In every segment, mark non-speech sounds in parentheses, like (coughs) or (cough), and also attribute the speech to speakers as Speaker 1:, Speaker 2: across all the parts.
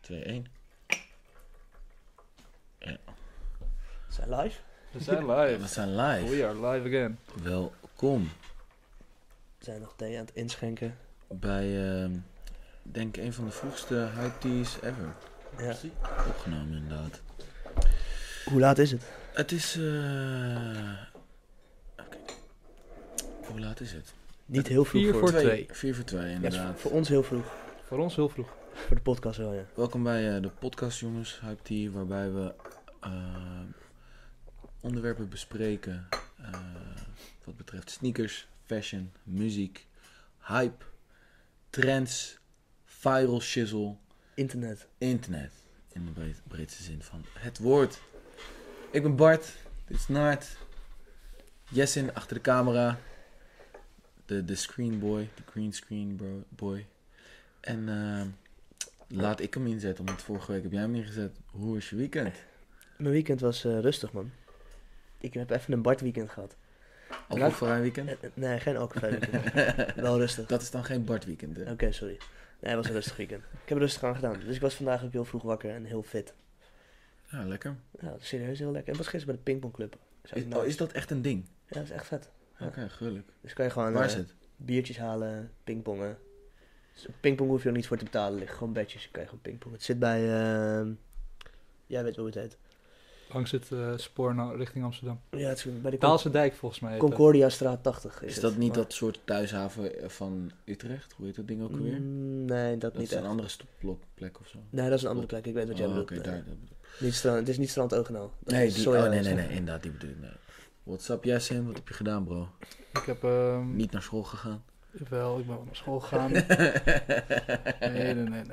Speaker 1: 2, 1.
Speaker 2: Zijn live?
Speaker 3: We zijn
Speaker 1: We
Speaker 3: live.
Speaker 1: zijn live.
Speaker 3: We are live again.
Speaker 1: Welkom
Speaker 2: We zijn nog thee aan het inschenken.
Speaker 1: bij, ehm denk ik, een van de vroegste high teas ever.
Speaker 2: Ja.
Speaker 1: Opgenomen, inderdaad.
Speaker 2: Hoe laat is het?
Speaker 1: Het is. eh oké. Hoe laat is het?
Speaker 2: Niet heel vroeg
Speaker 3: vier
Speaker 2: voor,
Speaker 3: voor- twee.
Speaker 1: 4 voor 2,
Speaker 2: Ja, het is voor,
Speaker 1: inderdaad.
Speaker 2: voor ons heel vroeg.
Speaker 3: Voor ons heel vroeg.
Speaker 2: Voor de podcast wel, ja.
Speaker 1: Welkom bij eh, de podcast, jongens, Hype Tea, waarbij we eh, onderwerpen bespreken eh, wat betreft sneakers, fashion, muziek, hype, trends, viral shizzle,
Speaker 2: Internet.
Speaker 1: internet. In de breed- breedste zin van het woord. Ik ben Bart, dit is Naart, Jessin achter de camera, de, de screenboy, de green screen bro- boy. En eh, laat ik hem inzetten, want vorige week heb jij hem ingezet. Hoe is je weekend?
Speaker 2: Mijn weekend was eh, rustig, man. Ik heb even een Bart weekend gehad.
Speaker 1: Alcoholvrij weekend? (laughs)
Speaker 2: Eh, eh, Nee, geen alcohol weekend. wel rustig.
Speaker 1: Dat is dan geen Bart weekend, hè?
Speaker 2: Oké, sorry. Nee, het was een rustig weekend. Ik heb er rustig aan gedaan. Dus ik was vandaag ook heel vroeg wakker en heel fit.
Speaker 1: Ja, lekker.
Speaker 2: Ja, dat is serieus heel lekker. Ik was gisteren bij de pingpongclub. Dus ook
Speaker 1: Is,
Speaker 2: nice.
Speaker 1: oh, is dat echt een ding?
Speaker 2: Ja, dat is echt vet. Ja.
Speaker 1: Oké, gelukkig.
Speaker 2: Dus kan je gewoon
Speaker 1: Waar
Speaker 2: eh,
Speaker 1: is het?
Speaker 2: biertjes halen, pingpongen. Dus op pingpong hoef je ook niet voor te betalen. Er liggen gewoon bedjes, je kan je gewoon pingpongen. Het zit bij, ehm, jij weet wel hoe het heet.
Speaker 3: Langs het eh, spoor naar, richting Amsterdam.
Speaker 2: Ja, het is bij de Con-
Speaker 3: Taalse dijk volgens mij. heet dat.
Speaker 2: Concordia Straat 80 is,
Speaker 1: Is dat
Speaker 2: het.
Speaker 1: niet
Speaker 2: Maar-
Speaker 1: dat soort thuishaven van Utrecht? Hoe heet dat ding ook weer?
Speaker 2: Mm, Nee, dat,
Speaker 1: Dat
Speaker 2: niet
Speaker 1: is
Speaker 2: echt.
Speaker 1: een andere stopplek of zo.
Speaker 2: Nee, dat is een andere plek. Ik weet wat jij
Speaker 1: Oh,
Speaker 2: bedoelt.
Speaker 1: oké,
Speaker 2: Nee.
Speaker 1: daar. dat bedoel ik.
Speaker 2: Niet strand, het is niet Strand Ogenaal. Dat
Speaker 1: Nee,
Speaker 2: is
Speaker 1: die,
Speaker 2: Soja-
Speaker 1: oh, nee, nee, nee, inderdaad, die bedoel ik. Nee. What's up, Jessin? Wat heb je gedaan, bro?
Speaker 3: Ik heb ehm,
Speaker 1: Niet naar school gegaan?
Speaker 3: Wel, ik ben wel naar
Speaker 1: (laughs)
Speaker 3: school gegaan. nee, nee, nee, nee.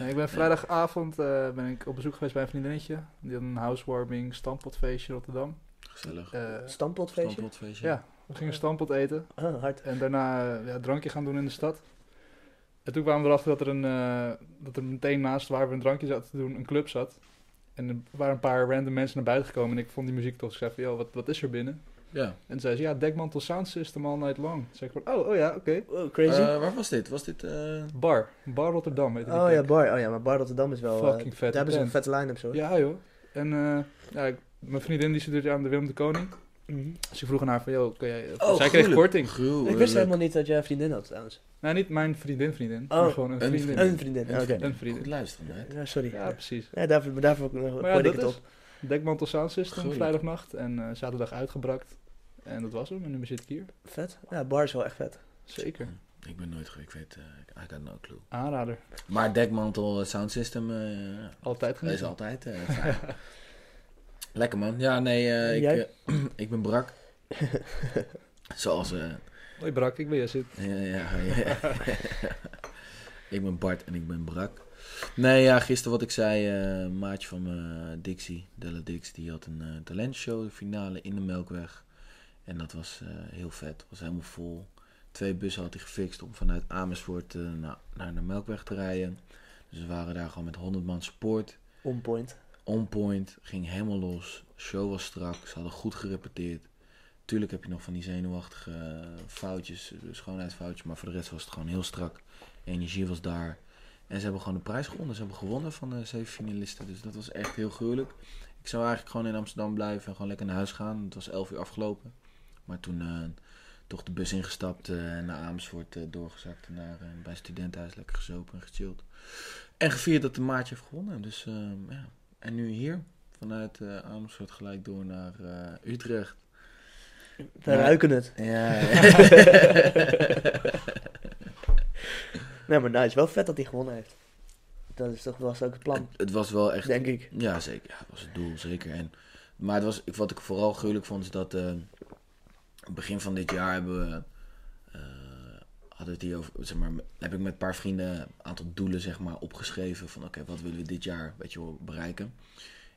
Speaker 3: Nee, ik ben vrijdagavond eh, ben ik op bezoek geweest bij een vriendinnetje. Die had een housewarming stamppotfeestje in Rotterdam.
Speaker 1: Gezellig.
Speaker 3: Eh,
Speaker 2: Stampotfeestje?
Speaker 1: Stampotfeestje?
Speaker 3: ja, we gingen stampot eten
Speaker 2: Ah, hard.
Speaker 3: en daarna eh, ja, drankje gaan doen in de stad. En toen kwamen we erachter dat er, een, eh, dat er meteen naast waar we een drankje zaten te doen een club zat. En er waren een paar random mensen naar buiten gekomen en ik vond die muziek toch. Ik zei van, "Yo, wat, wat is er binnen?
Speaker 1: Ja.
Speaker 3: En toen zei ze, ja, Dekmantel Sound System all night long. Toen zei ik van, oh, oh ja, oké.
Speaker 2: Oh, crazy.
Speaker 1: Eh, waar was dit? Was dit... eh,
Speaker 3: Bar, Bar Rotterdam heette die
Speaker 2: oh ja,
Speaker 3: plek.
Speaker 2: Bar. Oh ja, maar Bar Rotterdam is wel... eh,
Speaker 3: Fucking vette
Speaker 2: Daar hebben ze een
Speaker 3: band.
Speaker 2: vette line-up, zo.
Speaker 3: Ja, joh. En eh, ja, ik- mijn vriendin die studeert aan de Willem de Koning.
Speaker 2: Mhm.
Speaker 3: Dus ik vroeg aan haar van, joh, kan jij... eh,
Speaker 1: Oh,
Speaker 3: zij kreeg
Speaker 1: gruwelijk.
Speaker 3: korting.
Speaker 1: Gruwelijk.
Speaker 2: Ik wist helemaal niet dat jij een vriendin had, trouwens.
Speaker 3: Nou, niet mijn vriendin vriendin,
Speaker 2: Oh,
Speaker 3: maar gewoon een
Speaker 1: een
Speaker 3: vriendin.
Speaker 1: vriendin.
Speaker 2: Een vriendin,
Speaker 1: Een
Speaker 2: oké.
Speaker 1: vriendin.
Speaker 3: Een vriendin.
Speaker 1: Goed luisteren, hè?
Speaker 2: Ja, sorry.
Speaker 3: Ja, precies.
Speaker 2: Ja, daarvoor, maar daarvoor hoorde
Speaker 3: Maar ja,
Speaker 2: ik
Speaker 3: dat
Speaker 2: het
Speaker 3: is
Speaker 2: op.
Speaker 3: Dekmantel Sound System,
Speaker 1: Gruwelijk.
Speaker 3: vrijdagnacht. En eh, zaterdag uitgebracht. En dat was hem. En nu zit ik hier.
Speaker 2: Vet. Ja, bar is wel echt vet.
Speaker 3: Zeker.
Speaker 1: Ik ben nooit geweest, ik weet... eh I got no clue.
Speaker 3: Aanrader.
Speaker 1: Maar dekmantel, eh, sound system, eh, ja,
Speaker 3: Altijd
Speaker 1: dat is
Speaker 3: genieten.
Speaker 1: altijd... eh, fijn. Lekker, man. Ja, nee, eh, ik,
Speaker 2: Jij?
Speaker 1: eh, (clears throat) ik ben brak. Zoals... eh,
Speaker 3: Hoi Brak, ik ben Jessit.
Speaker 1: Ja, ja, ja. ik ben Bart en ik ben Brak. Nee, ja, gisteren wat ik zei, eh, een maatje van me, Dixie, Della Dix, die had een eh, talentshow, de finale in de Melkweg. En dat was eh, heel vet, was helemaal vol. Twee bussen had hij gefixt om vanuit Amersfoort eh, na- naar de Melkweg te rijden. Dus we waren daar gewoon met 100 man support.
Speaker 2: On point.
Speaker 1: On point, ging helemaal los. Show was strak, ze hadden goed gerepeteerd. Tuurlijk heb je nog van die zenuwachtige eh, foutjes, eh, schoonheidsfoutjes, maar voor de rest was het gewoon heel strak. Energie was daar. En ze hebben gewoon de prijs gewonnen. Ze hebben gewonnen van de zeven finalisten, dus dat was echt heel gruwelijk. Ik zou eigenlijk gewoon in Amsterdam blijven en gewoon lekker naar huis gaan. Het was elf uur afgelopen. Maar toen eh, toch de bus ingestapt eh, en naar Amersfoort eh, doorgezakt. En daar eh, bij een studentenhuis lekker gezopen en gechilled. En gevierd dat de maatje heeft gewonnen. Dus ehm, ja, en nu hier, vanuit eh, Amersfoort gelijk door naar eh, Utrecht.
Speaker 2: We
Speaker 1: Ja.
Speaker 2: ruiken het.
Speaker 1: (laughs) Ja,
Speaker 2: Nee, maar nou, het is wel vet dat hij gewonnen heeft. Dat is toch, was ook het plan,
Speaker 1: het, het was wel echt...
Speaker 2: denk ik.
Speaker 1: Ja, zeker. Ja, dat was het doel, zeker. En, maar het was, ik- wat ik vooral gruwelijk vond, is dat... eh, begin van dit jaar hebben we... eh, hadden we het hier over... Zeg maar, heb ik met een paar vrienden een aantal doelen, zeg maar, opgeschreven. Van, oké, wat willen we dit jaar, weet je wel, bereiken?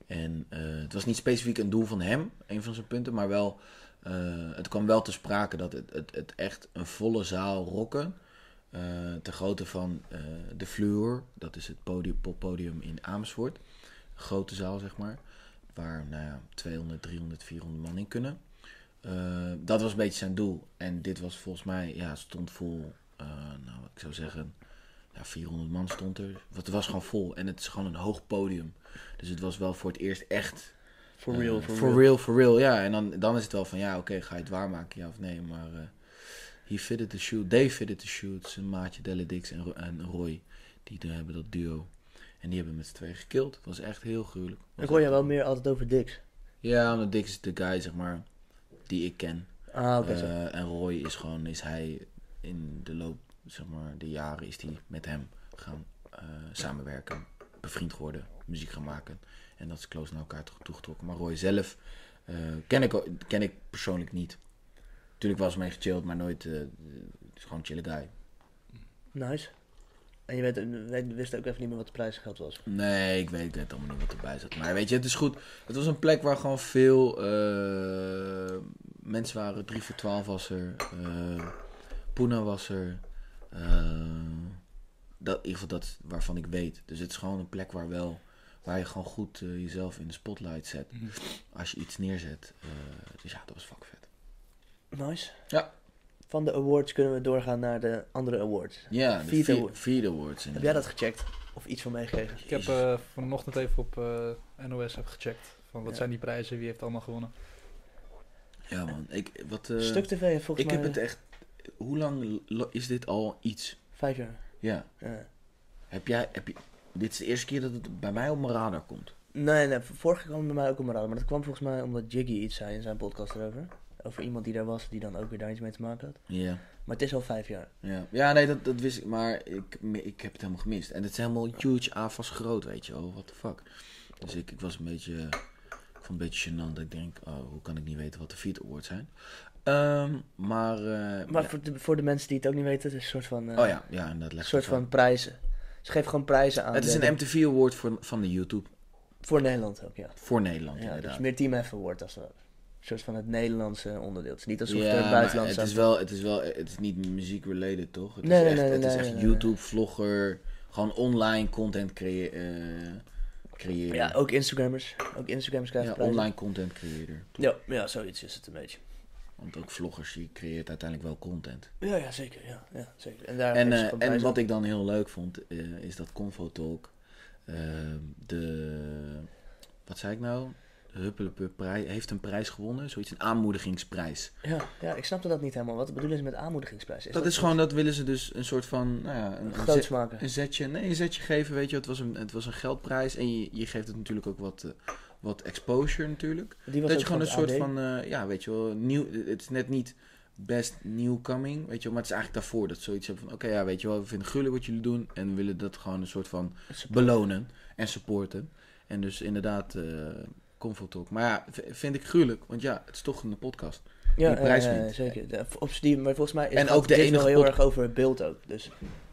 Speaker 1: En eh, het was niet specifiek een doel van hem, een van zijn punten, maar wel... eh, het kwam wel te sprake dat het, het, het echt een volle zaal rocken... eh ter grootte van eh, de Fleur, dat is het podium, poppodium in Amersfoort grote zaal, zeg maar. Waar nou ja, 200, 300, 400 man in kunnen. Eh, dat was een beetje zijn doel. En dit was volgens mij, ja, het stond vol, eh, nou, ik zou zeggen, ja, 400 man stond er. Want het was gewoon vol en het is gewoon een hoog podium. Dus het was wel voor het eerst echt
Speaker 2: For
Speaker 1: eh,
Speaker 2: real, for
Speaker 1: for
Speaker 2: real.
Speaker 1: real, for real, ja. En dan, dan is het wel van, ja, oké, ga je het waarmaken, ja of nee. Maar eh he fitted the shoot, they fitted the shoot. Zijn maatje Delle Dix en, Ro- en Roy, die de- hebben dat duo. En die hebben met z'n tweeën gekild. Het was echt heel gruwelijk. Was
Speaker 2: Ik hoor
Speaker 1: echt-
Speaker 2: jou wel meer altijd over Dix.
Speaker 1: Ja, omdat Dix is de guy, zeg maar, die ik ken.
Speaker 2: Ah, oké. zo.
Speaker 1: Eh, en Roy is gewoon, is hij in de loop, zeg maar, de jaren is hij met hem gaan eh, samenwerken. Bevriend geworden, muziek gaan maken. En dat is close naar elkaar toe- toegetrokken. Maar Roy zelf eh, ken, ik, o- ken ik persoonlijk niet. Natuurlijk was mee gechilled, maar nooit, eh, het is gewoon een chille guy.
Speaker 2: Nice. En je weet, eh, weet- wist ook even niet meer wat de prijsgeld was.
Speaker 1: Nee, ik weet, ik weet allemaal niet wat erbij zat. Maar weet je, het is goed. Het was een plek waar gewoon veel eh, mensen waren. 3 voor 12 was er. eh Poena was er. eh, dat, in ieder geval dat is waarvan ik weet. Dus het is gewoon een plek waar wel... Waar je gewoon goed eh, jezelf in de spotlight zet.
Speaker 3: Mhm.
Speaker 1: Als je iets neerzet. Eh, dus ja, dat was fuck vet.
Speaker 2: Nice.
Speaker 1: Ja.
Speaker 2: Van de awards kunnen we doorgaan naar de andere awards.
Speaker 1: Ja, de
Speaker 2: Vierde
Speaker 1: vier,
Speaker 2: award.
Speaker 1: vierde awards.
Speaker 2: Heb jij dat gecheckt? Of iets van meegekregen?
Speaker 3: Ik heb eh, vanochtend even op eh, NOS heb gecheckt. Van wat
Speaker 2: Ja.
Speaker 3: zijn die prijzen, wie heeft allemaal gewonnen.
Speaker 1: Ja man, ik... Wat, eh,
Speaker 2: Stuk TV heeft volgens
Speaker 1: ik
Speaker 2: mij
Speaker 1: heb het echt... Hoe lang lo- is dit al iets?
Speaker 2: vijf jaar.
Speaker 1: Ja.
Speaker 2: Ja.
Speaker 1: Heb jij, heb je, dit is de eerste keer dat het bij mij op mijn radar komt.
Speaker 2: Nee, nee, vorige keer kwam het bij mij ook op mijn radar. Maar dat kwam volgens mij omdat Jiggy iets zei in zijn podcast erover. Over iemand die daar was, die dan ook weer daar iets mee te maken had.
Speaker 1: Ja.
Speaker 2: Maar het is al vijf jaar.
Speaker 1: Ja, ja nee, dat, dat wist ik, maar ik, ik heb het helemaal gemist. En het is helemaal huge, avas groot, weet je wel. What the fuck. Dus ik, ik was een beetje, ik vond het een beetje gênant. dat Ik denk, oh, hoe kan ik niet weten wat de vierde awards zijn? Ehm, maar, eh,
Speaker 2: Maar
Speaker 1: ja.
Speaker 2: voor, de, voor de mensen die het ook niet weten, het is een soort van, eh,
Speaker 1: Oh ja, ja, en dat
Speaker 2: een
Speaker 1: legt
Speaker 2: soort
Speaker 1: het wel.
Speaker 2: van prijzen. Ze geven gewoon prijzen aan.
Speaker 1: Het is
Speaker 2: de-
Speaker 1: een MTV award voor, van de YouTube.
Speaker 2: Voor Nederland ook, ja.
Speaker 1: Voor Nederland,
Speaker 2: Ja, dus
Speaker 1: inderdaad.
Speaker 2: meer Team Effen wordt als een soort van het Nederlandse onderdeel. Het is niet alsof
Speaker 1: Ja,
Speaker 2: het
Speaker 1: maar
Speaker 2: een buitenland
Speaker 1: het is wel, het is wel, het is niet muziek related toch? Het
Speaker 2: Nee,
Speaker 1: is
Speaker 2: nee,
Speaker 1: echt,
Speaker 2: nee,
Speaker 1: het is
Speaker 2: nee,
Speaker 1: echt
Speaker 2: nee, nee.
Speaker 1: YouTube vlogger, gewoon online content creë- eh, creëren.
Speaker 2: Ja, ook Instagrammers. Ook Instagrammers krijgen
Speaker 1: Ja,
Speaker 2: prijzen.
Speaker 1: online content creëren.
Speaker 2: Ja, ja, zoiets is het een beetje.
Speaker 1: Want ook vloggers die creëert uiteindelijk wel content.
Speaker 2: Ja, ja zeker. Ja, ja, zeker. En,
Speaker 1: en
Speaker 2: daar geven ze
Speaker 1: eh,
Speaker 2: gewoon
Speaker 1: en
Speaker 2: prijzen
Speaker 1: wat
Speaker 2: aan.
Speaker 1: ik dan heel leuk vond eh, is dat Convo Talk eh, de wat zei ik nou? De Huppelepup prij- heeft een prijs gewonnen, zoiets een aanmoedigingsprijs.
Speaker 2: Ja, ja, ik snapte dat niet helemaal. Wat bedoelen ze met aanmoedigingsprijs?
Speaker 1: dat, is gewoon dat willen ze dus een soort van nou ja, een, een
Speaker 2: groots maken.
Speaker 1: Een zetje, nee, een zetje geven, weet je, het was een, het was een geldprijs en je, je geeft het natuurlijk ook wat, eh, wat exposure natuurlijk.
Speaker 2: Die
Speaker 1: Dat
Speaker 2: was ook
Speaker 1: je gewoon een
Speaker 2: het
Speaker 1: soort
Speaker 2: AD.
Speaker 1: van, eh, ja, weet je wel, nieuw, het is net niet best newcoming, weet je wel, maar het is eigenlijk daarvoor dat ze zoiets hebben van, oké, ja, weet je wel, we vinden het gruwelijk wat jullie doen en we willen dat gewoon een soort van belonen en supporten. En dus inderdaad, eh comfort talk. Maar ja, v- vind ik gruwelijk, want ja, het is toch een podcast.
Speaker 2: ja,
Speaker 1: die prijs
Speaker 2: ja, ja,
Speaker 1: wint.
Speaker 2: zeker. De- op die, maar volgens mij is
Speaker 1: En
Speaker 2: gaat
Speaker 1: ook de
Speaker 2: dit
Speaker 1: enige
Speaker 2: wel heel
Speaker 1: pod-
Speaker 2: erg over het beeld ook. Dus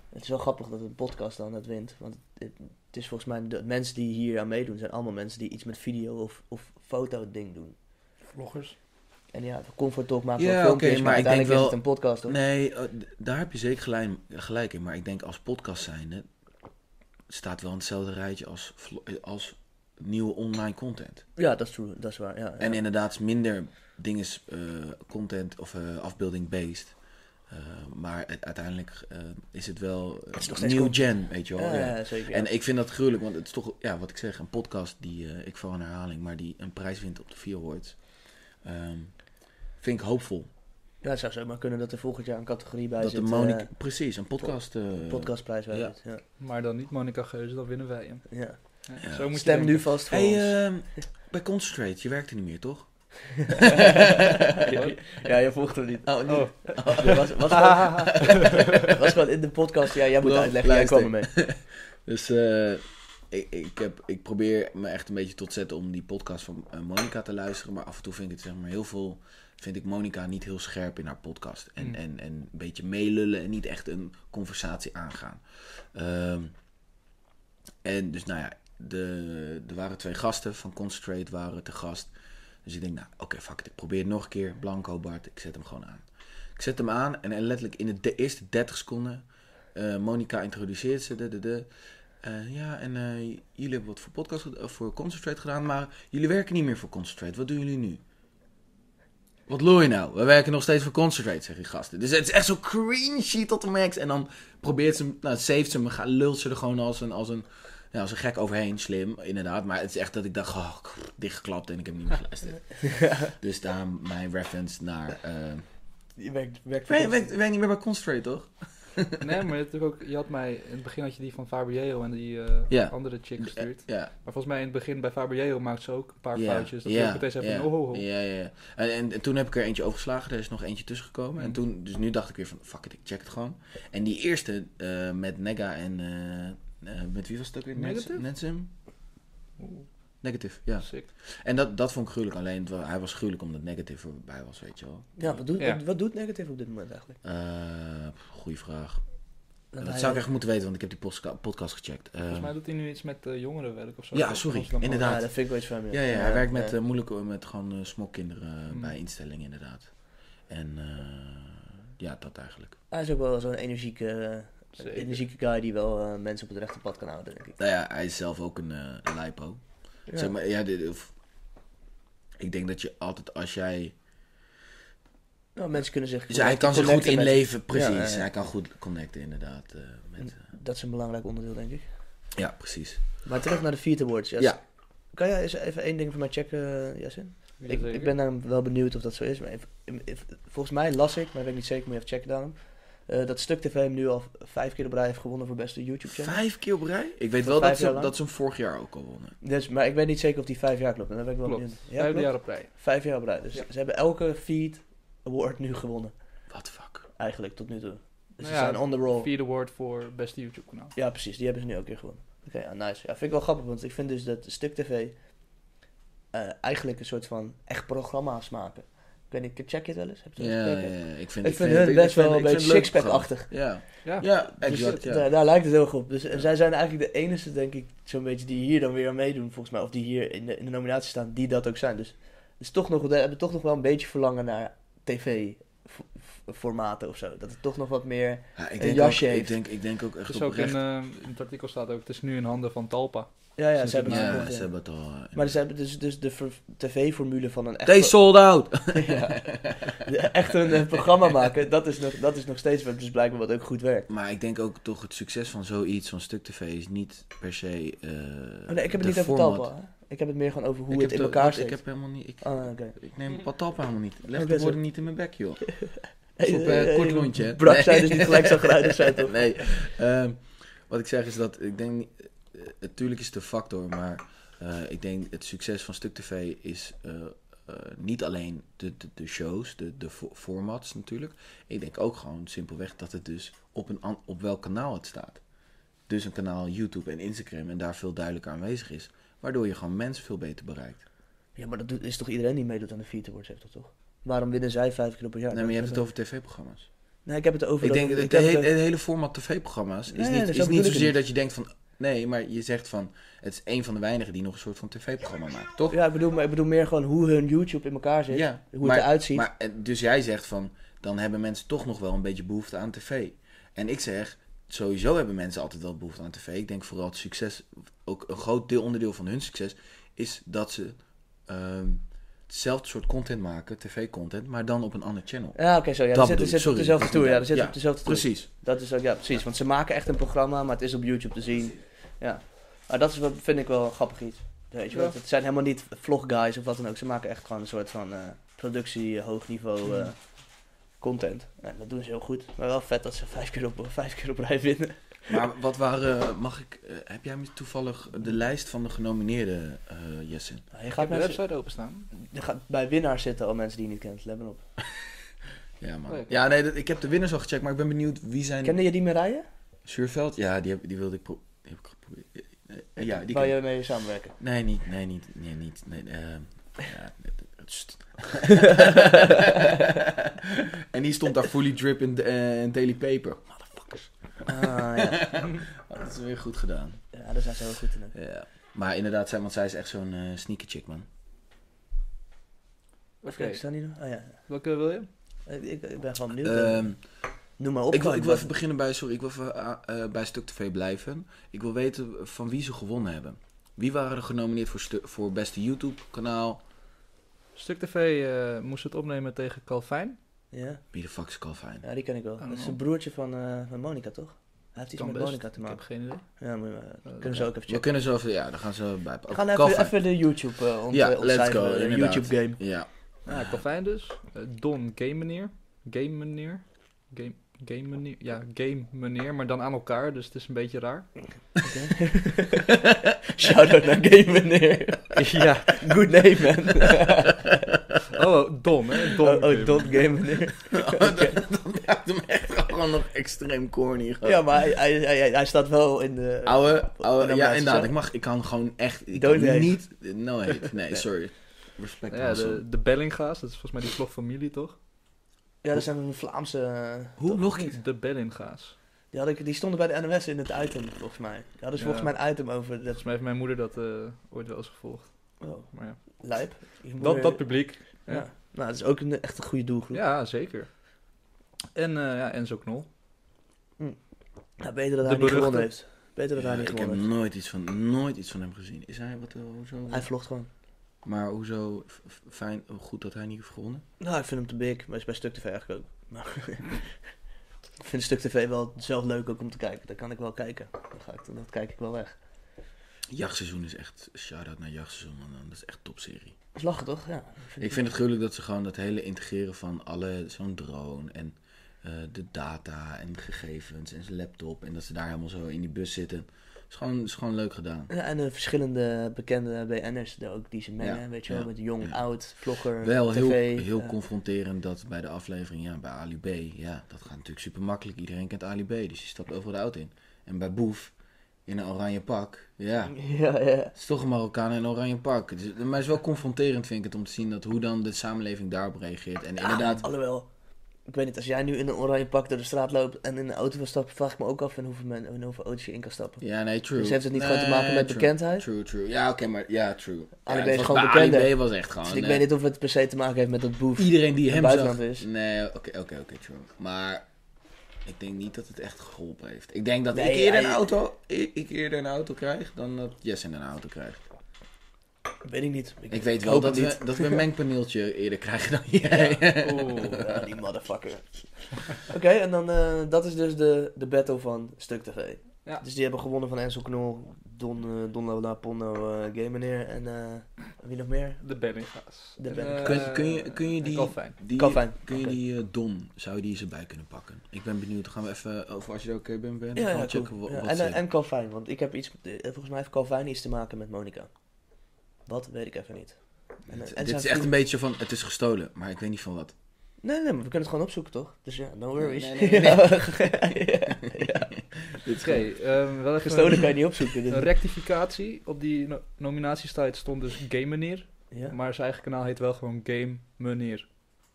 Speaker 2: het is wel grappig dat een podcast dan dat wint. Want het, het is volgens mij, de mensen die hier aan meedoen, zijn allemaal mensen die iets met video of, of foto ding doen.
Speaker 3: Vloggers.
Speaker 2: En ja, Comfort Talk maakt
Speaker 1: Ja,
Speaker 2: wel filmpjes,
Speaker 1: oké,
Speaker 2: maar,
Speaker 1: maar ik denk
Speaker 2: uiteindelijk is
Speaker 1: wel-
Speaker 2: het een podcast. Toch?
Speaker 1: Nee, eh, d- daar heb je zeker gelijk, gelijk in. Maar ik denk als podcast zijnde... het staat wel in hetzelfde rijtje als, vlo- eh, als nieuwe online content.
Speaker 2: Ja, dat is true, dat is waar. Ja,
Speaker 1: En
Speaker 2: ja.
Speaker 1: inderdaad is minder dingen eh, content of eh, afbeelding-based. Eh, maar u- uiteindelijk eh, is het wel eh,
Speaker 2: Het is nog steeds
Speaker 1: new
Speaker 2: content.
Speaker 1: gen, weet je wel.
Speaker 2: Ja,
Speaker 1: ja.
Speaker 2: ja, zeker. ja.
Speaker 1: En ik vind dat gruwelijk, want het is toch, ja, wat ik zeg, een podcast die, eh, ik val een herhaling, maar die een prijs wint op de vier hoort. vind ik hoopvol.
Speaker 2: Ja, het zou zomaar kunnen dat er volgend jaar een categorie bij
Speaker 1: dat
Speaker 2: zit.
Speaker 1: de
Speaker 2: eh,
Speaker 1: Monica, precies, een podcast. eh,
Speaker 2: podcastprijs bij
Speaker 1: ja.
Speaker 2: zit, ja.
Speaker 3: Maar dan niet Monica Geuze, dan winnen wij hem.
Speaker 2: ja.
Speaker 3: Ja,
Speaker 1: Ja.
Speaker 3: Zo moet je
Speaker 2: Stem
Speaker 3: denken.
Speaker 2: nu vast voor
Speaker 1: Hey,
Speaker 2: ons. (laughs)
Speaker 1: ehm, bij Concentrate, je werkte niet meer, toch?
Speaker 2: ja, (laughs) ja, je volgt hem niet.
Speaker 1: Oh,
Speaker 3: Oh,
Speaker 2: Ja, was, was, gewoon, was gewoon in de podcast. Ja, jij moet
Speaker 1: Bro,
Speaker 2: uitleggen. Jij
Speaker 1: luister.
Speaker 2: kwam mee.
Speaker 1: Dus eh, ik, ik, heb, ik probeer me echt een beetje tot zetten om die podcast van eh, Monica te luisteren. Maar af en toe vind ik het zeg maar heel veel. Vind ik Monica niet heel scherp in haar podcast. En,
Speaker 3: Mm.
Speaker 1: en, en een beetje meelullen en niet echt een conversatie aangaan. Ehm, en dus nou ja, de, er waren twee gasten van Concentrate waren te gast. Dus ik denk, nou oké, fuck it. Ik probeer het nog een keer. Blanco Bart, ik zet hem gewoon aan. Ik zet hem aan en letterlijk in de de eerste 30 seconden. eh Monica introduceert ze. De, de, de. Eh, ja, en eh, jullie hebben wat voor podcast, ged- of voor Concentrate gedaan, maar jullie werken niet meer voor Concentrate. Wat doen jullie nu? Wat loei je nou? We werken nog steeds voor Concentrate, zeggen die gasten. Dus het is echt zo cringy tot de max. En dan probeert ze hem, nou, saved ze hem, ga- lult ze er gewoon als een, als een, ja, als een gek overheen. Slim, inderdaad. Maar het is echt dat ik dacht, oh, krr, dichtgeklapt en ik heb niet meer geluisterd. (laughs) dus daar mijn reference naar... eh
Speaker 2: Je werkt, werkt
Speaker 1: ik
Speaker 2: voor
Speaker 1: weet,
Speaker 2: kosten.
Speaker 1: weet, weet niet meer bij Concentrate, toch?
Speaker 3: (laughs) Nee, maar je, hebt natuurlijk ook, je had mij... In het begin had je die van Fabio en die eh,
Speaker 1: Ja.
Speaker 3: andere chick gestuurd.
Speaker 1: Ja,
Speaker 3: Maar volgens mij in het begin bij Fabio maakt ze ook een paar
Speaker 1: Ja,
Speaker 3: foutjes. Dat
Speaker 1: ja,
Speaker 3: je ook meteen zei van,
Speaker 1: ja,
Speaker 3: oh, ho, ho.
Speaker 1: Ja, ja, ja. En, en, en toen heb ik er eentje overgeslagen. Er is nog eentje tussen gekomen. En
Speaker 3: Mhm.
Speaker 1: toen, dus nu dacht ik weer van, fuck it, ik check het gewoon. En die eerste eh, met Nega en eh, eh, met wie was het ook weer? Nets-
Speaker 3: Negative?
Speaker 1: Netsum?
Speaker 3: Oeh,
Speaker 1: Negative, ja.
Speaker 3: sick.
Speaker 1: En dat, dat vond ik gruwelijk. Alleen het wa- hij was gruwelijk omdat Negative erbij was, weet je wel.
Speaker 2: Ja, wat doet,
Speaker 3: Ja.
Speaker 2: Wat, wat doet negatief op dit moment eigenlijk?
Speaker 1: Eh, goeie vraag.
Speaker 2: Dat
Speaker 1: dat
Speaker 2: hij-
Speaker 1: zou ik echt moeten weten, want ik heb die postka- podcast gecheckt. Eh,
Speaker 3: Volgens mij doet hij nu iets met eh, jongerenwerk of zo.
Speaker 1: Ja,
Speaker 3: Dat
Speaker 1: sorry,
Speaker 3: was dan ook-
Speaker 1: inderdaad.
Speaker 2: Ehm, Ja, dat vind ik wel iets van hem,
Speaker 1: ja, ja, hij werkt met
Speaker 2: ja.
Speaker 1: eh, moeilijke, met gewoon eh, smokkinderen
Speaker 3: Mm.
Speaker 1: bij instellingen inderdaad. En eh, ja, dat eigenlijk.
Speaker 2: Hij is ook wel zo'n energieke, eh,
Speaker 3: Zeker.
Speaker 2: energieke guy die wel eh, mensen op het rechte pad kan houden, denk ik.
Speaker 1: Nou ja, hij is zelf ook een eh lipo.
Speaker 2: Ja.
Speaker 1: Zeg maar, ja, dit, of- ik denk dat je altijd als jij...
Speaker 2: Nou, mensen kunnen zich...
Speaker 1: Dus hij kan zich goed
Speaker 2: connecten met-
Speaker 1: inleven, precies.
Speaker 2: Ja, ja, ja.
Speaker 1: Hij kan goed connecten inderdaad. eh, met, eh,
Speaker 2: Dat is een belangrijk onderdeel, denk ik.
Speaker 1: ja, precies.
Speaker 2: Maar terug naar de vierde awards, Jas.
Speaker 1: Ja.
Speaker 2: Kan jij eens even één ding voor mij checken, eh, Jasin?
Speaker 3: Ja,
Speaker 2: ik,
Speaker 3: zeker.
Speaker 2: ik ben daarom wel benieuwd of dat zo is. Maar even- even- volgens mij las ik, maar weet ik niet zeker, moet je even checken daarom. eh, dat Stuk TV hem nu al v- vijf keer op rij heeft gewonnen voor beste YouTube channel.
Speaker 1: Vijf keer op rij? Ik weet
Speaker 2: Voor
Speaker 1: wel dat
Speaker 2: vijf jaar
Speaker 1: ze,
Speaker 2: lang?
Speaker 1: dat ze hem vorig jaar ook al wonnen.
Speaker 2: Dus, maar ik weet niet zeker of die vijf jaar klopt. En daar ben ik wel
Speaker 3: Klopt.
Speaker 2: benieuwd. Ja,
Speaker 3: Vijfde
Speaker 2: klopt?
Speaker 3: jaar op rij.
Speaker 2: Vijf jaar op rij. Dus
Speaker 3: Ja.
Speaker 2: ze hebben elke feed award nu gewonnen,
Speaker 1: What the fuck?
Speaker 2: eigenlijk, tot nu toe. Dus
Speaker 3: Nou
Speaker 2: ze
Speaker 3: ja,
Speaker 2: zijn on the roll.
Speaker 3: Vierde woord voor beste YouTube kanaal.
Speaker 2: Ja, precies. Die hebben ze nu ook weer gewonnen. Oké, ja, nice. Ja, vind ik wel grappig, want ik vind dus dat Stuk TV eh, eigenlijk een soort van echt programma's maken. Ik weet niet, check je het wel eens? Heb je het wel
Speaker 1: Ja,
Speaker 2: eens
Speaker 1: ja,
Speaker 2: gekeken?
Speaker 1: ja, ik vind,
Speaker 2: Ik vind
Speaker 1: het
Speaker 2: hun best wel een beetje sixpack-achtig.
Speaker 1: Ja,
Speaker 3: Ja.
Speaker 1: ja
Speaker 2: Dus
Speaker 1: exact.
Speaker 2: da-
Speaker 1: Ja.
Speaker 2: daar, lijkt het heel goed op. Dus,
Speaker 1: Ja.
Speaker 2: En zij zijn eigenlijk de enige, denk ik, zo'n beetje die hier dan weer aan meedoen, volgens mij. Of die hier in de, in de nominatie staan, die dat ook zijn. Dus het is toch nog, we hebben toch nog wel een beetje verlangen naar tv-formaten of zo. Dat het toch nog wat meer...
Speaker 1: Ja, ik,
Speaker 2: Een
Speaker 1: denk ook,
Speaker 2: jasje
Speaker 1: ik,
Speaker 2: heeft.
Speaker 1: denk, ik denk ook echt
Speaker 3: Dus ook in,
Speaker 1: oprecht.
Speaker 3: eh, in het artikel staat ook, het is nu in handen van Talpa.
Speaker 2: Ja, ja,
Speaker 3: Sinds
Speaker 2: ze eh, hebben
Speaker 3: het
Speaker 2: het
Speaker 3: na-
Speaker 1: ja,
Speaker 2: verkocht,
Speaker 1: ze
Speaker 2: ja.
Speaker 1: hebben het al. eh,
Speaker 2: Maar ze hebben dus, dus de ver- tv-formule van een echt...
Speaker 1: They sold out!
Speaker 2: (laughs) Ja. Echt een eh, programma maken, dat is, nog, dat is nog steeds wat- dus blijkbaar wat ook goed werkt.
Speaker 1: Maar ik denk ook toch het succes van zoiets, zo'n stuk tv, is niet per se. eh,
Speaker 2: Oh, nee, ik heb het
Speaker 1: de
Speaker 2: niet over
Speaker 1: format.
Speaker 2: Talpa. hè. Ik heb het meer gewoon over hoe
Speaker 1: Ik
Speaker 2: het
Speaker 1: heb
Speaker 2: in
Speaker 1: de-
Speaker 2: elkaar
Speaker 1: want
Speaker 2: steekt.
Speaker 1: Ik heb helemaal niet. Ik,
Speaker 2: Ah, oké.
Speaker 1: ik neem wat Talpa helemaal niet. Leg
Speaker 2: Oké,
Speaker 1: de
Speaker 2: zo.
Speaker 1: woorden niet in mijn bek,
Speaker 2: (laughs)
Speaker 1: joh.
Speaker 2: Hey,
Speaker 1: Pas op,
Speaker 2: hey,
Speaker 1: eh,
Speaker 2: hey,
Speaker 1: kort lontje. hè.
Speaker 2: Brak
Speaker 1: Nee.
Speaker 2: zijn dus niet gelijk zo geluidig
Speaker 1: (laughs)
Speaker 2: zijn, toch?
Speaker 1: Nee. ehm, wat ik zeg is dat ik denk. niet- eh, Natuurlijk is het een factor, maar eh, ik denk het succes van Stuk TV is eh, eh, niet alleen de, de, de shows, de, de fo- formats natuurlijk. Ik denk ook gewoon simpelweg dat het dus op, een, an- op welk kanaal het staat. Dus een kanaal YouTube en Instagram en daar veel duidelijker aanwezig is. Waardoor je gewoon mensen veel beter bereikt.
Speaker 2: Ja, maar dat doet- is toch iedereen die meedoet aan de Vierte Awards, heeft dat toch? Waarom winnen zij vijf keer op een jaar?
Speaker 1: Nee, maar je hebt
Speaker 2: Dat-
Speaker 1: het over tv-programma's.
Speaker 2: Nee, ik heb het over...
Speaker 1: Ik denk dat het,
Speaker 2: heb
Speaker 1: he-
Speaker 2: het-
Speaker 1: het hele format tv-programma's is
Speaker 2: Nee,
Speaker 1: niet,
Speaker 2: dat
Speaker 1: is
Speaker 2: bedoel
Speaker 1: niet
Speaker 2: ik
Speaker 1: zozeer
Speaker 2: niet.
Speaker 1: dat je denkt van... Nee, maar je zegt van... Het is een van de weinigen die nog een soort van tv-programma maakt, toch?
Speaker 2: Ja, ik bedoel, maar ik bedoel meer gewoon hoe hun YouTube in elkaar zit.
Speaker 1: Ja,
Speaker 2: hoe
Speaker 1: maar-
Speaker 2: het eruit ziet.
Speaker 1: Maar, eh, dus jij zegt van... Dan hebben mensen toch nog wel een beetje behoefte aan tv. En ik zeg... Sowieso hebben mensen altijd wel behoefte aan tv. Ik denk vooral het succes... Ook een groot deel onderdeel van hun succes... Is dat ze... ehm, hetzelfde soort content maken, tv-content... Maar dan op een ander channel.
Speaker 2: Ja, oké, zo. Ja,
Speaker 1: Dat
Speaker 2: dan
Speaker 1: bedoel
Speaker 2: zit, dan
Speaker 1: ik,
Speaker 2: zit het op
Speaker 1: sorry.
Speaker 2: dezelfde tour. Ja, dan zit het
Speaker 1: Ja,
Speaker 2: op dezelfde tour.
Speaker 1: Precies.
Speaker 2: Dat is ook, ja, precies. Want ze maken echt een programma, maar het is op YouTube te zien. Ja. Maar dat is wat, vind ik wel een grappig iets. Weet je wel?
Speaker 3: Ja.
Speaker 2: Het zijn helemaal niet vlogguys of wat dan ook. Ze maken echt gewoon een soort van eh, productie, eh, hoog niveau eh, content. En dat doen ze heel goed. Maar wel vet dat ze vijf keer op, vijf keer op rij winnen.
Speaker 1: Maar wat waren, mag ik, eh, heb jij me toevallig de lijst van de genomineerden, eh Jessen?
Speaker 2: Nou, je
Speaker 3: Ik heb
Speaker 2: gaat
Speaker 3: de
Speaker 2: mensen,
Speaker 3: website openstaan.
Speaker 2: je gaat bij winnaars zitten, al mensen die je niet kent. Let maar op.
Speaker 1: Ja, man.
Speaker 3: Oh, ja.
Speaker 1: Ja, nee, dat- ik heb de winnaars al gecheckt, maar ik ben benieuwd wie zijn.
Speaker 2: Kende je die Marije?
Speaker 1: Zuurveld? Ja, die, heb, die wilde ik, pro- die heb ik geprobeerd. Eh, eh, Ja, die
Speaker 2: Waar
Speaker 1: ken-
Speaker 2: je mee samenwerken.
Speaker 1: Nee, niet, nee, niet, nee, niet, nee, eh, ja, eh, st. (laughs) en die stond daar fully drip in, eh, in Daily Paper. (laughs) Motherfuckers.
Speaker 2: Ah, ja.
Speaker 1: Oh, dat is weer goed gedaan.
Speaker 2: (laughs) ja, daar zijn ze heel goed in. hè.
Speaker 1: Ja. Maar inderdaad, zij, want zij is echt zo'n eh, sneaker chick, man.
Speaker 2: Even
Speaker 3: Oké,
Speaker 2: kijken, staan die nog? Oh ja.
Speaker 3: welke wil je?
Speaker 2: Eh, Ik, ik ben gewoon benieuwd.
Speaker 1: Ehm
Speaker 2: Noem maar op.
Speaker 1: Ik wil, ik
Speaker 2: gewoon.
Speaker 1: wil even beginnen bij, sorry, ik wil even, ah, eh, bij Stuk TV blijven. Ik wil weten van wie ze gewonnen hebben. Wie waren er genomineerd voor, stu- voor beste YouTube-kanaal?
Speaker 3: Stuk TV eh, moest het opnemen tegen Calvijn.
Speaker 2: Ja?
Speaker 1: Wie de fuck is Calvin?
Speaker 2: ja, die ken ik
Speaker 1: Ah,
Speaker 2: wel.
Speaker 3: Oh.
Speaker 2: Dat is een broertje van, eh, van Monica, toch? Hij heeft iets
Speaker 3: Kan
Speaker 2: met
Speaker 3: best.
Speaker 2: Monica te
Speaker 3: Ik heb
Speaker 2: maken.
Speaker 3: geen idee.
Speaker 2: Ja, moet je maar-
Speaker 3: dat
Speaker 2: kunnen ze ook
Speaker 1: Oh, We
Speaker 2: even checken.
Speaker 1: kunnen zo even, ja, dan gaan ze bij.
Speaker 2: We
Speaker 1: Oh,
Speaker 2: gaan even,
Speaker 1: Calvin.
Speaker 2: even de YouTube eh ont,
Speaker 1: Ja,
Speaker 2: eh,
Speaker 1: let's
Speaker 2: ontcijferen,
Speaker 1: go,
Speaker 2: de
Speaker 1: inderdaad.
Speaker 2: YouTube game.
Speaker 1: Ja,
Speaker 2: Ah.
Speaker 3: Nou, Calvijn dus. Eh, Don, game meneer. Game meneer. Game, game meneer. Ja, game meneer, maar dan aan elkaar. Dus het is een beetje
Speaker 2: (laughs)
Speaker 3: raar.
Speaker 2: Shout-out naar Game Meneer.
Speaker 1: (laughs)
Speaker 3: ja.
Speaker 2: Good name, man.
Speaker 3: Oh, Don, hè. Don.
Speaker 2: Oh,
Speaker 3: Kim.
Speaker 2: oh, Don Game (laughs) Meneer.
Speaker 1: Oh, dat maakt hem echt gewoon nog extreem corny. gewoon.
Speaker 2: Ja, maar hij, hij, hij, hij staat wel in de...
Speaker 1: Ouwe,
Speaker 2: Wat
Speaker 1: ouwe,
Speaker 2: nou
Speaker 1: ja
Speaker 2: laatste
Speaker 1: inderdaad,
Speaker 2: zijn?
Speaker 1: ik, mag, ik kan gewoon echt, ik
Speaker 2: Don't
Speaker 1: kan
Speaker 2: hate.
Speaker 1: niet, no hate, nee, sorry. Respect
Speaker 3: Ja,
Speaker 1: Hansel.
Speaker 3: de, de Bellinga's. Dat is volgens mij die vlogfamilie, toch?
Speaker 2: Ja, dat zijn een Vlaamse... eh,
Speaker 1: Hoe?
Speaker 2: toch?
Speaker 1: Nog niet?
Speaker 3: De Bellinga's.
Speaker 2: Die, had ik, die stonden bij de NOS in het item, volgens mij. Die hadden ze
Speaker 3: Ja.
Speaker 2: volgens mij een item over... Dat,
Speaker 3: Volgens mij heeft mijn moeder dat eh, ooit wel eens gevolgd.
Speaker 2: oh,
Speaker 3: Maar ja.
Speaker 2: lijp. Je moet
Speaker 3: dat,
Speaker 2: er-
Speaker 3: dat publiek.
Speaker 2: ja. Nou, dat is ook een, echt een goede doelgroep.
Speaker 3: Ja, zeker. En eh, ja, Enzo
Speaker 2: (laughs)
Speaker 3: Knol.
Speaker 2: Ja, beter dat
Speaker 3: De
Speaker 2: hij niet gewonnen
Speaker 3: beruchte.
Speaker 2: heeft. Beter dat hij
Speaker 1: Ja,
Speaker 2: niet
Speaker 1: ik heb
Speaker 2: gewonnen heeft.
Speaker 1: nooit iets, van, nooit iets van hem gezien. Is hij, wat, eh, hoezo?
Speaker 2: Hij vlogt gewoon.
Speaker 1: Maar hoezo, f- f- fijn, goed dat hij niet heeft gewonnen?
Speaker 2: Nou, ik vind hem te big, maar is bij Stuk TV eigenlijk ook. Maar (laughs) ik vind Stuk TV wel zelf leuk ook om te kijken. Daar kan ik wel kijken. Dan ga ik, dat kijk ik wel weg.
Speaker 1: Jachtseizoen is echt, shout-out naar Jachtseizoen, man. Dat is echt topserie.
Speaker 2: Dat is lachen toch? Ja.
Speaker 1: Ik vind het gruwelijk dat ze gewoon dat hele integreren van alle, zo'n drone en eh, de data en gegevens en zijn laptop. En dat ze daar helemaal zo in die bus zitten. Is gewoon, is gewoon leuk gedaan.
Speaker 2: Ja, en de verschillende bekende BN'ers er ook die ze mengen,
Speaker 1: Ja,
Speaker 2: weet je wel,
Speaker 1: ja,
Speaker 2: met jong,
Speaker 1: ja.
Speaker 2: oud, vlogger,
Speaker 1: Wel
Speaker 2: tv.
Speaker 1: heel, heel
Speaker 2: ja.
Speaker 1: confronterend dat bij de aflevering, ja, bij Ali B, ja, dat gaat natuurlijk super makkelijk. Iedereen kent Ali B, dus je stapt over de auto in. En bij Boef, in een oranje pak, ja,
Speaker 2: (laughs) Ja, ja.
Speaker 1: het is toch een Marokkaan in een oranje pak. Het is- maar het is wel confronterend, vind ik het, om te zien dat hoe dan de samenleving daarop reageert. En inderdaad,
Speaker 2: Ah, alhoewel, ik weet niet, als jij nu in een oranje pak door de straat loopt en in een auto wil stappen, vraag ik me ook af in hoeveel, men, in hoeveel auto's je in kan stappen.
Speaker 1: ja, nee, true.
Speaker 2: Dus heeft het niet gewoon te
Speaker 1: Nee,
Speaker 2: maken met
Speaker 1: true.
Speaker 2: bekendheid? Ah,
Speaker 1: True, true. Ja, oké, maar ja, true.
Speaker 2: Ali
Speaker 1: Ja, het
Speaker 2: B is
Speaker 1: was
Speaker 2: gewoon
Speaker 1: bij Ali
Speaker 2: bekender.
Speaker 1: B was echt gewoon...
Speaker 2: dus ik
Speaker 1: eh,
Speaker 2: weet niet of het per se te maken heeft met dat boef.
Speaker 1: iedereen die
Speaker 2: in
Speaker 1: hem
Speaker 2: het
Speaker 1: zag...
Speaker 2: buitenland is.
Speaker 1: Nee, oké, oké, oké, true. Maar ik denk niet dat het echt geholpen heeft. Ik denk dat
Speaker 2: Nee,
Speaker 1: ik, eerder
Speaker 2: hij-
Speaker 1: een auto, ik, ik eerder een auto krijg dan dat Jesse een auto krijgt.
Speaker 2: Weet ik niet.
Speaker 1: Ik weet wel
Speaker 2: hoop
Speaker 1: dat
Speaker 2: het
Speaker 1: we, dat
Speaker 2: (laughs)
Speaker 1: we een mengpaneeltje eerder krijgen dan jij.
Speaker 3: Oeh.
Speaker 2: (laughs) Ja,
Speaker 1: eh,
Speaker 2: die motherfucker. Oké, en dan eh, dat is dus de, de battle van Stuk TV.
Speaker 3: Ja.
Speaker 2: Dus die hebben gewonnen van Enzo Knol, Don, eh Don Lola, Pondo, eh, Game Meneer en eh, wie nog meer?
Speaker 3: De Bellinga's.
Speaker 2: De
Speaker 3: En,
Speaker 2: Bellinga's.
Speaker 1: Kun-
Speaker 3: eh,
Speaker 1: kun je- kun je
Speaker 3: en
Speaker 1: die-
Speaker 3: Calvijn.
Speaker 1: Die,
Speaker 2: Calvin.
Speaker 1: Kun je
Speaker 2: Oké.
Speaker 1: die eh, Don, zou je die eens erbij kunnen pakken? Ik ben benieuwd. Dan gaan we even, eh, over als je er oké bent, ben,
Speaker 2: Ja,
Speaker 1: gaan
Speaker 2: ja,
Speaker 1: we checken
Speaker 2: cool.
Speaker 1: wa-
Speaker 2: Ja,
Speaker 1: wat
Speaker 2: en,
Speaker 1: ze-
Speaker 2: eh, en Calvin, want ik heb iets, eh, volgens mij heeft Calvin iets te maken met Monica. Wat, weet ik even niet. En, eh, en
Speaker 1: Dit
Speaker 2: zijn
Speaker 1: is echt
Speaker 2: vriend-
Speaker 1: een beetje van, het is gestolen, maar ik weet niet van wat.
Speaker 2: Nee, nee, maar we kunnen het gewoon opzoeken, toch? Dus ja, no worries.
Speaker 1: Nee, nee,
Speaker 2: (laughs)
Speaker 1: nee.
Speaker 2: ja, (laughs) ja.
Speaker 1: Dit is
Speaker 3: Oké, ehm, wel even
Speaker 2: Gestolen kan je niet opzoeken. dus-
Speaker 3: een
Speaker 2: Dit...
Speaker 3: rectificatie. Op die no nominatiestijd stond dus Game Meneer.
Speaker 2: Ja?
Speaker 3: Maar zijn eigen kanaal heet wel gewoon Game Meneer.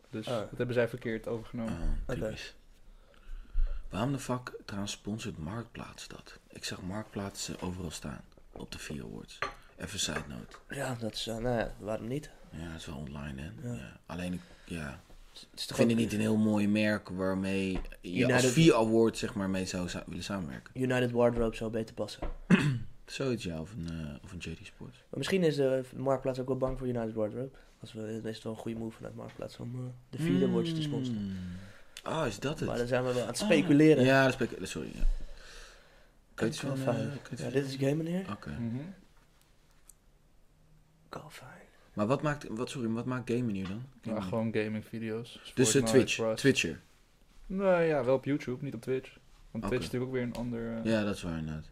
Speaker 3: Dus
Speaker 2: Ah.
Speaker 3: dat hebben zij verkeerd overgenomen.
Speaker 1: Ah, typisch. Waarom de fuck trouwens sponsort Marktplaats dat? Ik zag Marktplaats eh, overal staan. Op de vier awards. Even side note.
Speaker 2: ja, dat is, eh, nou ja, waarom niet?
Speaker 1: Ja, dat is wel online hè.
Speaker 2: Ja.
Speaker 1: Ja. Alleen ik ja,
Speaker 2: Het is
Speaker 1: ik
Speaker 2: toch
Speaker 1: vind
Speaker 2: ook-
Speaker 1: het niet een heel mooi merk waarmee je als
Speaker 2: United-
Speaker 1: vier award zeg maar mee zou sa- willen samenwerken.
Speaker 2: United Wardrobe zou beter passen.
Speaker 1: Zoiets ja, of een, eh, of een JD Sports.
Speaker 2: Maar misschien is de Marktplaats ook wel bang voor United Wardrobe. Als we, dan is het wel een goede move vanuit Marktplaats om eh, de vierde
Speaker 1: Mm.
Speaker 2: awards te sponsoren.
Speaker 1: Ah, is dat
Speaker 2: Maar
Speaker 1: het? Ah.
Speaker 2: dan zijn we wel aan het speculeren.
Speaker 1: Ja, dat spek- sorry. Ja. Kun je iets van... eh,
Speaker 2: Calvin.
Speaker 1: kun je
Speaker 2: Ja,
Speaker 1: iets
Speaker 2: dit is Ah. Game Meneer.
Speaker 1: van- Oké.
Speaker 3: Mhm.
Speaker 2: Calvin.
Speaker 1: Maar wat maakt, wat, sorry, wat maakt Game Meneer dan?
Speaker 3: Ja, gewoon gaming video's.
Speaker 1: Dus de
Speaker 3: Fortnite,
Speaker 1: Twitch,
Speaker 3: Rust.
Speaker 1: Twitcher.
Speaker 3: Nee, Nou ja, wel op YouTube, niet op Twitch. Want
Speaker 1: Oké.
Speaker 3: Twitch is natuurlijk ook weer een ander... eh,
Speaker 1: Ja, dat is waar inderdaad.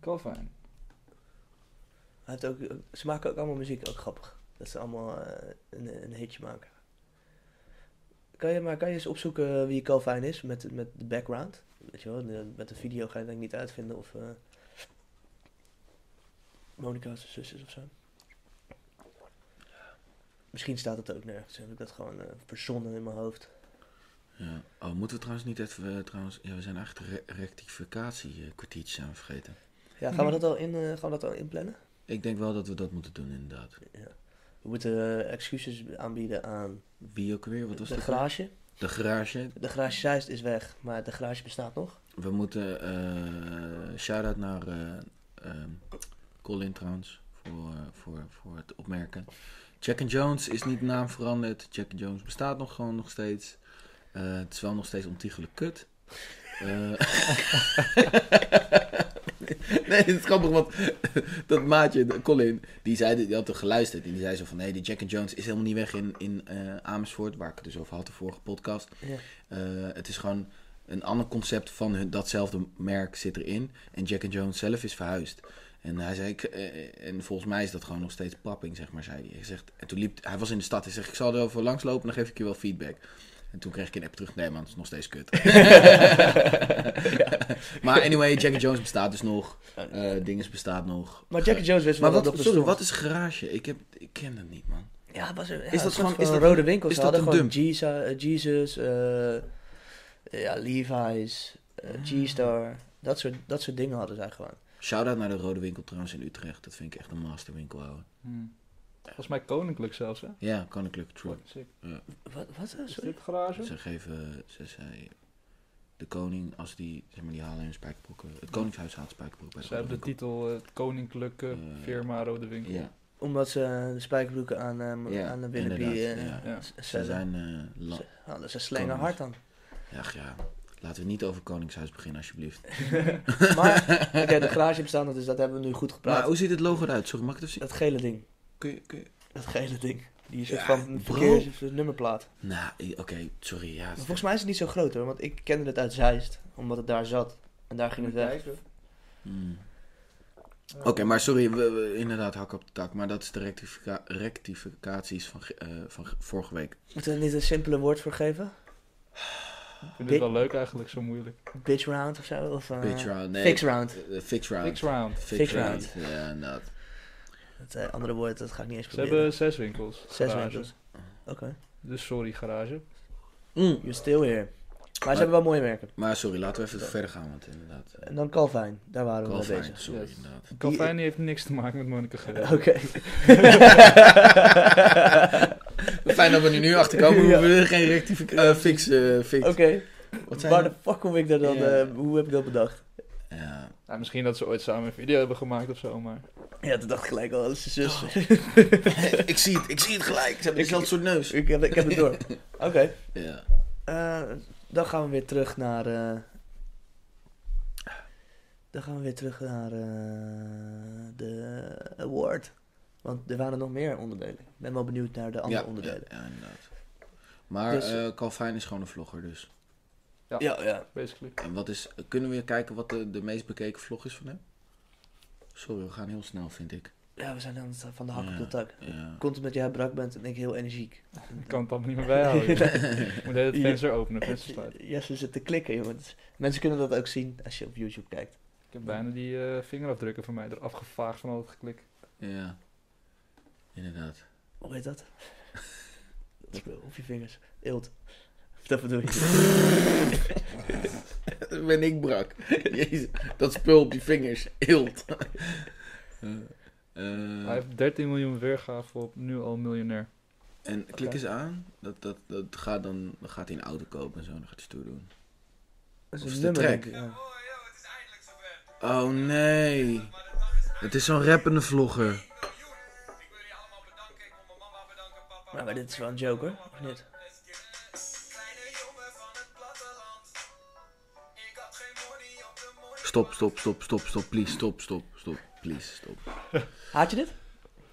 Speaker 3: Calvin.
Speaker 2: Hij heeft ook, ze maken ook allemaal muziek, ook grappig. Dat ze allemaal eh, een, een hitje maken. Kan je, maar kan je eens opzoeken wie Calvin is met, met de background? Weet je wel, de- met de video ga je denk ik niet uitvinden of... eh Monica zijn zus is of zo. Misschien staat het ook nergens. Heb ik dat gewoon eh, verzonnen in mijn hoofd.
Speaker 1: Ja. Oh, moeten we trouwens niet even, eh, trouwens, ja, we zijn eigenlijk re rectificatie eh, kwartiertjes aan het vergeten.
Speaker 2: Ja, gaan we dat al, in, eh, gaan we dat al inplannen?
Speaker 1: Ik denk wel dat we dat moeten doen inderdaad.
Speaker 2: Ja. We moeten eh, excuses aanbieden aan
Speaker 1: Wie ook weer? Wat was
Speaker 2: de
Speaker 1: dat?
Speaker 2: garage.
Speaker 1: De garage.
Speaker 2: De garage Zeist is weg, maar de garage bestaat nog.
Speaker 1: We moeten eh shout-out naar eh, ehm, Colin trouwens voor, eh, voor, voor het opmerken. Jack and Jones is niet naam veranderd. Jack and Jones bestaat nog gewoon nog steeds. Eh, het is wel nog steeds ontiegelijk kut. Eh, (laughs) nee, het is grappig, want dat maatje, de Colin, die, zei, dit- die had er geluisterd. En die zei zo van, nee, die Jack and Jones is helemaal niet weg in, in eh, Amersfoort, waar ik het dus over had de vorige podcast.
Speaker 2: Ja.
Speaker 1: Eh, het is gewoon een ander concept van hun, datzelfde merk zit erin. En Jack and Jones zelf is verhuisd. En hij zei, ik, eh, en volgens mij is dat gewoon nog steeds papping, zeg maar, zei hij. hij zegt, en toen liep, hij was in de stad. Hij zegt, ik zal er over langs lopen, dan geef ik je wel feedback. En toen kreeg ik een app terug, nee man, het is nog steeds kut. (laughs) Maar anyway, Jack and Jones bestaat dus nog. eh Dinges bestaat nog. Eh,
Speaker 2: Maar Jack and Jones wist
Speaker 1: Maar
Speaker 2: wel
Speaker 1: wat,
Speaker 2: dat
Speaker 1: sorry, wat is garage? Ik, heb, ik ken dat niet, man.
Speaker 2: Ja, het was een, ja,
Speaker 1: dat
Speaker 2: een soort
Speaker 1: gewoon-
Speaker 2: van
Speaker 1: is dat-
Speaker 2: rode winkels.
Speaker 1: is
Speaker 2: Ze
Speaker 1: dat
Speaker 2: hadden
Speaker 1: een
Speaker 2: gewoon Jesus, eh, Jesus eh, ja, Levi's, eh,
Speaker 1: Ah.
Speaker 2: G-Star. Dat soort, dat soort dingen hadden zij gewoon.
Speaker 1: Shout-out naar de Rode Winkel trouwens in Utrecht. Dat vind ik echt een masterwinkel, ouwe.
Speaker 3: Hmm. Volgens mij koninklijk zelfs, hè?
Speaker 1: Ja, Koninklijke True.
Speaker 3: Wat sick.
Speaker 2: Wat, wat eh,
Speaker 3: Is
Speaker 2: sorry?
Speaker 3: dit garage?
Speaker 1: Ze geven, ze zei, de koning, als die, zeg maar, die halen hun spijkerbroeken. Het koningshuis haalt spijkerbroeken bij de
Speaker 3: Ze hebben de
Speaker 1: Rode
Speaker 3: titel eh, het Koninklijke
Speaker 1: Eh,
Speaker 3: Firma Rode Winkel.
Speaker 1: Winkel. Ja,
Speaker 2: Omdat ze eh, de spijkerbroeken aan, eh,
Speaker 1: Ja,
Speaker 2: aan de Willoughby
Speaker 1: inderdaad.
Speaker 2: eh
Speaker 1: ja.
Speaker 3: Ja.
Speaker 2: s-
Speaker 1: Ze
Speaker 2: zetten.
Speaker 1: zijn, eh, la-
Speaker 2: Ze- nou, ze slengen
Speaker 1: Konings.
Speaker 2: hard dan.
Speaker 1: ja, ja, laten we niet over koningshuis beginnen, alsjeblieft. (laughs)
Speaker 2: maar, oké, de garage bestaat nog, dus dat hebben we nu goed gepraat.
Speaker 1: Maar hoe ziet het logo eruit? Sorry, mag ik het even zien?
Speaker 2: Dat gele ding.
Speaker 1: Kun je, kun je...
Speaker 2: Dat gele ding. Die is
Speaker 1: Ja,
Speaker 2: soort van
Speaker 1: bro.
Speaker 2: verkeers, of de nummerplaat.
Speaker 1: Nou, i- oké, sorry, ja.
Speaker 2: Maar volgens mij is het niet zo groot hoor, want ik kende het uit Zeist. Omdat het daar zat. En daar ging het weg.
Speaker 1: Hmm. Oké, maar sorry, we, we- inderdaad hak op de tak, maar dat is de rectifica- rectificaties van, ge- eh, van ge- vorige week.
Speaker 2: Moeten we er niet een simpele woord voor geven?
Speaker 3: Ik vind het wel leuk eigenlijk, zo moeilijk.
Speaker 2: Bitch round of zo? Of, eh,
Speaker 1: Pitch round, nee.
Speaker 2: Fix round.
Speaker 1: eh, eh, fix round.
Speaker 3: Fix round.
Speaker 2: Fix round.
Speaker 1: Ja, inderdaad.
Speaker 2: Het eh, andere woord, dat ga ik niet eens
Speaker 3: Ze
Speaker 2: proberen.
Speaker 3: hebben zes winkels.
Speaker 2: Zes
Speaker 3: garage.
Speaker 2: winkels. Oké.
Speaker 3: Dus sorry, garage.
Speaker 1: Mm.
Speaker 2: You're still here. Maar ze hebben wel mooie merken.
Speaker 1: Maar sorry, laten we even verder gaan, want inderdaad. eh,
Speaker 2: En dan Calvin, daar waren we mee
Speaker 1: Calvin,
Speaker 2: bezig.
Speaker 1: sorry,
Speaker 3: Yes.
Speaker 1: inderdaad. (laughs)
Speaker 3: Calvin die heeft niks te maken met Monica
Speaker 2: (laughs) Oké.
Speaker 3: Geuze.
Speaker 1: Fijn dat we nu, nu achterkomen, we
Speaker 2: (laughs) Ja.
Speaker 1: hoeven er geen rectific- eh, fix, eh, fix.
Speaker 2: Oké.
Speaker 1: Wat zijn
Speaker 2: Waar
Speaker 1: dat?
Speaker 2: de fuck kom ik daar dan?
Speaker 1: Ja.
Speaker 2: eh, hoe heb ik dat bedacht?
Speaker 1: Ja, (laughs)
Speaker 3: Nou, misschien dat ze ooit samen een video hebben gemaakt of zo, maar...
Speaker 2: Ja, toen dacht ik gelijk al, dat is zijn zus.
Speaker 1: Oh, ik zie het, ik zie het gelijk. Ze hebben
Speaker 2: Ik-
Speaker 1: dezelfde soort neus.
Speaker 2: ik, heb, ik heb het door. Oké.
Speaker 1: Ja.
Speaker 2: Eh, dan gaan we weer terug naar. eh, dan gaan we weer terug naar eh, de award. Want er waren nog meer onderdelen. Ik ben wel benieuwd naar de andere
Speaker 1: ja,
Speaker 2: onderdelen.
Speaker 1: Ja, ja, inderdaad. Maar
Speaker 2: Dus-
Speaker 1: eh, Calvin is gewoon een vlogger, dus.
Speaker 3: Ja.
Speaker 2: ja. ja.
Speaker 3: Basically.
Speaker 1: En wat is, kunnen we kijken wat de, de meest bekeken vlog is van hem? Sorry, we gaan heel snel, vind ik.
Speaker 2: Ja, we zijn dan van de hak
Speaker 1: Ja.
Speaker 2: op de tak.
Speaker 1: Ja.
Speaker 2: Komt omdat jij brak bent en ik heel energiek.
Speaker 3: Ik kan het
Speaker 2: (laughs)
Speaker 3: allemaal niet meer bijhouden. joh. Ik moet het
Speaker 2: Ja.
Speaker 3: venster openen, venster sluiten.
Speaker 2: Ja, ze zitten klikken, jongens. Mensen kunnen dat ook zien als je op YouTube kijkt.
Speaker 3: Ik heb bijna die eh, vingerafdrukken van mij eraf gevaagd van al dat geklik.
Speaker 1: Ja. Inderdaad.
Speaker 2: Hoe heet
Speaker 1: (laughs)
Speaker 2: dat? Dat is Op je vingers. Eelt. Dat bedoel je.
Speaker 1: ben ik brak. Jezus, dat spul op die vingers. Hilt. (laughs) Eh, eh,
Speaker 3: Hij heeft 13 miljoen weergaven op nu al miljonair.
Speaker 1: en klik eens aan. Dat, dat, dat gaat dan, dan gaat hij een auto kopen en zo. Dan gaat hij stoer doen.
Speaker 2: Dat
Speaker 1: Of
Speaker 2: is
Speaker 1: is
Speaker 2: een
Speaker 1: de
Speaker 2: nummer,
Speaker 1: track?
Speaker 2: denk ik. Ah. ja.
Speaker 1: Oh nee. Het is zo'n rappende vlogger.
Speaker 2: Maar, maar dit is wel een joke hoor, of niet?
Speaker 1: Stop, stop, stop, stop, stop. Please, stop, stop, stop. Please, stop.
Speaker 2: Haat je dit?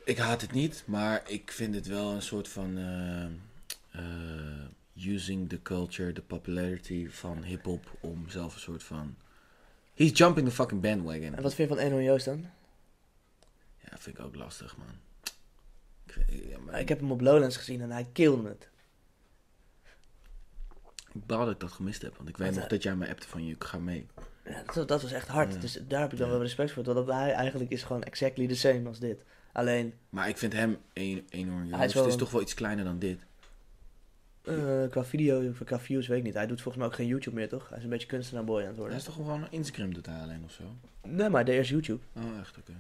Speaker 1: Ik haat het niet, maar ik vind het wel een soort van... eh, eh, using the culture, the popularity van hip-hop om zelf een soort van... He's jumping the fucking bandwagon.
Speaker 2: En wat vind je van Eno Joost dan?
Speaker 1: Ja, vind ik ook lastig, man. Ik, vind- ja, maar
Speaker 2: Ik
Speaker 1: ik,
Speaker 2: heb hem op Lowlands gezien en hij kilde het.
Speaker 1: ik baal dat ik dat gemist heb, want ik weet
Speaker 2: Wat,
Speaker 1: nog
Speaker 2: eh?
Speaker 1: dat jij mij appte van je, ik ga mee.
Speaker 2: Ja, dat, dat was echt hard,
Speaker 1: Ja.
Speaker 2: dus daar heb
Speaker 1: Hmm.
Speaker 2: ik dan
Speaker 1: Ja.
Speaker 2: wel respect voor. Want hij eigenlijk is gewoon exactly the same als dit. Alleen,
Speaker 1: Maar ik vind hem een, enorm jong.
Speaker 2: is
Speaker 1: Dus
Speaker 2: wel
Speaker 1: het is
Speaker 2: een-
Speaker 1: toch wel iets kleiner dan dit.
Speaker 2: eh, qua video, of qua views, weet ik niet. Hij doet volgens mij ook geen YouTube meer, toch? Hij is een beetje kunstenaarboy aan het
Speaker 1: Hij
Speaker 2: worden.
Speaker 1: is toch gewoon een Instagram doet hij alleen of zo?
Speaker 2: Nee, maar er is YouTube.
Speaker 1: Oh, echt, oké.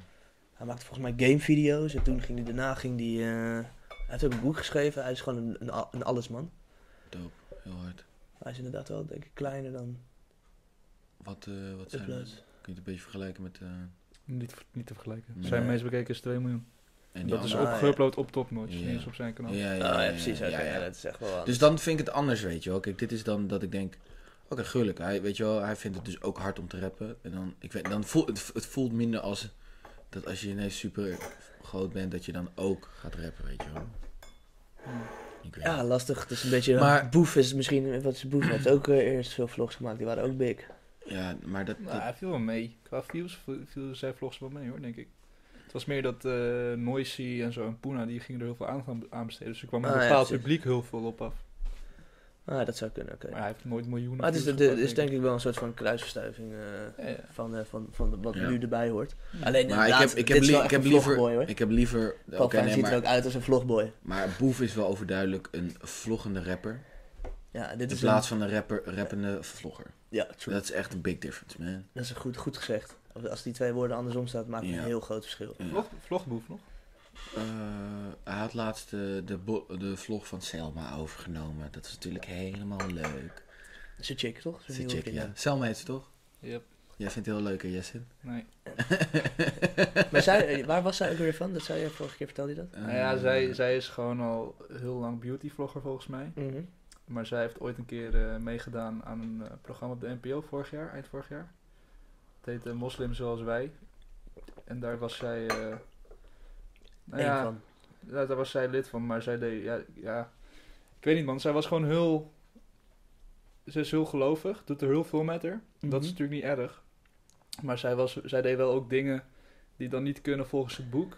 Speaker 2: Hij maakte volgens mij gamevideo's en toen ging hij daarna, ging hij... eh, Hij heeft ook een boek geschreven, hij is gewoon een, een, a- een allesman.
Speaker 1: Dope, heel hard.
Speaker 2: Hij is inderdaad wel, denk ik, kleiner dan
Speaker 1: Wat, eh wat zijn
Speaker 2: Upload.
Speaker 1: Kun je het een beetje vergelijken met... eh,
Speaker 3: Niet, niet te vergelijken.
Speaker 1: Nee.
Speaker 3: Zijn meest bekeken is 2 miljoen.
Speaker 1: En die
Speaker 3: dat is
Speaker 2: andere-
Speaker 1: andere-
Speaker 2: Ah,
Speaker 3: opgeüpload op topnotch.
Speaker 1: Ja.
Speaker 3: Niet eens op zijn kanaal.
Speaker 1: Ja, ja,
Speaker 2: Ah,
Speaker 1: ja,
Speaker 2: ja, precies.
Speaker 1: ja,
Speaker 2: Oké,
Speaker 1: ja, ja.
Speaker 2: ja, dat is echt wel
Speaker 1: Dus dan vind ik het anders, weet je wel. Kijk, dit is dan dat ik denk... Oké, gruwelijk. Hij, weet je wel, hij vindt het dus ook hard om te rappen. En dan, ik weet, dan voelt het, het voelt minder als... Dat als je ineens super groot bent, dat je dan ook gaat rappen, weet je wel. Ik weet
Speaker 2: Ja, lastig. Het is een beetje...
Speaker 1: Maar-
Speaker 2: Boef is misschien... Wat is Boef? heeft ook eh, eerst veel vlogs gemaakt. Die waren ook big.
Speaker 1: niet. ja maar dat...
Speaker 3: Nou,
Speaker 1: dat
Speaker 3: hij viel wel mee. Qua views v- viel zijn vlogs wel mee hoor, denk ik. Het was meer dat eh Noisy en zo en Puna, die gingen er heel veel aandacht aan aan besteden. Dus er kwam een
Speaker 2: Ah, ja,
Speaker 3: bepaald
Speaker 2: precies.
Speaker 3: publiek heel veel op af.
Speaker 2: Ah, dat zou kunnen. Oké.
Speaker 3: Maar hij heeft nooit miljoenen
Speaker 2: Maar het is,
Speaker 3: views
Speaker 2: de-
Speaker 3: gepakt,
Speaker 2: is denk ik wel een soort van kruisverstuiving eh,
Speaker 3: Ja, ja.
Speaker 2: van, eh, van, van de- wat
Speaker 1: Ja.
Speaker 2: nu erbij hoort.
Speaker 3: Ja.
Speaker 2: Alleen
Speaker 1: maar ik
Speaker 2: inderdaad,
Speaker 1: heb, ik
Speaker 2: dit
Speaker 1: heb,
Speaker 2: is
Speaker 1: li-
Speaker 2: wel
Speaker 1: ik
Speaker 2: echt
Speaker 1: heb
Speaker 2: een
Speaker 1: liever...
Speaker 2: vlogboy, hoor.
Speaker 1: Ik heb liever... Oké,
Speaker 2: Calvin
Speaker 1: nee,
Speaker 2: ziet er
Speaker 1: maar,
Speaker 2: ook uit als een vlogboy.
Speaker 1: maar Boef is wel overduidelijk een vloggende rapper.
Speaker 2: Ja, dit
Speaker 1: In
Speaker 2: is
Speaker 1: plaats van een rapper, rappende vlogger.
Speaker 2: een- ja, true.
Speaker 1: Dat is echt een big difference, man.
Speaker 2: Dat is een goed, goed gezegd. Als die twee woorden andersom staat, maakt het
Speaker 1: Ja.
Speaker 2: een heel groot verschil.
Speaker 1: Ja.
Speaker 3: Vlog, vlogboef nog?
Speaker 1: Eh, hij had laatst de, de, bo- de vlog van Selma overgenomen. Dat is natuurlijk helemaal leuk.
Speaker 2: Dat is een chick, toch?
Speaker 1: Ze
Speaker 2: Zo'n nieuwe
Speaker 1: checken, ja.
Speaker 2: kinderen.
Speaker 1: Selma heet ze toch?
Speaker 3: Yep.
Speaker 1: Jij vindt het heel leuk, hè, Jessin?
Speaker 3: Nee.
Speaker 2: Maar zij, eh, waar was zij ook weer van? Dat zei je vorige keer, vertelde je dat?
Speaker 1: Eh,
Speaker 3: Nou ja, zij, zij is gewoon al heel lang beautyvlogger volgens mij.
Speaker 2: Mhm.
Speaker 3: Maar zij heeft ooit een keer eh, meegedaan aan een eh, programma op de NPO vorig jaar, eind vorig jaar. Het heette Moslim Zoals Wij. En daar was zij... eh, nou
Speaker 2: Eén
Speaker 3: ja,
Speaker 2: van.
Speaker 3: Ja, daar was zij lid van, maar zij deed, ja, ja, ik weet niet man, zij was gewoon heel, ze is heel gelovig, doet er heel veel met haar. Dat is
Speaker 2: Mhm.
Speaker 3: natuurlijk niet erg, maar zij, was, zij deed wel ook dingen die dan niet kunnen volgens het boek.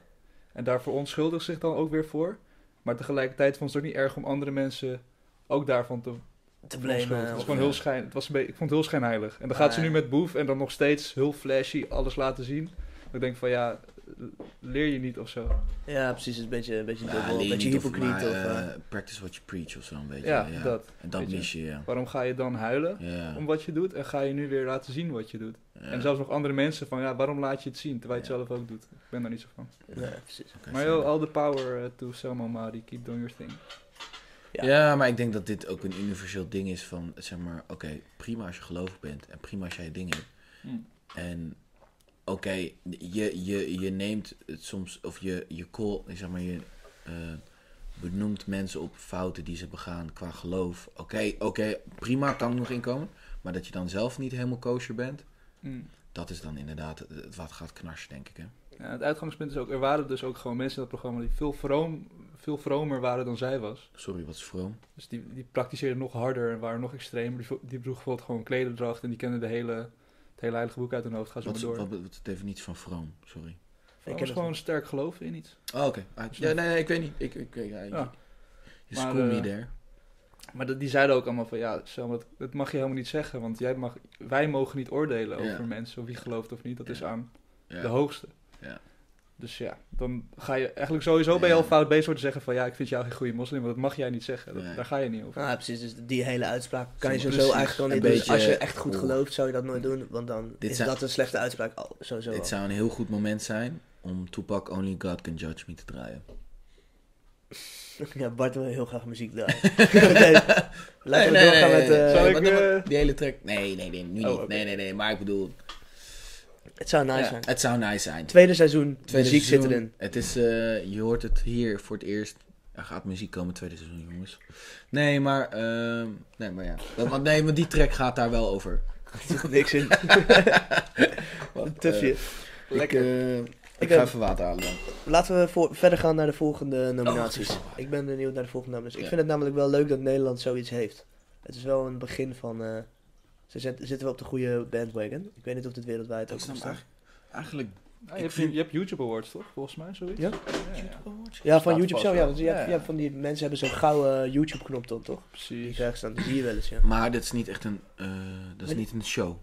Speaker 3: En daarvoor onschuldigt zich dan ook weer voor. Maar tegelijkertijd vond ze het ook niet erg om andere mensen ook daarvan te
Speaker 2: Te
Speaker 3: onschuldigen.
Speaker 2: blamen.
Speaker 3: Het was
Speaker 2: of-
Speaker 3: gewoon heel schijn, het was een beetje, ik vond het heel schijnheilig. En dan gaat ze
Speaker 2: Ah,
Speaker 3: nu
Speaker 2: ja.
Speaker 3: met Boef en dan nog steeds heel flashy alles laten zien. Dat Ik denk van ja, leer je niet of zo.
Speaker 2: Ja, precies. Het is een beetje, een beetje
Speaker 1: ja,
Speaker 2: dubbel, een
Speaker 1: leer
Speaker 2: beetje
Speaker 1: nou, niet of-
Speaker 2: hypocriet.
Speaker 1: maar,
Speaker 2: of,
Speaker 1: eh,
Speaker 2: eh,
Speaker 1: practice what you preach of zo een beetje.
Speaker 3: Ja,
Speaker 1: Ja,
Speaker 3: dat.
Speaker 1: En dat
Speaker 3: weet je.
Speaker 1: mis je, ja.
Speaker 3: Waarom ga je dan huilen
Speaker 1: Ja,
Speaker 3: om wat je doet en ga je nu weer laten zien wat je doet?
Speaker 1: ja.
Speaker 3: En zelfs nog andere mensen van ja, waarom laat je het zien terwijl je het
Speaker 1: Ja.
Speaker 3: zelf ook doet? Ik ben daar niet zo van.
Speaker 2: eh, ja, precies.
Speaker 1: Oké,
Speaker 3: Maar
Speaker 1: fair
Speaker 3: yo,
Speaker 1: enough.
Speaker 3: all the power eh, to Selma Mari, keep doing your thing.
Speaker 1: ja.
Speaker 2: ja.
Speaker 1: maar ik denk dat dit ook een universeel ding is van, zeg maar, oké, prima als je gelovig bent en prima als jij je ding hebt. Hmm. En oké, je, je, je neemt het soms, of je, je call, zeg maar, je eh, benoemt mensen op fouten die ze begaan qua geloof. Oké, oké, prima, kan ik nog inkomen. Maar dat je dan zelf niet helemaal kosher bent,
Speaker 3: Mm.
Speaker 1: dat is dan inderdaad het- het wat gaat knarsen, denk ik. Hè?
Speaker 3: Ja, het uitgangspunt is ook, er waren dus ook gewoon mensen in dat programma die veel, vroom, veel vromer waren dan zij was.
Speaker 1: Sorry, wat is vroom.
Speaker 3: Dus die, die praktiseerden nog harder en waren nog extremer. Die, vo- die droegen bijvoorbeeld gewoon klederdracht en die kenden de hele, het hele heilige boek uit hun hoofd. Ga zo
Speaker 1: Wat,
Speaker 3: maar
Speaker 1: is-
Speaker 3: door.
Speaker 1: wat, wat is de definitie van vroom? Sorry.
Speaker 3: ik
Speaker 2: ken
Speaker 3: was
Speaker 2: het
Speaker 3: gewoon
Speaker 2: niet.
Speaker 3: sterk geloven in iets.
Speaker 1: Oh, oké. Ah, ja, nee, nee, ik weet niet. Ik, ik, ik, ja,
Speaker 3: Ja.
Speaker 1: Je
Speaker 3: Maar,
Speaker 1: school
Speaker 3: eh,
Speaker 1: me there.
Speaker 3: Maar dat, die zeiden ook allemaal van ja, Selma, dat, dat mag je helemaal niet zeggen. Want jij mag, wij mogen niet oordelen
Speaker 1: Ja.
Speaker 3: over mensen, of wie gelooft of niet. Dat is
Speaker 1: Ja.
Speaker 3: aan
Speaker 1: Ja.
Speaker 3: de hoogste.
Speaker 1: Ja.
Speaker 3: Dus ja, dan ga je eigenlijk sowieso ben je
Speaker 1: Ja.
Speaker 3: al fout bezig door te zeggen van ja, ik vind jou geen goede moslim. Want dat mag jij niet zeggen. Dat-
Speaker 1: Nee.
Speaker 3: Daar ga je niet over.
Speaker 2: Ah, precies. Dus die hele uitspraak kan je
Speaker 1: Zo,
Speaker 2: sowieso
Speaker 1: precies.
Speaker 2: eigenlijk al
Speaker 1: Een
Speaker 2: niet doen.
Speaker 1: beetje, eh,
Speaker 2: Als je echt goed
Speaker 1: oeh.
Speaker 2: gelooft, zou je dat nooit doen. Want dan
Speaker 1: Dit
Speaker 2: is
Speaker 1: zijn-
Speaker 2: dat een slechte uitspraak al, sowieso al.
Speaker 1: Dit zou een heel goed moment zijn om Tupac Only God Can Judge Me te draaien.
Speaker 2: (laughs) Ja, Bart wil heel graag muziek
Speaker 1: (laughs)
Speaker 2: draaien. nee, laten we
Speaker 1: nee,
Speaker 2: doorgaan
Speaker 1: nee,
Speaker 2: met...
Speaker 1: nee.
Speaker 2: eh,
Speaker 3: Zal ik,
Speaker 1: wat dan-
Speaker 3: eh,
Speaker 1: Die hele track. Nee, nee, nee, nu
Speaker 3: Oh,
Speaker 1: niet.
Speaker 3: oké.
Speaker 1: Nee, nee, nee. Maar ik bedoel,
Speaker 2: Het zou nice
Speaker 3: Ja.
Speaker 2: zijn.
Speaker 1: het zou nice zijn.
Speaker 2: Tweede seizoen,
Speaker 1: Tweede
Speaker 2: muziek
Speaker 1: seizoen,
Speaker 2: zit erin.
Speaker 1: Het is, eh, je hoort het hier voor het eerst. Er gaat muziek komen tweede seizoen, jongens. Nee, maar, ehm, nee, maar ja. Dat- Want, nee, maar die track gaat daar wel over.
Speaker 2: Er
Speaker 1: (laughs)
Speaker 2: zit niks in.
Speaker 1: eh,
Speaker 2: Tuffie.
Speaker 1: Lekker. Ik, eh, ik
Speaker 2: Ik,
Speaker 1: ga
Speaker 2: eh,
Speaker 1: even water halen dan.
Speaker 2: Laten we voor, verder gaan naar de volgende nominaties.
Speaker 1: Oh, goed.
Speaker 2: ik ben benieuwd naar de volgende nominaties.
Speaker 1: Ja.
Speaker 2: Ik vind het namelijk wel leuk dat Nederland zoiets heeft. Het is wel een begin van... eh, ze zet- zitten we op de goede bandwagon. Ik weet niet of dit wereldwijd ook
Speaker 1: Ik snap
Speaker 2: bestaat.
Speaker 1: Eigenlijk...
Speaker 3: Ah,
Speaker 1: Ik
Speaker 3: je, hebt,
Speaker 1: vind-
Speaker 3: je hebt YouTube Awards toch, volgens mij, zoiets?
Speaker 2: Ja.
Speaker 3: ja, ja.
Speaker 2: Ja, van
Speaker 3: Staat
Speaker 2: YouTube
Speaker 3: vast
Speaker 2: zelf. Ja,
Speaker 3: wel.
Speaker 2: want je hebt,
Speaker 3: Ja,
Speaker 2: je hebt van die mensen hebben zo'n gouden eh, YouTube-knop dan, toch? Die
Speaker 3: precies.
Speaker 1: eh,
Speaker 2: krijgen ze dan. Die zie je wel eens, ja.
Speaker 1: Maar dat is niet echt een, eh, dat is niet een show.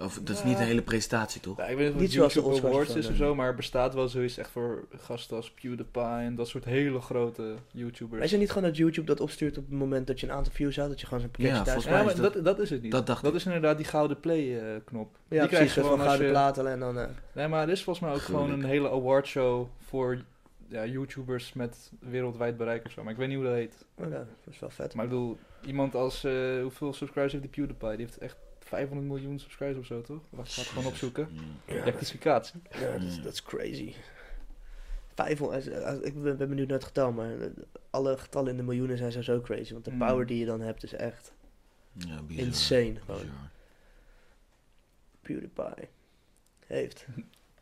Speaker 1: Of dat is niet een hele presentatie, toch?
Speaker 3: Ja, ik weet niet of
Speaker 2: Niet
Speaker 3: het
Speaker 2: zoals de
Speaker 3: YouTube
Speaker 2: Oscars
Speaker 3: Awards
Speaker 2: of
Speaker 3: is
Speaker 2: zo,
Speaker 3: of
Speaker 2: nee.
Speaker 3: zo, maar er bestaat wel zoiets echt voor gasten als PewDiePie en dat soort hele grote YouTubers.
Speaker 2: Maar is het niet gewoon dat YouTube dat opstuurt op het moment dat je een aantal views had? Dat je gewoon zo'n pakketje
Speaker 1: Ja,
Speaker 2: thuis
Speaker 1: volgens
Speaker 2: krijgt?
Speaker 3: Ja, maar
Speaker 1: is
Speaker 3: dat, dat is het niet.
Speaker 1: dat dacht
Speaker 3: Dat is inderdaad die gouden play-knop.
Speaker 2: Ja,
Speaker 3: die
Speaker 2: precies.
Speaker 3: krijg je
Speaker 2: Zo
Speaker 3: gewoon
Speaker 2: van
Speaker 3: als
Speaker 2: gouden
Speaker 3: je...
Speaker 2: plaat alleen dan... eh,
Speaker 3: Nee, maar er is volgens mij ook
Speaker 1: Gruwelijk.
Speaker 3: gewoon een hele awardshow voor ja, YouTubers met wereldwijd bereik of zo. Maar ik weet niet hoe dat heet.
Speaker 2: oké, oh dat is wel vet.
Speaker 3: Maar ik bedoel, iemand als... eh, hoeveel subscribers heeft die PewDiePie? Die heeft echt 500 miljoen subscribers of zo, toch? Wacht, ga het gewoon opzoeken.
Speaker 1: Ja.
Speaker 3: Rectificatie.
Speaker 2: Ja, dat is, dat is crazy. 500, als- als- ik ben ben benieuwd naar het getal, maar eh, alle getallen in de miljoenen zijn sowieso crazy. Want de
Speaker 3: Mm.
Speaker 2: power die je dan hebt is echt
Speaker 1: Ja, bizar.
Speaker 2: insane. Gewoon.
Speaker 1: Bizar.
Speaker 2: PewDiePie heeft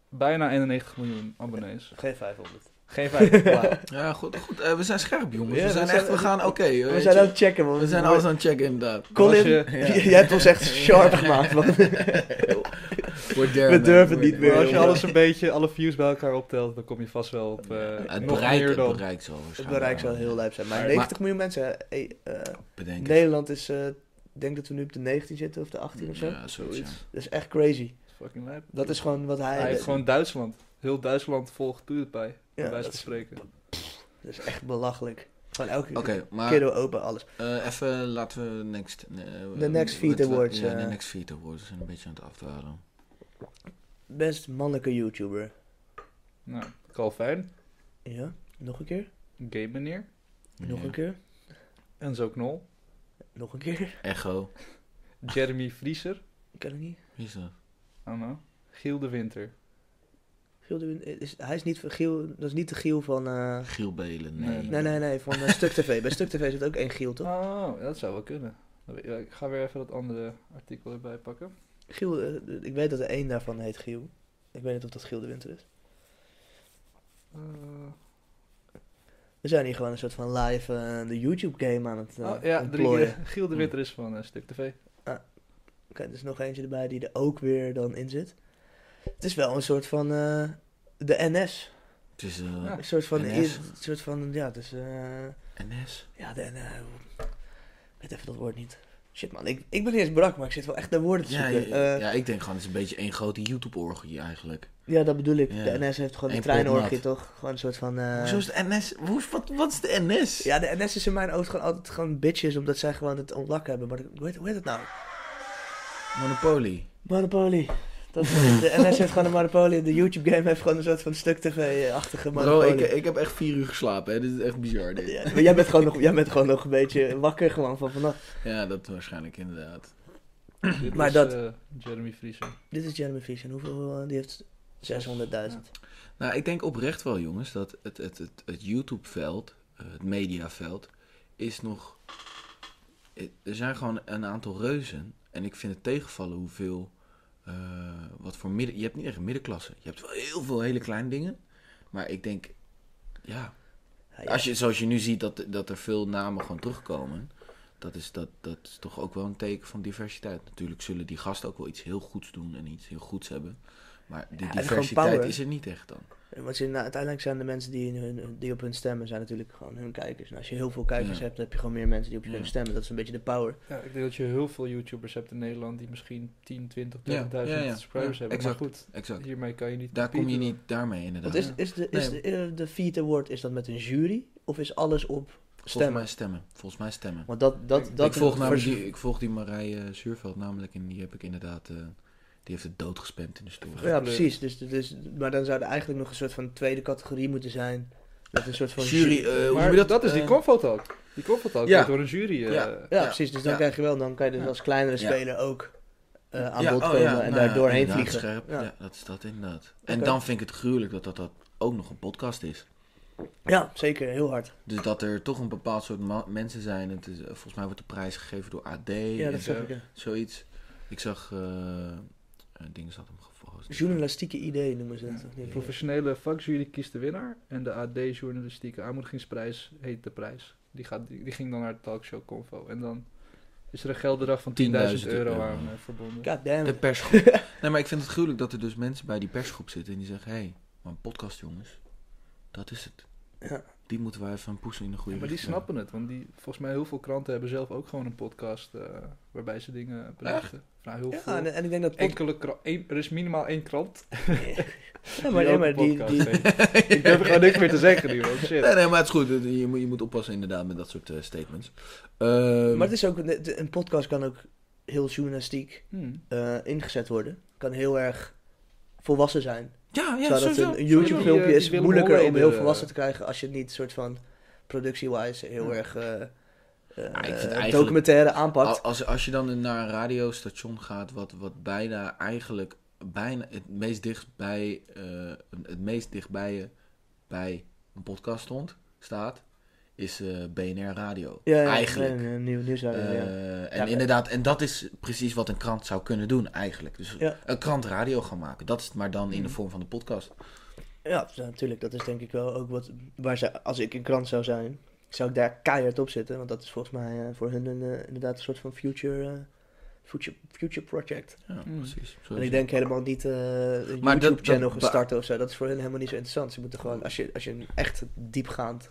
Speaker 3: Bijna 91 miljoen abonnees.
Speaker 2: geen 500.
Speaker 3: Geen vijf. Wauw.
Speaker 1: Ja, goed. goed. eh, we zijn scherp, jongens.
Speaker 2: Ja,
Speaker 1: we
Speaker 2: we
Speaker 1: zijn
Speaker 2: zijn-
Speaker 1: echt, we gaan, oké.
Speaker 2: We
Speaker 1: weet
Speaker 2: zijn
Speaker 1: je.
Speaker 2: aan het checken, man.
Speaker 1: we zijn alles aan het checken, inderdaad.
Speaker 2: (laughs) Colin,
Speaker 3: Als
Speaker 1: je- ja.
Speaker 2: jij hebt ons echt sharp gemaakt, man.
Speaker 1: We're there,
Speaker 2: We
Speaker 1: man.
Speaker 2: durven
Speaker 1: We're
Speaker 2: niet
Speaker 1: there.
Speaker 2: meer,
Speaker 3: Maar als je
Speaker 2: jongen.
Speaker 3: alles een beetje, alle views bij elkaar optelt, dan kom je vast wel op eh,
Speaker 1: het
Speaker 3: nog
Speaker 1: bereik,
Speaker 3: meer
Speaker 1: het
Speaker 3: dan.
Speaker 1: bereik zal waarschijnlijk. eh,
Speaker 2: Het bereik zou heel lijp zijn. Maar,
Speaker 3: Maar-
Speaker 2: 90 miljoen mensen, eh, eh,
Speaker 1: Bedenk het.
Speaker 2: Nederland is, eh, ik denk dat we nu op de 19 zitten of de 18 of zo.
Speaker 1: Ja, zoiets. ja.
Speaker 2: Dat is echt crazy.
Speaker 3: Fucking lijp.
Speaker 2: Dat is gewoon wat hij...
Speaker 3: Hij heeft gewoon Duitsland. Heel Duitsland volgt PewDiePie.
Speaker 2: Ja,
Speaker 3: Ja, bij
Speaker 2: dat is-
Speaker 3: spreken.
Speaker 2: Dat is echt belachelijk. Gewoon elke
Speaker 1: Oké, maar
Speaker 2: keer door open alles.
Speaker 1: eh, even laten we next... eh,
Speaker 2: De Next
Speaker 1: eh,
Speaker 2: Feed
Speaker 1: wat- wat-
Speaker 2: Awards,
Speaker 1: Ja, de
Speaker 2: eh.
Speaker 1: Next Feed Awards. We zijn een beetje aan het afdalen.
Speaker 2: Best mannelijke YouTuber.
Speaker 3: Nou, Calvin,
Speaker 2: Ja, nog een keer.
Speaker 3: Game Meneer,
Speaker 2: Nog een keer.
Speaker 3: Enzo Knol,
Speaker 2: Nog een keer.
Speaker 1: Echo.
Speaker 3: Jeremy Vrieser,
Speaker 2: Ik ken het niet.
Speaker 1: Wie is dat?
Speaker 3: oh no, Giel de Winter.
Speaker 2: Giel de Win- is, hij is niet van Giel, dat is niet de Giel van... eh,
Speaker 1: Giel Belen, nee.
Speaker 3: Nee,
Speaker 2: nee, nee, nee, van eh, Stuk TV. Bij Stuk TV zit ook één Giel, toch?
Speaker 3: Oh, dat zou wel kunnen. Dan weet- ja, Ik ga weer even dat andere artikel erbij pakken.
Speaker 2: Giel, eh, ik weet dat er één daarvan heet Giel. Ik weet niet of dat Giel de Winter is.
Speaker 3: Eh,
Speaker 2: We zijn hier gewoon een soort van live eh, de YouTube game aan het eh,
Speaker 3: oh, ja, drie
Speaker 2: ontplooien. Mm.
Speaker 3: keer. Giel de Winter is van eh,
Speaker 2: (clears throat)
Speaker 3: Stuk TV.
Speaker 2: Oké, er is nog eentje erbij die er ook weer dan in zit. Het is wel een soort van eh, de NS.
Speaker 1: Het is eh,
Speaker 3: Ja.
Speaker 2: Een soort van,
Speaker 1: NS?
Speaker 2: een soort van ja, het is... eh,
Speaker 1: NS.
Speaker 2: Ja, de, eh, ik weet even dat woord niet. Shit man, ik, ik ben eerst brak, maar ik zit wel echt naar woorden te
Speaker 1: Ja,
Speaker 2: zoeken.
Speaker 1: ja,
Speaker 2: Eh, Ja,
Speaker 1: ja, ik denk gewoon, het is een beetje één grote YouTube-orgie eigenlijk.
Speaker 2: dat bedoel ik.
Speaker 1: Ja.
Speaker 2: De NS heeft gewoon een
Speaker 1: Eén
Speaker 2: treinorgie
Speaker 1: pot
Speaker 2: toch? Gewoon een soort van... eh,
Speaker 1: Hoezo is de NS? Hoe, wat, wat is de NS?
Speaker 2: Ja, de NS is in mijn oog gewoon altijd gewoon bitches, omdat zij gewoon het ontlak hebben. Maar hoe heet, hoe heet het nou?
Speaker 1: Monopoly.
Speaker 2: Monopoly. Dat, de NS heeft gewoon een monopolie. De YouTube game heeft gewoon een soort van stuk tv-achtige
Speaker 1: Bro,
Speaker 2: monopolie.
Speaker 1: ik, ik heb echt vier uur geslapen, hè. Dit is echt bizar, dit.
Speaker 2: Ja,
Speaker 1: Ja,
Speaker 2: maar jij bent, gewoon nog, jij bent gewoon nog een beetje wakker gewoon van vannacht.
Speaker 1: dat waarschijnlijk inderdaad.
Speaker 3: Dit
Speaker 2: Maar
Speaker 3: is,
Speaker 2: dat-
Speaker 3: eh, Jeremy Vrieser.
Speaker 2: Dit is Jeremy Fish en hoeveel? eh, Die heeft 600.000.
Speaker 1: Nou, ik denk oprecht wel, jongens, dat het, het, het, het YouTube-veld, eh, het mediaveld, is nog... eh, Er zijn gewoon een aantal reuzen. En ik vind het tegenvallen hoeveel... eh, wat voor midden... Je hebt niet echt een middenklasse. Je hebt wel heel veel hele kleine dingen. Maar ik denk... Ja,
Speaker 2: Ja,
Speaker 1: Als je, zoals je nu ziet dat, dat er veel namen gewoon terugkomen. Dat is, dat, dat is toch ook wel een teken van diversiteit. Natuurlijk zullen die gasten ook wel iets heel goeds doen en iets heel goeds hebben. Maar de
Speaker 2: Ja, en gewoon
Speaker 1: diversiteit
Speaker 2: power.
Speaker 1: is er niet echt dan.
Speaker 2: Want ze- nou, uiteindelijk zijn de mensen die, in hun, die op hun stemmen zijn natuurlijk gewoon hun kijkers. En als je heel veel kijkers
Speaker 1: Ja.
Speaker 2: hebt, dan heb je gewoon meer mensen die op je
Speaker 1: Ja.
Speaker 2: kunnen stemmen. Dat is een beetje de power.
Speaker 3: Ja, ik denk dat je heel veel YouTubers hebt in Nederland die misschien 10, 20, 30.000
Speaker 1: Ja, ja, ja. Ja,
Speaker 3: subscribers hebben.
Speaker 1: exact.
Speaker 3: Maar goed,
Speaker 1: Exact.
Speaker 3: hiermee kan je niet...
Speaker 1: Daar kom je
Speaker 3: competen.
Speaker 1: niet daarmee inderdaad.
Speaker 2: Want is, is, de, is
Speaker 1: Nee.
Speaker 2: de, eh, de Feed Award, is dat met een jury? Of is alles op
Speaker 1: Volgens
Speaker 2: stemmen?
Speaker 1: mij stemmen. Volgens mij stemmen.
Speaker 2: Want dat, dat,
Speaker 3: Ik-
Speaker 2: dat
Speaker 1: ik, volg namelijk
Speaker 2: vers-
Speaker 1: die, ik volg die Marije Zuurveld namelijk en die heb ik inderdaad... eh, die heeft het doodgespamd in de story.
Speaker 2: Ja, precies. Dus, dus, maar dan zou er eigenlijk nog een soort van tweede categorie moeten zijn. Met een soort van
Speaker 1: Jury, eh, hoe noem
Speaker 3: Maar
Speaker 1: je dat?
Speaker 3: dat, is die
Speaker 1: Eh,
Speaker 3: Confotalk. Die Confotalk
Speaker 1: Ja.
Speaker 3: wordt door een jury... eh,
Speaker 1: Ja.
Speaker 2: Ja,
Speaker 1: Ja.
Speaker 2: precies. Dus dan
Speaker 1: Ja.
Speaker 2: krijg je wel, dan kan je dus
Speaker 1: Ja.
Speaker 2: als kleinere
Speaker 1: Ja.
Speaker 2: speler ook eh, aan
Speaker 1: Ja,
Speaker 2: bod
Speaker 1: oh
Speaker 2: komen
Speaker 1: ja,
Speaker 2: en
Speaker 1: nou
Speaker 2: daar
Speaker 1: ja,
Speaker 2: doorheen
Speaker 1: inderdaad,
Speaker 2: vliegen.
Speaker 1: Scherp.
Speaker 2: Ja.
Speaker 1: Ja. dat is dat inderdaad. En
Speaker 2: Oké.
Speaker 1: dan vind ik het gruwelijk dat, dat dat ook nog een podcast is.
Speaker 2: Ja, zeker. Heel hard.
Speaker 1: Dus dat er toch een bepaald soort ma- mensen zijn. Het is, eh, volgens mij wordt de prijs gegeven door AD
Speaker 2: Ja,
Speaker 1: en
Speaker 2: dat
Speaker 3: is-
Speaker 2: zeg ik. ja.
Speaker 1: zoiets. Ik zag... eh dingen zat hem gevolgd.
Speaker 2: Journalistieke idee noemen ze dat.
Speaker 3: Ja.
Speaker 2: toch niet?
Speaker 3: De professionele vakjury kiest de winnaar en de AD journalistieke aanmoedigingsprijs heet de prijs. Die, gaat, die, die ging dan naar de talkshow Convo. En dan is er een geldbedrag van 10.000
Speaker 1: 10.000
Speaker 3: euro
Speaker 1: euro.
Speaker 3: aan eh, verbonden.
Speaker 2: God damn
Speaker 1: De
Speaker 2: it.
Speaker 3: (laughs)
Speaker 1: persgroep. nee, maar ik vind het gruwelijk dat er dus mensen bij die persgroep zitten en die zeggen... Hé, hey, maar een podcast jongens, dat is het.
Speaker 2: Ja.
Speaker 1: Die moeten wij even poesen in de goede
Speaker 3: Ja, maar die
Speaker 1: richting.
Speaker 3: snappen het, want die, volgens mij heel veel kranten hebben zelf ook gewoon een podcast eh, waarbij ze dingen belichten. Nou, heel veel.
Speaker 2: Ja, en, en ik denk dat...
Speaker 1: eh,
Speaker 2: pod-
Speaker 3: Enkele kra- één- er is minimaal één krant.
Speaker 2: Ja, maar, nee,
Speaker 3: ook
Speaker 2: maar
Speaker 3: een
Speaker 2: die,
Speaker 3: podcast
Speaker 2: die,
Speaker 3: heeft. Ik heb er gewoon niks meer te zeggen nu, want shit.
Speaker 1: (laughs) Nee, nee, maar het is goed. Je moet, je moet oppassen inderdaad met dat soort eh, statements. Ehm,
Speaker 2: maar het is ook... Een een podcast kan ook heel journalistiek
Speaker 3: Hmm.
Speaker 2: eh, ingezet worden. Kan heel erg volwassen zijn.
Speaker 1: Ja, ja,
Speaker 2: Terwijl dat
Speaker 1: sowieso.
Speaker 2: een- een
Speaker 3: Zo
Speaker 2: YouTube
Speaker 3: die, eh,
Speaker 2: filmpje
Speaker 3: die
Speaker 2: is
Speaker 3: Willem
Speaker 2: moeilijker om
Speaker 3: Holleder,
Speaker 2: heel
Speaker 3: eh,
Speaker 2: volwassen te krijgen als je het niet soort van productie-wise heel
Speaker 3: Ja.
Speaker 2: erg eh, eh,
Speaker 1: eigenlijk-
Speaker 2: documentaire aanpakt.
Speaker 1: Al- Als, als je dan een- naar een radiostation gaat, wat, wat bijna eigenlijk bijna het meest dichtbij, eh, het meest dichtbij je bij een podcast stond, staat, is eh, BNR Radio.
Speaker 2: Ja, ja,
Speaker 1: eigenlijk.
Speaker 2: nee, nee, nieuw, nieuwsradio,
Speaker 1: Eh,
Speaker 2: ja.
Speaker 1: en
Speaker 2: maar-
Speaker 1: inderdaad, en dat is precies wat een krant zou kunnen doen eigenlijk. Dus
Speaker 2: Ja.
Speaker 1: een krant radio gaan maken. Dat is het maar dan in de
Speaker 3: Mhm.
Speaker 1: vorm van de podcast.
Speaker 2: Ja, dus, eh, natuurlijk. Dat is denk ik wel ook wat... Waar ze, als ik een krant zou zijn, zou ik daar keihard op zitten. Want dat is volgens mij eh, voor hun een, eh, inderdaad een soort van future, eh, future, future project.
Speaker 1: Ja,
Speaker 3: Mm.
Speaker 1: precies. Zo
Speaker 2: Mhm. En
Speaker 1: is
Speaker 2: ik
Speaker 1: het.
Speaker 2: denk helemaal niet eh, een
Speaker 1: Maar dat-
Speaker 2: YouTube-channel
Speaker 1: dat-
Speaker 2: gestart of zo. Dat is voor hun helemaal niet zo interessant. Ze moeten gewoon, als je, als je een echt diepgaand...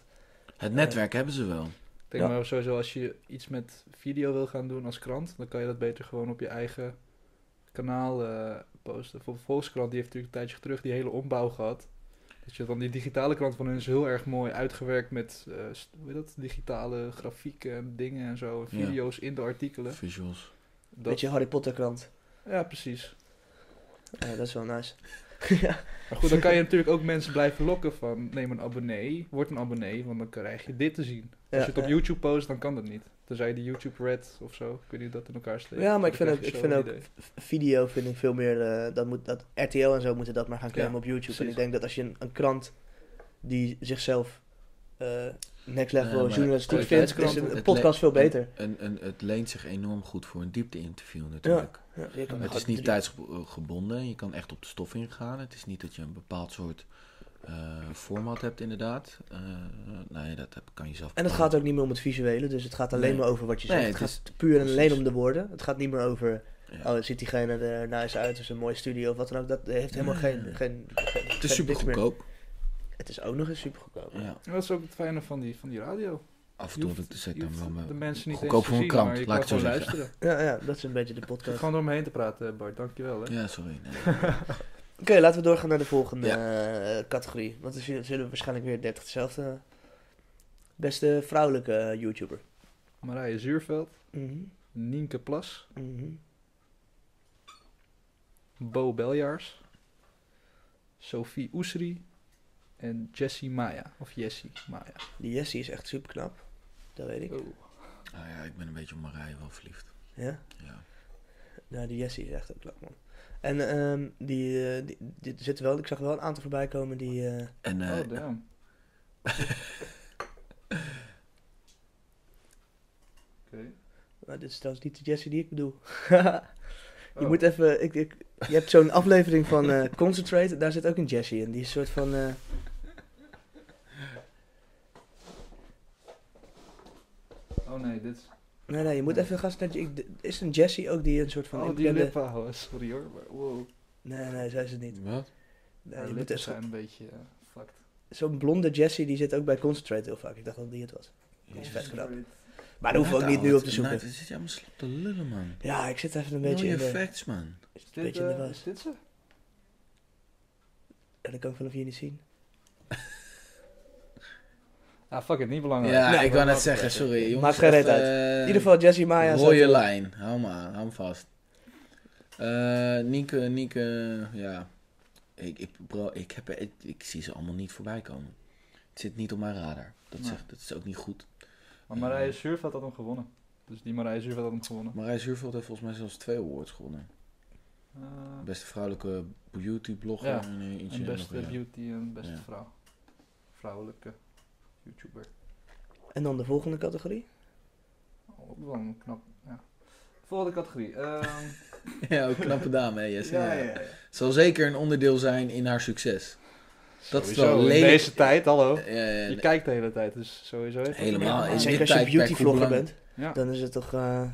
Speaker 1: Het netwerk hebben ze wel.
Speaker 3: Ik denk
Speaker 2: Ja.
Speaker 3: maar sowieso als je iets met video wil gaan doen als krant, dan kan je dat beter gewoon op je eigen kanaal eh, posten. Voor Volkskrant, die heeft natuurlijk een tijdje terug die hele ombouw gehad. Dus je dan die digitale krant van hun is heel erg mooi uitgewerkt met eh, st- hoe heet dat? digitale grafieken en dingen en zo.
Speaker 1: Ja.
Speaker 3: Video's in de artikelen.
Speaker 1: Visuals.
Speaker 3: Dat,
Speaker 2: Beetje Harry Potter-krant.
Speaker 3: Ja, precies.
Speaker 2: Ja, dat is wel nice. ja.
Speaker 3: Maar goed, dan kan je natuurlijk ook mensen blijven lokken van neem een abonnee, word een abonnee, want dan krijg je dit te zien. Als je het op
Speaker 2: ja.
Speaker 3: YouTube post, dan kan dat niet. Tenzij je de YouTube Red of zo, kun je dat in elkaar steken.
Speaker 2: Ja, maar ik
Speaker 3: Dan
Speaker 2: vind ook,
Speaker 3: krijg
Speaker 2: ik
Speaker 3: je
Speaker 2: vind
Speaker 3: zo'n
Speaker 2: ook
Speaker 3: idee.
Speaker 2: v- video vind ik veel meer, eh, dat moet, dat RTL en zo moeten dat maar gaan claimen
Speaker 3: Ja,
Speaker 2: op YouTube. En
Speaker 3: precies.
Speaker 2: ik denk dat als je een, een krant die zichzelf eh, next
Speaker 1: Ja,
Speaker 2: level
Speaker 1: maar
Speaker 2: journalistiek vindt, is
Speaker 3: kwaliteitskranten-
Speaker 2: een- een
Speaker 1: Het
Speaker 2: podcast veel
Speaker 1: le-
Speaker 2: beter.
Speaker 1: En, en het leent zich enorm goed voor een diepte-interview natuurlijk.
Speaker 2: Ja, je kan
Speaker 1: Het
Speaker 2: gewoon
Speaker 1: is niet
Speaker 2: drie-
Speaker 1: tijdsgebonden. Je kan echt op de stof ingaan. Het is niet dat je een bepaald soort eh, format hebt inderdaad. Eh, nee, dat heb- kan je zelf
Speaker 2: En het
Speaker 1: bepalen.
Speaker 2: gaat ook niet meer om het visuele, dus het gaat alleen
Speaker 1: Nee.
Speaker 2: maar over wat je zegt.
Speaker 1: Nee,
Speaker 2: het
Speaker 1: het
Speaker 2: gaat puur en alleen
Speaker 1: precies.
Speaker 2: om de woorden. Het gaat niet meer over,
Speaker 1: Ja.
Speaker 2: oh, ziet diegene er nice uit, is een mooie studio of wat dan ook. Dat heeft helemaal
Speaker 1: Nee.
Speaker 2: geen, geen...
Speaker 1: Het is super goedkoop.
Speaker 2: Het is ook nog eens super goedkoop.
Speaker 1: Ja.
Speaker 3: En Dat is ook het fijne van die, van die radio.
Speaker 1: Af en
Speaker 3: Je
Speaker 1: toe
Speaker 3: hoeft-
Speaker 1: heb ik de set
Speaker 3: Je
Speaker 1: dan
Speaker 3: hoeft
Speaker 1: wel me-
Speaker 3: de mensen niet
Speaker 1: goedkoop
Speaker 3: eens
Speaker 1: voor
Speaker 3: te
Speaker 1: een
Speaker 3: zien,
Speaker 1: krant,
Speaker 3: maar je
Speaker 1: laat
Speaker 3: kan
Speaker 1: ik het
Speaker 3: gewoon
Speaker 1: zo zeggen.
Speaker 3: luisteren.
Speaker 2: Ja, ja, dat is een beetje de
Speaker 3: Ik zit
Speaker 2: podcast.
Speaker 3: gewoon door me heen te praten, Bart. Dankjewel, hè.
Speaker 1: Ja, sorry.
Speaker 3: (laughs)
Speaker 1: nee.
Speaker 2: Oké, laten we doorgaan naar de volgende eh, categorie. Want dan zullen we waarschijnlijk weer 30 dezelfde. Beste vrouwelijke eh, YouTuber.
Speaker 3: Marije Zuurveld,
Speaker 2: Mhm,
Speaker 3: Nienke Plas,
Speaker 2: mhm.
Speaker 3: Bo Beljaars, Sophie Oesri en Jessie Maya. Of Jessie Maya.
Speaker 2: Die Jessie is echt super knap. Dat weet ik.
Speaker 3: Oh.
Speaker 1: Ah ja, ik ben een beetje op Marije wel verliefd.
Speaker 2: Ja?
Speaker 1: Ja.
Speaker 2: Nou, die Jessie is echt ook knap, man. En ehm, die, eh, die, die er zitten wel, ik zag wel een aantal voorbij komen die. eh,
Speaker 1: En eh, (laughs)
Speaker 3: Oh, damn. Oké.
Speaker 2: maar dit is trouwens niet de Jessie die ik bedoel. (laughs) je
Speaker 3: Oh.
Speaker 2: moet even. Ik, ik- je hebt zo'n aflevering van eh, Concentrate, daar zit ook een Jessie in. Die is een soort van. eh,
Speaker 3: Oh nee, dit is...
Speaker 2: nee, nee, je moet
Speaker 3: Nee.
Speaker 2: even gaan. naar- Ik, is een Jessie ook die een soort van.
Speaker 3: Oh, die
Speaker 2: bekende-
Speaker 3: lippen houden. Sorry hoor, maar wow.
Speaker 2: Nee, nee, zij is het niet.
Speaker 1: Wat?
Speaker 2: Nee,
Speaker 3: Haar
Speaker 2: je moet
Speaker 3: lippen
Speaker 2: even-
Speaker 3: zijn een beetje eh, fucked.
Speaker 2: Zo'n blonde Jessie die zit ook bij Concentrate heel vaak. Ik dacht dat die het was. Die is vet knap. Maar daar hoeven we ook niet nu op te zoeken.
Speaker 1: Het zit je allemaal slap te lullen, man.
Speaker 2: Ja, ik zit even een beetje
Speaker 1: Mooie
Speaker 2: in de...
Speaker 1: facts, man.
Speaker 3: Is
Speaker 2: Een
Speaker 3: dit,
Speaker 2: beetje in de
Speaker 3: eh,
Speaker 2: was.
Speaker 3: is dit ze?
Speaker 2: En dat kan ik vanaf hier niet zien.
Speaker 3: Ah, fuck it, niet belangrijk.
Speaker 1: Ja,
Speaker 2: Nee,
Speaker 1: ik
Speaker 2: maar
Speaker 1: wou net
Speaker 2: wat-
Speaker 1: zeggen, sorry. Jongens,
Speaker 2: Maakt geen reet
Speaker 1: echt,
Speaker 2: uit.
Speaker 1: eh,
Speaker 2: In ieder geval Jessie Maya zat
Speaker 1: Rode
Speaker 2: er-
Speaker 1: lijn. Hou hem aan, hou hem vast. Eh Nienke, Nienke, ja. Ik, ik, bro, ik, heb, ik, ik zie ze allemaal niet voorbij komen. Het zit niet op mijn radar. Dat,
Speaker 3: Nee.
Speaker 1: zegt, dat is ook niet goed.
Speaker 3: Maar Marije Zuurveld had hem gewonnen. Dus die Marije Zuurveld had hem gewonnen.
Speaker 1: Marij Zuurveld heeft volgens mij zelfs twee awards gewonnen.
Speaker 3: Eh,
Speaker 1: Beste vrouwelijke beauty blogger
Speaker 3: Ja,
Speaker 1: en eh, ietsje
Speaker 3: en beste
Speaker 1: nog, ja.
Speaker 3: beauty en beste
Speaker 1: Ja.
Speaker 3: vrouw. Vrouwelijke YouTuber.
Speaker 2: En dan de volgende categorie.
Speaker 3: Ook Oh, wel een knap, ja. Volgende categorie. ehm,
Speaker 1: (laughs) Ja, ook knappe dame, hè, Jesse.
Speaker 3: (laughs)
Speaker 1: Ja,
Speaker 3: ja, ja, ja.
Speaker 1: Zal zeker een onderdeel zijn in haar succes. (laughs) Eh, Dat is
Speaker 3: Sowieso,
Speaker 1: wel
Speaker 3: in
Speaker 1: lelijk.
Speaker 3: deze tijd, hallo.
Speaker 1: Ja, ja,
Speaker 3: Oh. Je
Speaker 1: ja.
Speaker 3: kijkt de hele tijd, dus sowieso. heeft het
Speaker 1: Helemaal,
Speaker 3: een-
Speaker 1: Ah, is
Speaker 2: zeker
Speaker 1: dit
Speaker 2: Ah, als je
Speaker 1: tijdperk
Speaker 2: beautyvlogger
Speaker 1: hoe belang-
Speaker 2: bent,
Speaker 3: Ja.
Speaker 2: dan is het toch... eh,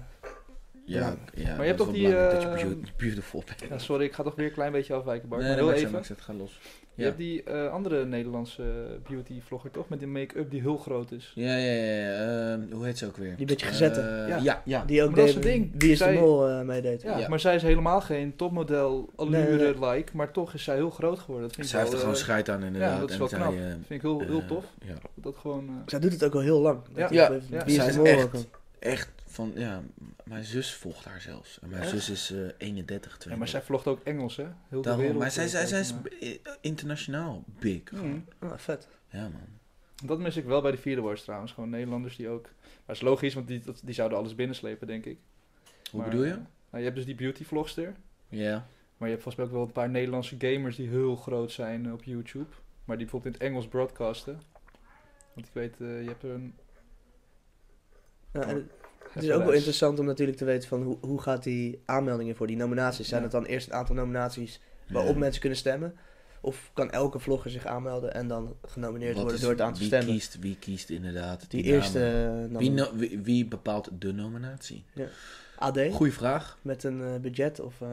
Speaker 1: ja, ja,
Speaker 3: Maar je
Speaker 1: dat
Speaker 3: hebt toch
Speaker 1: is
Speaker 3: die,
Speaker 1: wel belangrijk dat
Speaker 3: eh,
Speaker 1: je beaut- beautiful bent.
Speaker 3: Ja, sorry, ik ga toch weer een klein beetje afwijken, Bart.
Speaker 1: Nee,
Speaker 3: maar
Speaker 1: nee,
Speaker 3: heel
Speaker 1: maakt zo,
Speaker 3: even.
Speaker 1: maakt zo, het gaat los.
Speaker 3: Je
Speaker 1: Ja.
Speaker 3: hebt die eh, andere Nederlandse beauty vlogger toch? Met die make-up die heel groot is.
Speaker 1: Ja, ja, ja. ja, ehm, hoe heet ze ook weer?
Speaker 2: Die beetje
Speaker 1: Eh,
Speaker 2: gezette.
Speaker 3: Ja.
Speaker 1: ja, ja. ja.
Speaker 2: die ook
Speaker 3: Maar dat is
Speaker 2: deed,
Speaker 3: het ding.
Speaker 2: die is
Speaker 3: Zij-
Speaker 2: de mol eh, meedeed.
Speaker 3: Ja,
Speaker 1: Ja.
Speaker 3: maar zij is helemaal geen topmodel allure
Speaker 2: Nee, nee,
Speaker 3: like, maar toch is zij heel groot geworden. Dat vind
Speaker 1: Zij heeft
Speaker 3: ik
Speaker 1: er
Speaker 3: wel,
Speaker 1: gewoon
Speaker 3: eh,
Speaker 1: scheid aan inderdaad.
Speaker 3: dat is
Speaker 1: en
Speaker 3: wel
Speaker 1: zij,
Speaker 3: knap.
Speaker 1: eh,
Speaker 3: Vind ik heel, heel
Speaker 1: eh,
Speaker 3: tof.
Speaker 1: ja.
Speaker 3: Dat gewoon. eh,
Speaker 2: Zij doet het ook al heel lang. Dat
Speaker 3: Ja.
Speaker 2: die-
Speaker 1: Ja.
Speaker 2: die is
Speaker 3: Ja.
Speaker 2: de
Speaker 1: Zij is
Speaker 2: mol
Speaker 1: echt-
Speaker 2: ook al.
Speaker 1: Echt van, ja, m- mijn zus volgt haar zelfs. En mijn
Speaker 3: Echt?
Speaker 1: zus is eh 31,
Speaker 3: ja,
Speaker 1: 32.
Speaker 3: maar zij vlogt ook Engels, hè? Heel de
Speaker 1: Daarom,
Speaker 3: wereld.
Speaker 1: maar zij,
Speaker 3: eh,
Speaker 1: zij, zij is
Speaker 3: kijkt
Speaker 1: eh, internationaal big.
Speaker 3: naar.
Speaker 1: gewoon.
Speaker 3: Mm.
Speaker 2: Ah, vet.
Speaker 1: Ja, man.
Speaker 3: Dat mis ik wel bij de vierde wars trouwens. Gewoon Nederlanders die ook. Maar is logisch, want die, dat- die zouden alles binnenslepen, denk ik.
Speaker 1: Hoe
Speaker 3: Maar,
Speaker 1: bedoel
Speaker 3: eh,
Speaker 1: je?
Speaker 3: nou, je hebt dus die beauty vlogster.
Speaker 1: Ja.
Speaker 3: Maar je hebt volgens mij ook wel een paar Nederlandse gamers die heel groot zijn op YouTube. Maar die bijvoorbeeld in het Engels broadcasten. Want ik weet, eh, je hebt een...
Speaker 2: Ja, en het- het is
Speaker 3: even
Speaker 2: ook wel
Speaker 3: les.
Speaker 2: interessant om natuurlijk te weten van hoe, hoe gaat die aanmeldingen voor die nominaties. Zijn
Speaker 3: Ja.
Speaker 2: het dan eerst een aantal nominaties waarop mensen kunnen stemmen? Of kan elke vlogger zich aanmelden en dan genomineerd
Speaker 1: Wat
Speaker 2: worden
Speaker 1: is-
Speaker 2: door het aantal
Speaker 1: wie
Speaker 2: stemmen?
Speaker 1: Kiest, wie kiest inderdaad
Speaker 2: Die
Speaker 1: namen?
Speaker 2: eerste eh,
Speaker 1: Wie,
Speaker 2: nam-
Speaker 1: no- wie, wie bepaalt de nominatie?
Speaker 2: AD
Speaker 1: Goeie vraag.
Speaker 2: met een eh, budget of eh,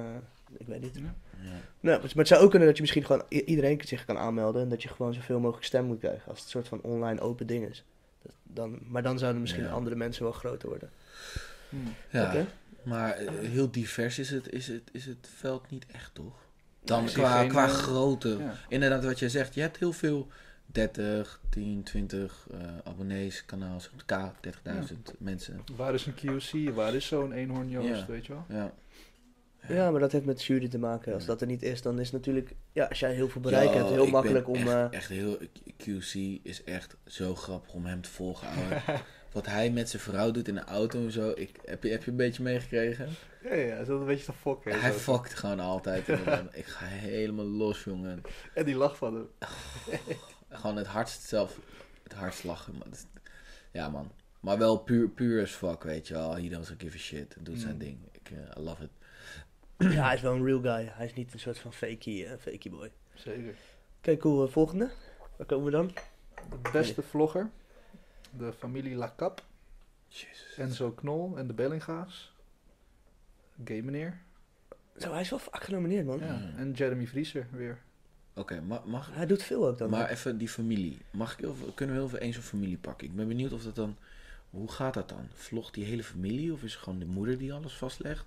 Speaker 2: ik weet niet.
Speaker 3: Ja.
Speaker 1: Ja.
Speaker 2: Nou, maar het zou ook kunnen dat je misschien gewoon i- iedereen zich kan aanmelden en dat je gewoon zoveel mogelijk stem moet krijgen. Als het een soort van online open ding is. Dat, dan, maar dan zouden misschien
Speaker 1: Ja.
Speaker 2: andere mensen wel groter worden.
Speaker 3: Hm.
Speaker 1: Ja,
Speaker 2: Oké?
Speaker 1: maar eh, heel divers is het, is, het, is het veld niet echt, toch? Dan
Speaker 3: ik zie
Speaker 1: qua,
Speaker 3: geen,
Speaker 1: qua
Speaker 3: eh,
Speaker 1: grootte.
Speaker 3: Ja.
Speaker 1: Inderdaad, wat jij zegt, je hebt heel veel 30, 10, 20 eh, abonnees, kanaals, K, 30.000 mensen.
Speaker 3: Waar is een QC? Waar is zo'n eenhoorn Joost,
Speaker 1: Ja.
Speaker 3: weet je wel?
Speaker 1: Ja.
Speaker 2: Ja, maar dat heeft met jury te maken. Als
Speaker 1: Ja.
Speaker 2: dat er niet is, dan is het natuurlijk, ja, als jij heel veel bereik
Speaker 1: Yo,
Speaker 2: hebt, heel
Speaker 1: ik ben
Speaker 2: makkelijk om.
Speaker 1: Echt,
Speaker 2: eh,
Speaker 1: echt heel, QC is echt zo grappig om hem te volgen,
Speaker 2: (laughs)
Speaker 1: ouwe. Wat hij met zijn vrouw doet in de auto en zo, ik, heb, je, heb je een beetje meegekregen?
Speaker 3: Ja, ja, is dat een beetje te fokken.
Speaker 1: Hij fuckt gewoon altijd. inderdaad. Ik ga helemaal los, jongen.
Speaker 3: En die lach van hem.
Speaker 1: Gewoon het hardst zelf, het hardst lachen. man. Dat is- Ja, man. Maar wel puur, puur as fuck, weet je wel. He doesn't give a shit. Hij doet zijn
Speaker 3: Mm.
Speaker 1: ding. Ik eh, I love it.
Speaker 2: eh, (clears throat) ja, hij is wel een real guy. Hij is niet een soort van fakie, eh, fakie boy. Oké,
Speaker 3: Zeker.
Speaker 2: cool. eh, volgende. Waar komen we dan?
Speaker 3: De beste vlogger. De familie Lacap.
Speaker 1: Jezus.
Speaker 3: Enzo Knol en de Bellinga's. Gay meneer.
Speaker 2: Zo, hij is wel vaak genomineerd,
Speaker 1: Oh.
Speaker 2: man.
Speaker 3: Ja. En Jeremy Vriezer weer.
Speaker 1: Oké, ma- mag,
Speaker 2: Hij doet veel ook dan.
Speaker 1: maar even die familie. Mag ik heel veel- kunnen we heel veel eens een familie pakken? Ik ben benieuwd of dat dan... Hoe gaat dat dan? Vlogt die hele familie? Of is het gewoon de moeder die alles vastlegt?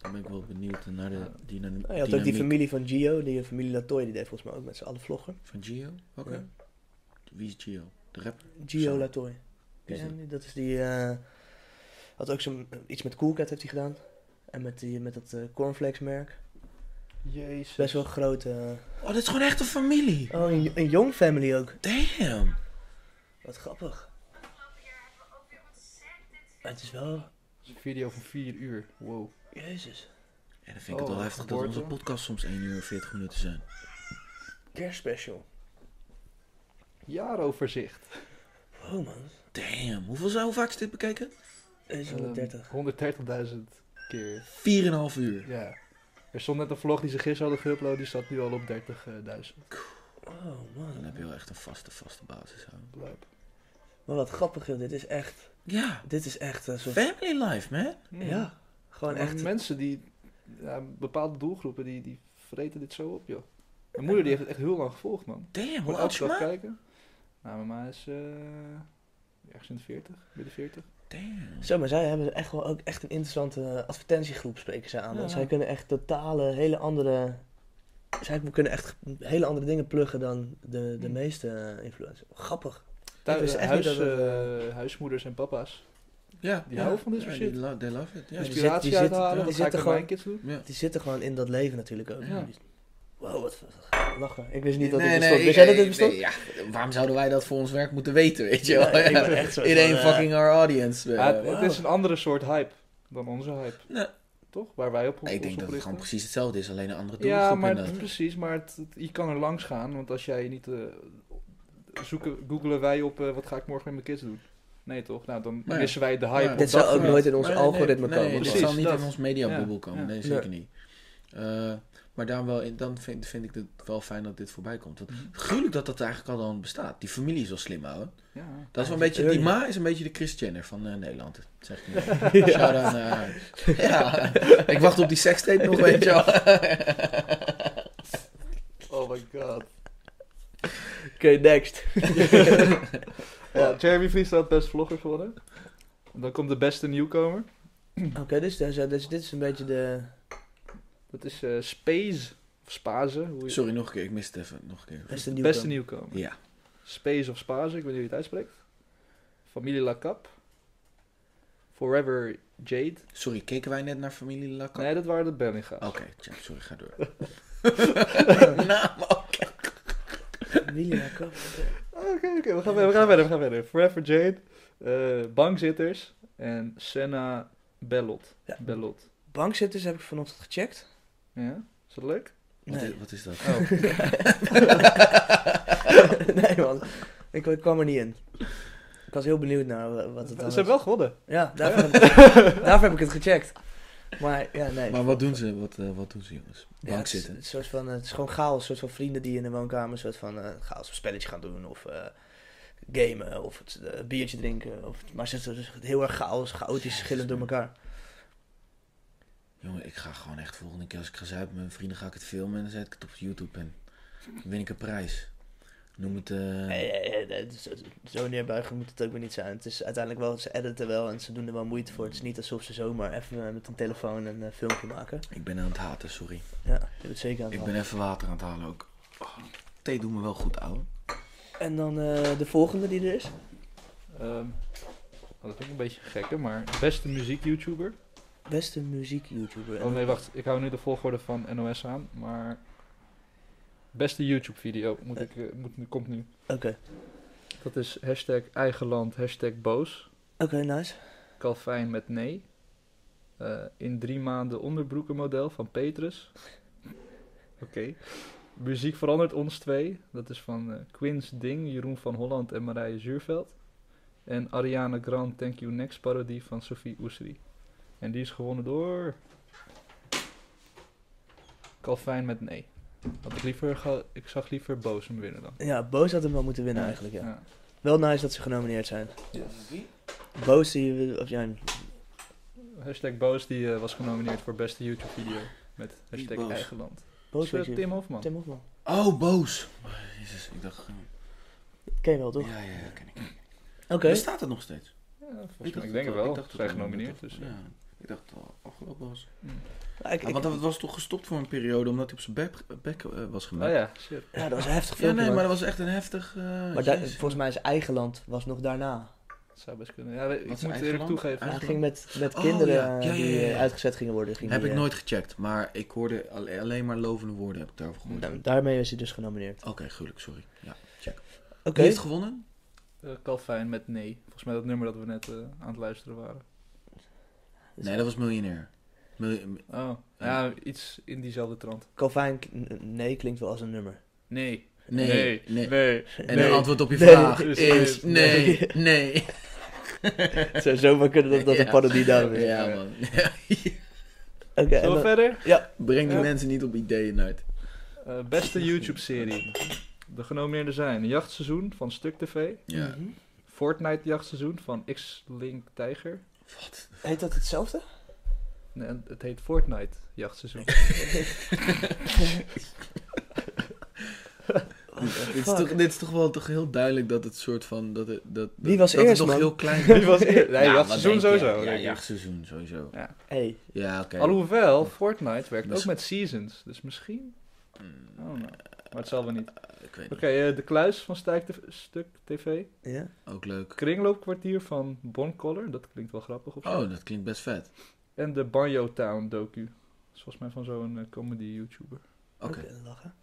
Speaker 1: Dan ben ik wel benieuwd naar de dynam
Speaker 2: Nou, je had ook die
Speaker 1: dynamiek
Speaker 2: familie van Gio, die eh, familie Latoy, die deed volgens mij ook met z'n allen vloggen.
Speaker 1: van Gio. Oké.
Speaker 2: Ja.
Speaker 1: Wie is Gio? De rapper?
Speaker 2: Gio
Speaker 1: Zo.
Speaker 2: Latoy.
Speaker 1: Wie
Speaker 2: Ken
Speaker 1: is
Speaker 2: je hem niet? Dat is die. eh, had ook zo'n. eh, iets met Coolcat heeft hij gedaan. En met, die, met dat eh, cornflakes merk.
Speaker 3: Jezus.
Speaker 2: Best wel groot. eh,
Speaker 1: Oh, dit is gewoon echt een familie.
Speaker 2: Oh, een, een young family ook.
Speaker 1: Damn.
Speaker 2: Wat grappig. Maar het is wel.
Speaker 3: Dat is Een video van 4 uur. Wow.
Speaker 2: Jezus.
Speaker 1: Ja, dan vind ik
Speaker 3: Oh,
Speaker 1: het wel heftig dat
Speaker 3: geboorte.
Speaker 1: onze podcast soms 1 uur en 40 minuten zijn.
Speaker 2: Kerstspecial.
Speaker 3: Jaaroverzicht.
Speaker 2: Oh man.
Speaker 1: Damn, hoeveel zou hoe vaak is dit bekeken?
Speaker 2: 130.
Speaker 3: Ehm, 130.000 keer.
Speaker 1: 4,5 uur.
Speaker 3: Ja. Er stond net een vlog die ze gisteren hadden geüpload. Die staat nu al op 30.000.
Speaker 2: Oh
Speaker 1: Dan
Speaker 2: man.
Speaker 1: heb je wel echt een vaste, vaste basis. Hoor.
Speaker 3: Blijp.
Speaker 2: Maar wat grappig joh. Dit is echt.
Speaker 1: Ja,
Speaker 2: Dit is echt een soort.
Speaker 1: family life, man.
Speaker 2: Ja. Gewoon
Speaker 3: Maar
Speaker 2: echt.
Speaker 3: Mensen die, ja, bepaalde doelgroepen, die, die vreten dit zo op, joh. Mijn moeder die heeft het echt heel lang gevolgd, man.
Speaker 1: Damn, hoe
Speaker 3: Gewoon
Speaker 1: oud is
Speaker 3: elke
Speaker 1: je
Speaker 3: dag
Speaker 1: ma?
Speaker 3: kijken. Nou, mijn ma is eh, ergens in de 40, midden 40.
Speaker 1: Damn.
Speaker 2: Zo, maar zij hebben echt wel ook echt een interessante eh, advertentiegroep spreken ze aan. Want
Speaker 3: Ja.
Speaker 2: zij kunnen echt totale, hele andere... Zij kunnen echt hele andere dingen pluggen dan de, de
Speaker 3: Hm.
Speaker 2: meeste eh, influencers. Grappig.
Speaker 3: Thuis,
Speaker 2: wist echt
Speaker 3: huis,
Speaker 2: niet dat het,
Speaker 3: eh, huismoeders en papa's.
Speaker 1: Ja,
Speaker 3: Die houden van dit
Speaker 1: ja,
Speaker 3: soort
Speaker 1: die
Speaker 3: shit. Dus
Speaker 1: lo- They love it, ja.
Speaker 2: die
Speaker 3: Inspiratie
Speaker 2: zit- die zit-
Speaker 3: uithalen,
Speaker 2: die
Speaker 3: wat ga ik
Speaker 2: zitten
Speaker 3: met
Speaker 2: gewoon-
Speaker 3: mijn kids doen?
Speaker 1: ja.
Speaker 2: Die zitten gewoon in dat leven natuurlijk ook.
Speaker 3: Ja.
Speaker 2: Wow, wat lachen. Ik wist niet dat
Speaker 1: Nee, nee,
Speaker 2: dit bestond.
Speaker 1: ik-
Speaker 2: Wist jij dat dit
Speaker 1: ik-
Speaker 2: bestond?
Speaker 1: nee, ja, waarom zouden wij dat voor ons werk moeten weten, weet je wel?
Speaker 2: Ja, ik ben echt zo van,
Speaker 1: Iedereen
Speaker 2: eh,
Speaker 1: fucking our audience. eh.
Speaker 3: Maar Ah, het, het
Speaker 2: wow.
Speaker 3: is een andere soort hype dan onze hype,
Speaker 1: Nee,
Speaker 3: toch? Waar wij op
Speaker 1: ik
Speaker 3: ons
Speaker 1: denk dat
Speaker 3: op
Speaker 1: het gewoon
Speaker 3: richten.
Speaker 1: precies hetzelfde is, alleen een andere doelgroep
Speaker 3: Ja, maar
Speaker 1: inderdaad.
Speaker 3: precies, maar het- het- je kan er langs gaan, want als jij niet... eh, zoeken, googelen wij op eh, wat ga ik morgen met mijn kids doen? Nee, toch? Nou, dan
Speaker 1: Nee.
Speaker 3: missen wij de hype
Speaker 1: Nee.
Speaker 3: op
Speaker 2: Dit
Speaker 3: dat
Speaker 2: zou ook
Speaker 3: gebied.
Speaker 2: nooit in ons
Speaker 1: Maar
Speaker 2: algoritme
Speaker 1: nee,
Speaker 2: komen. dus
Speaker 1: Nee, dit
Speaker 3: Precies,
Speaker 1: zal niet
Speaker 3: dat.
Speaker 1: in ons mediabubbel
Speaker 3: Ja,
Speaker 1: komen.
Speaker 3: ja.
Speaker 1: Nee, zeker niet. Eh, maar daarom wel in, dan vind, vind ik het wel fijn dat dit voorbij komt. Want
Speaker 2: Mhm.
Speaker 1: gruwelijk dat dat eigenlijk al dan bestaat. Die familie is wel slim, ouwe.
Speaker 3: Ja.
Speaker 1: Dat is wel een
Speaker 2: die
Speaker 1: beetje, die
Speaker 2: early.
Speaker 1: ma is een beetje de Chris Jenner van eh, Nederland. Dat zeg ik niet.
Speaker 2: (laughs) Ja.
Speaker 1: Shout out naar haar. Ja, ik wacht op die sekstape nog, weet je wel.
Speaker 3: Oh my god.
Speaker 2: Oké, next.
Speaker 3: Ja, Jeremy Vries had best vlogger geworden. Dan komt de beste nieuwkomer.
Speaker 2: Oké, dus, dus, dus dit is een beetje de...
Speaker 3: Dat is eh Space. Of Spaze. Hoe je...
Speaker 1: Sorry, nog een keer. Ik mis het even. Nog een keer.
Speaker 2: Beste nieuw.
Speaker 3: Beste nieuwkomer.
Speaker 1: Ja.
Speaker 3: Space of Spaze, ik weet niet hoe je het uitspreekt. Familie Lacap. Forever Jade.
Speaker 1: Sorry, keken wij net naar familie Lacan?
Speaker 3: Nee, dat waren de Bellinga's.
Speaker 1: Oké, tja, sorry, ga
Speaker 2: (laughs)
Speaker 1: door. (laughs) nou, maar oké.
Speaker 2: William Kopp.
Speaker 3: Oké, oké, we, gaan verder, we gaan verder, we gaan verder. Forever Jade. eh, bankzitters. En Senna Bellot.
Speaker 2: Ja.
Speaker 3: Bellot.
Speaker 2: Bankzitters heb ik vanochtend gecheckt.
Speaker 3: Ja, is dat leuk?
Speaker 1: Wat,
Speaker 3: (laughs)
Speaker 2: Nee.
Speaker 1: is, wat is dat?
Speaker 3: Oh.
Speaker 2: (laughs) nee man, ik, ik kwam er niet in. Ik was heel benieuwd naar wa- wat
Speaker 3: Ze
Speaker 2: het dan
Speaker 3: hebben
Speaker 2: is.
Speaker 3: wel Oh, gewonnen.
Speaker 2: Ja, daarvoor, heb
Speaker 3: (laughs)
Speaker 2: ik, daarvoor heb ik het gecheckt. Maar ja, nee.
Speaker 1: Maar wat doen ze? Wat, eh, wat doen ze, jongens?
Speaker 2: Ja,
Speaker 1: Bank
Speaker 2: het, is,
Speaker 1: zitten.
Speaker 2: het is soort van, eh, het is gewoon chaos. Een soort van vrienden die in de woonkamer een soort van eh, chaos een spelletje gaan doen. Of eh, gamen. Of het, eh, biertje drinken. Of, maar ze zijn dus heel erg chaos, chaotisch, schillend door elkaar.
Speaker 1: Jongen, ik ga gewoon echt volgende keer als ik ga zuipen met mijn vrienden ga ik het filmen en dan zet ik het op YouTube en dan win ik een prijs. Noem het. eh,
Speaker 2: Nee, nee, nee, nee, dus, eh, zo neerbuigen moet het ook weer niet zijn. Het is uiteindelijk wel, ze editen wel en ze doen er wel moeite voor. Het is niet alsof ze zomaar even eh, met een telefoon een eh, filmpje maken.
Speaker 1: Ik ben aan het haten, sorry.
Speaker 2: Ja, dat doet zeker aan het
Speaker 1: Ik
Speaker 2: hand.
Speaker 1: ben even water aan het halen ook. Oh, thee doet me wel goed, ouwe.
Speaker 2: En dan eh, de volgende die er is.
Speaker 3: Ehm, dat is ook een beetje gekke, maar beste muziek-YouTuber.
Speaker 2: Beste muziek-YouTuber.
Speaker 3: Oh nee, wacht. Ik hou nu de volgorde van NOS aan, maar... Beste YouTube-video moet ik, eh, moet, komt nu.
Speaker 2: Oké,
Speaker 3: Dat is hashtag eigenland, hashtag boos.
Speaker 2: oké, nice.
Speaker 3: Calvijn met nee. Eh, in drie maanden onderbroekenmodel van
Speaker 1: (laughs)
Speaker 3: Petrus. Oké. Muziek verandert ons twee. Dat is van eh Quins Ding, Jeroen van Holland en Marije Zuurveld. En Ariana Grande Thank You Next parodie van Sophie Oesri. En die is gewonnen door... Calvijn met nee. Had ik, liever ge- ik zag liever Boos hem winnen dan.
Speaker 2: Ja, Boos had hem wel moeten winnen eigenlijk, ja.
Speaker 3: Ja.
Speaker 2: Wel nice dat ze genomineerd zijn.
Speaker 1: Wie?
Speaker 2: Boos die, of ja,
Speaker 3: Hashtag Boos die eh, was genomineerd voor beste YouTube video. Met
Speaker 1: Wie
Speaker 3: hashtag
Speaker 1: Boos?
Speaker 3: Eigenland.
Speaker 2: Boos
Speaker 3: Is, eh,
Speaker 2: weet je-
Speaker 3: Tim Hofman.
Speaker 2: Tim Hofman.
Speaker 1: Oh, boos. Jezus, ik dacht. eh,
Speaker 2: Ken je wel, toch?
Speaker 1: Ja, ja, ja, ken ik.
Speaker 2: Oké.
Speaker 1: Bestaat het nog steeds?
Speaker 3: Ja, volgens
Speaker 1: dacht
Speaker 3: mij, ik
Speaker 1: het
Speaker 3: denk het wel. Ze
Speaker 1: het
Speaker 3: zijn
Speaker 1: al-
Speaker 3: genomineerd. Dus, eh.
Speaker 1: Ja, ik dacht dat het al afgelopen was.
Speaker 2: Ja, ik-
Speaker 1: Ja,
Speaker 2: ik-
Speaker 1: want dat was toch gestopt voor een periode omdat hij op zijn bek, bek, eh, was
Speaker 3: Oh
Speaker 1: gemaakt.
Speaker 3: ja, shit.
Speaker 2: ja, dat was een heftig
Speaker 1: Ja,
Speaker 2: filmpje.
Speaker 1: nee, maar
Speaker 2: maar
Speaker 1: dat was echt een heftig. eh,
Speaker 2: maar daar-
Speaker 1: jezus.
Speaker 2: volgens mij is eigen land was nog daarna.
Speaker 3: Dat zou best kunnen. Ja, we- ik
Speaker 1: Wat is
Speaker 3: moet het
Speaker 1: eigen
Speaker 3: eerlijk
Speaker 1: land?
Speaker 3: toegeven.
Speaker 2: Hij
Speaker 1: Eigen
Speaker 2: ging met, met
Speaker 1: Oh,
Speaker 2: kinderen
Speaker 1: ja.
Speaker 2: eh,
Speaker 1: Ja, ja,
Speaker 2: die
Speaker 1: ja,
Speaker 2: eh,
Speaker 1: ja.
Speaker 2: uitgezet gingen worden. Ging
Speaker 1: Heb
Speaker 2: die,
Speaker 1: ik
Speaker 2: eh,
Speaker 1: nooit gecheckt, maar ik hoorde alle- alleen maar lovende woorden heb ik daarover gehoord.
Speaker 2: nou, daarmee is hij dus genomineerd.
Speaker 1: Oké, gelukkig, sorry. Ja, check. Wie
Speaker 2: Oké.
Speaker 1: heeft gewonnen?
Speaker 3: Eh, Calvin met nee. Volgens mij dat nummer dat we net eh, aan het luisteren waren.
Speaker 1: Nee, dat was miljonair. Miljoen-
Speaker 3: Oh, ja, iets in diezelfde trant.
Speaker 2: Calvin, k- n- nee, klinkt wel als een nummer.
Speaker 3: Nee.
Speaker 1: nee, nee,
Speaker 3: Nee.
Speaker 1: En
Speaker 3: Nee.
Speaker 1: het
Speaker 2: (laughs)
Speaker 1: antwoord op je
Speaker 2: Nee.
Speaker 1: vraag
Speaker 3: Dus,
Speaker 1: is
Speaker 3: eh,
Speaker 1: nee,
Speaker 2: nee. (laughs)
Speaker 1: nee.
Speaker 2: Zou zomaar kunnen dat dat een
Speaker 1: Ja.
Speaker 2: parodie daarom is.
Speaker 1: Ja, man. (laughs)
Speaker 2: Oké, en
Speaker 3: Zullen we
Speaker 2: dan-
Speaker 3: verder?
Speaker 1: Breng die
Speaker 3: Ja.
Speaker 1: mensen niet op ideeën uit.
Speaker 3: Eh, beste YouTube-serie. De genomineerden zijn Jachtseizoen van Stuk TV.
Speaker 1: Ja.
Speaker 2: Mhm.
Speaker 3: Fortnite Jachtseizoen van X-Link Tiger.
Speaker 1: Wat?
Speaker 2: Heet dat hetzelfde?
Speaker 3: Nee, het heet Fortnite Jachtseizoen.
Speaker 2: (laughs)
Speaker 1: Dit is, toch, dit is toch wel toch heel duidelijk dat het soort van... Dat, het- dat,
Speaker 2: Wie
Speaker 1: dat,
Speaker 2: was
Speaker 1: dat het
Speaker 2: eerst,
Speaker 1: nog
Speaker 2: man?
Speaker 1: heel
Speaker 2: (laughs)
Speaker 1: klein
Speaker 3: Wie was eer- Nee,
Speaker 1: Ja,
Speaker 3: jachtseizoen
Speaker 1: wat denk je?
Speaker 3: sowieso.
Speaker 1: Ja,
Speaker 3: denk ik.
Speaker 1: jachtseizoen sowieso.
Speaker 2: Hey,
Speaker 1: Ja, oké.
Speaker 3: Alhoewel, Fortnite werkt
Speaker 1: Dus-
Speaker 3: ook met seasons. Dus misschien...
Speaker 1: Mm,
Speaker 3: Oh, nou. Maar het zal wel niet. Oké,
Speaker 1: Ik weet
Speaker 3: eh, De Kluis van Stijk TV, Stuk TV.
Speaker 2: ja?
Speaker 1: niet. Ook leuk.
Speaker 3: Kringloopkwartier van Boncolor. Dat klinkt wel grappig op zich.
Speaker 1: Oh, dat klinkt best vet.
Speaker 3: En de Banjo Town docu. Dat is volgens mij van zo'n eh, comedy YouTuber.
Speaker 1: Oké.
Speaker 2: lachen.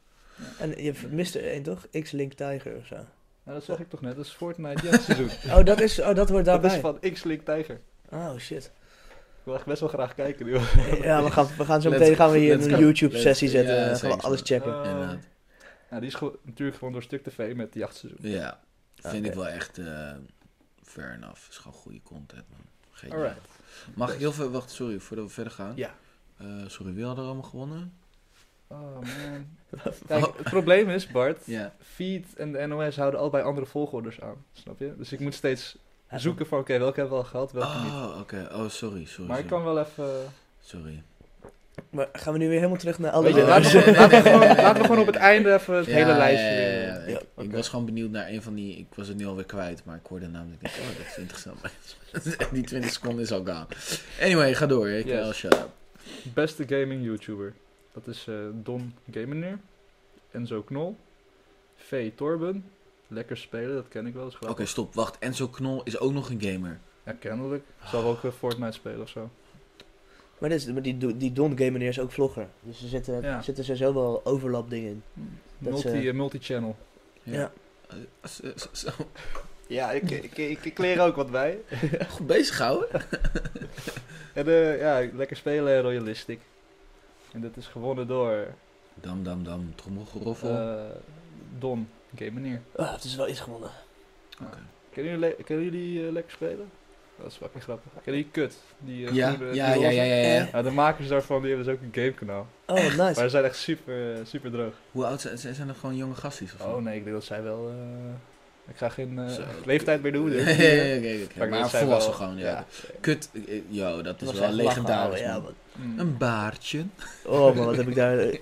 Speaker 2: En je mist er één toch? X-Link Tiger of zo.
Speaker 3: Nou, dat
Speaker 1: Oh.
Speaker 3: zeg ik toch net. Dat is Fortnite jachtseizoen.
Speaker 1: (laughs)
Speaker 2: Oh, dat, is, oh, dat hoort
Speaker 3: dat is
Speaker 2: daarbij.
Speaker 3: van X-Link Tiger.
Speaker 2: Oh shit.
Speaker 3: Ik wil echt best wel graag kijken nu.
Speaker 2: (laughs) Ja, we gaan, we gaan zo
Speaker 1: Let's
Speaker 2: meteen gaan we
Speaker 1: go,
Speaker 2: hier
Speaker 1: let's
Speaker 2: een
Speaker 1: go.
Speaker 2: YouTube-sessie
Speaker 1: Let's-
Speaker 2: zetten.
Speaker 1: ja,
Speaker 2: en gaan
Speaker 1: zeker.
Speaker 2: we alles checken.
Speaker 3: Oh.
Speaker 1: Inderdaad.
Speaker 3: Nou, die is gewoon- natuurlijk gewoon door Stuk TV met jachtseizoen.
Speaker 1: Ja, vind
Speaker 2: Oké.
Speaker 1: ik wel echt eh, fair enough. Is gewoon goede content, man. Geen
Speaker 3: Alright.
Speaker 1: Mag ik heel veel... Wacht, sorry, voordat we verder gaan.
Speaker 3: Ja.
Speaker 1: Eh, sorry, wie hadden er allemaal gewonnen?
Speaker 3: Oh man. Kijk, het probleem is, Bart.
Speaker 1: Ja.
Speaker 3: Feed en de NOS houden allebei andere volgorders aan. Snap je? Dus ik moet steeds
Speaker 2: Ja,
Speaker 3: zoeken van, oké, welke hebben we al gehad, welke niet.
Speaker 1: Oh, oké. Oh, sorry, sorry.
Speaker 3: Maar ik kan wel even...
Speaker 1: Sorry.
Speaker 2: Maar gaan we nu weer helemaal terug naar
Speaker 3: Weet
Speaker 2: alle...
Speaker 3: je,
Speaker 1: Oh.
Speaker 3: laten, we,
Speaker 1: Nee,
Speaker 3: laten, we
Speaker 1: nee,
Speaker 3: gewoon,
Speaker 1: nee, nee,
Speaker 3: laten we gewoon
Speaker 1: nee,
Speaker 3: op het
Speaker 1: nee.
Speaker 3: einde even het
Speaker 1: Ja,
Speaker 3: hele
Speaker 1: ja,
Speaker 3: lijstje...
Speaker 1: ja, ja,
Speaker 3: weer-
Speaker 1: ja. Ik,
Speaker 2: Ja,
Speaker 1: ik
Speaker 3: oké.
Speaker 1: was gewoon benieuwd naar een van die... Ik was het nu alweer kwijt, maar ik hoorde namelijk... Niet, oh, dat is interessant. maar (laughs) die 20 seconden is al gaan. Anyway, ga door. Ik eh,
Speaker 3: Yes.
Speaker 1: wil shut up.
Speaker 3: Beste gaming YouTuber. Dat is eh, Don Gameneer, Enzo Knol, V. Torben. Lekker spelen, dat ken ik wel. Dat is
Speaker 1: Oké,
Speaker 3: grappig.
Speaker 1: stop. Wacht, Enzo Knol is ook nog een gamer.
Speaker 3: Ja, kennelijk. Zal wel ook eh, Fortnite spelen of zo.
Speaker 2: (laughs) Maar, dit is, maar die, do- die Don Game meneer is ook vlogger. Dus er zitten,
Speaker 3: Ja.
Speaker 2: zitten sowieso wel overlap dingen in. Dat is,
Speaker 3: Multi,
Speaker 2: eh,
Speaker 3: eh, multi-channel.
Speaker 2: Ja.
Speaker 1: Eh, zo- zo- zo.
Speaker 3: Ja, ik, ik, ik, leer ook wat bij.
Speaker 1: Goed bezig houden.
Speaker 3: En eh, ja, lekker spelen en Royalistic. En dat is gewonnen door
Speaker 1: Dam, dam, dam. Trommelgeroffel.
Speaker 3: eh, Don Oké, meneer.
Speaker 2: Ah, het is wel iets gewonnen.
Speaker 3: Kennen jullie, le- kennen jullie eh, lekker spelen? Dat is fucking grappig. Kennen jullie Kut? Die, eh,
Speaker 1: Ja,
Speaker 3: groene-
Speaker 1: ja,
Speaker 3: die
Speaker 1: ja,
Speaker 3: roze?
Speaker 1: ja, ja, ja.
Speaker 2: Eh?
Speaker 3: Ja, de makers daarvan die hebben dus ook een gamekanaal.
Speaker 2: Oh,
Speaker 3: Maar
Speaker 2: nice.
Speaker 3: ze zijn echt super, eh, super droog.
Speaker 1: Hoe oud zijn zijn? Zijn er gewoon jonge gasties of zo?
Speaker 3: Oh nee, ik denk dat zij wel... eh, ik ga geen eh,
Speaker 1: Zo.
Speaker 3: leeftijd meer (laughs)
Speaker 1: (laughs)
Speaker 3: doen.
Speaker 1: Nee,
Speaker 3: dus.
Speaker 1: nee, nee, oké, oké.
Speaker 3: ik denk
Speaker 1: Maar
Speaker 3: dat zij
Speaker 1: volwassen
Speaker 3: wel-
Speaker 1: gewoon, ja.
Speaker 3: zeker.
Speaker 1: Kut, eh, yo, dat is
Speaker 2: was
Speaker 1: wel
Speaker 2: echt lachen,
Speaker 1: legendarisch.
Speaker 2: ouwe, ja,
Speaker 1: man.
Speaker 2: man.
Speaker 3: Mm.
Speaker 1: Een baardje.
Speaker 2: Oh man, wat heb ik daar, wat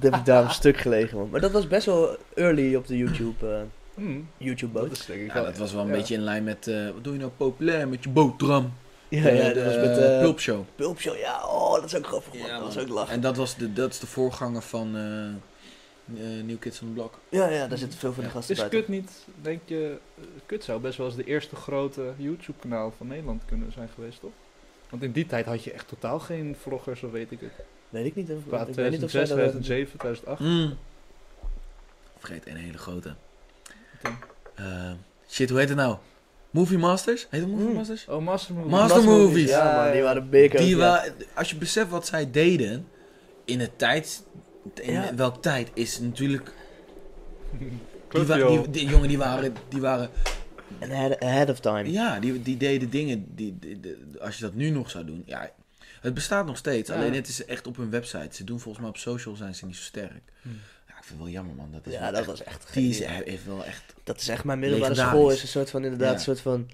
Speaker 2: heb ik daar een stuk gelegen man. Maar dat was best wel early op de YouTube, eh,
Speaker 3: Mm.
Speaker 2: YouTube
Speaker 3: Dat
Speaker 2: boot.
Speaker 3: is denk ik
Speaker 1: Ja, dat was wel een
Speaker 3: ja.
Speaker 1: beetje in lijn met, eh, wat doe je nou populair met je boterham?
Speaker 2: Ja, ja,
Speaker 1: Eh, de,
Speaker 2: dat was met
Speaker 1: eh,
Speaker 2: eh
Speaker 1: Pulp Show.
Speaker 2: Pulp Show. Ja, oh, dat is ook grappig man. dat was ook lachen.
Speaker 1: En dat, was de, dat is de voorganger van eh, eh, New Kids on the Block.
Speaker 2: Ja, ja, daar zitten veel van de
Speaker 1: Ja.
Speaker 2: gasten
Speaker 3: Is
Speaker 2: bij.
Speaker 3: Kut niet, denk je, eh, Kut zou best wel eens de eerste grote YouTube-kanaal van Nederland kunnen zijn geweest, toch? Want in die tijd had je echt totaal geen vloggers of weet ik het.
Speaker 2: Weet ik niet. Of,
Speaker 3: Qua
Speaker 2: ik weet niet of zij
Speaker 3: 2006,
Speaker 2: dat...
Speaker 3: 2007, 2008.
Speaker 1: Mm. Vergeet een hele grote.
Speaker 3: dan?
Speaker 1: Eh, shit, hoe heet het nou? Movie Masters? Heet het Movie
Speaker 2: Mm.
Speaker 1: Masters?
Speaker 3: Oh, Master Movie.
Speaker 1: Master
Speaker 2: Master
Speaker 1: Movies.
Speaker 2: Movies, Ja, man, die waren big. ook,
Speaker 1: Die
Speaker 2: ja.
Speaker 1: wa- als je beseft wat zij deden in de tijd, in
Speaker 2: Ja.
Speaker 1: welk tijd is natuurlijk. Die,
Speaker 3: Klopt,
Speaker 1: wa-
Speaker 3: joh.
Speaker 1: die, die jongen die waren, die waren
Speaker 2: En ahead, ahead of time.
Speaker 1: Ja, die, die deden dingen die, die- die- als je dat nu nog zou doen. Ja, het bestaat nog steeds.
Speaker 3: Ja.
Speaker 1: Alleen het is echt op hun website. Ze doen volgens mij op social zijn ze niet zo sterk.
Speaker 3: Hm.
Speaker 1: Ja, ik vind het wel jammer man. Dat is
Speaker 2: Mm. Ja,
Speaker 1: wel
Speaker 2: dat
Speaker 1: echt-
Speaker 2: was echt
Speaker 1: die
Speaker 2: geniaal.
Speaker 1: is, hij heeft wel echt.
Speaker 2: Dat is echt mijn middelbare
Speaker 1: Legendarisch.
Speaker 2: school. Is een soort van inderdaad
Speaker 1: Ja.
Speaker 2: een soort van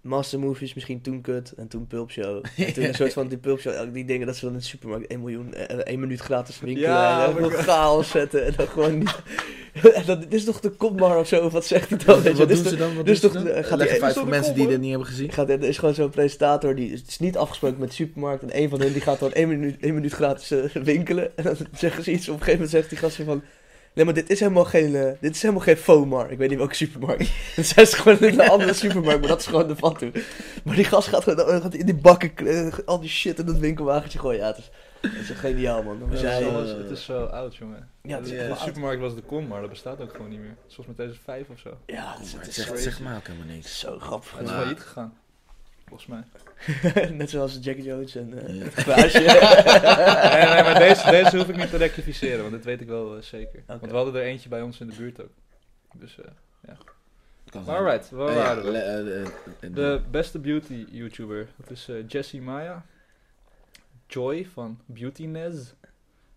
Speaker 2: master movies, misschien toen kut en toen pulp
Speaker 1: (laughs)
Speaker 2: show. En toen
Speaker 1: Ja.
Speaker 2: een soort van die pulp show, elk- die dingen dat ze dan in de supermarkt 1 miljoen, eh, eh, 1 minuut gratis winkelen
Speaker 3: Ja,
Speaker 2: en
Speaker 3: maar
Speaker 2: dan
Speaker 3: ik-
Speaker 2: chaos zetten en dan gewoon niet. (laughs) En dat, dit is toch de kopmar of zo, of wat zegt hij (laughs) dan? Weet je?
Speaker 1: wat
Speaker 2: Dit
Speaker 1: doen
Speaker 2: is
Speaker 1: ze dan? Wat
Speaker 2: dus
Speaker 1: doen
Speaker 2: toch-
Speaker 1: ze dan?
Speaker 2: eh, gaat
Speaker 1: Leg
Speaker 2: die-
Speaker 1: even uit
Speaker 3: is
Speaker 1: voor
Speaker 3: toch
Speaker 1: mensen
Speaker 3: de
Speaker 1: die
Speaker 3: kom,
Speaker 1: dit niet hebben gezien.
Speaker 2: toch- gaat, er is gewoon zo'n presentator, die het is niet afgesproken met de supermarkt. En een van hun die gaat dan 1 minuut, 1 minuut gratis eh, (laughs) winkelen. En dan zeggen ze iets. Op een gegeven moment zegt die gast weer van... Nee, maar dit is helemaal geen, eh, dit is helemaal geen FOMAR. Ik weet niet welke supermarkt. (laughs) En zij is gewoon in een andere supermarkt, maar dat is gewoon de fatsoen. Maar die gast gaat gewoon eh, gaat in die bakken, eh, al die shit in dat winkelwagentje gooien. Ja, het is, het is geniaal, man. Dan was
Speaker 3: Ja,
Speaker 1: zij,
Speaker 3: het, is
Speaker 2: jij,
Speaker 1: wel-
Speaker 3: alles-
Speaker 1: eh,
Speaker 3: het is zo oud, jongen.
Speaker 2: Ja, het is
Speaker 3: de,
Speaker 1: echt wel
Speaker 2: oud.
Speaker 3: supermarkt was de kom, maar dat bestaat ook gewoon niet meer. Zoals met deze vijf of zo.
Speaker 2: ja, het is,
Speaker 1: Maar
Speaker 2: het
Speaker 1: Het
Speaker 2: is
Speaker 1: zegt,
Speaker 2: zo-
Speaker 1: zegt mij ook helemaal niks.
Speaker 2: zo grappig.
Speaker 3: Het is
Speaker 1: Maar-
Speaker 3: failliet gegaan, volgens (laughs) mij.
Speaker 2: (laughs) Net zoals Jackie Jones en eh
Speaker 1: Ja.
Speaker 2: het glaasje.
Speaker 3: nee, nee, maar deze, deze hoef ik niet te rectificeren, want dit weet ik wel eh, zeker. Want we hadden er eentje bij ons in de buurt ook. Dus, eh
Speaker 1: Kan zijn.
Speaker 3: alright, waar
Speaker 1: Eh, ja,
Speaker 3: waren we?
Speaker 1: le- eh, eh, eh,
Speaker 3: De beste beauty YouTuber, dat is eh, Jessie Maya, Joy van Beauty Nez,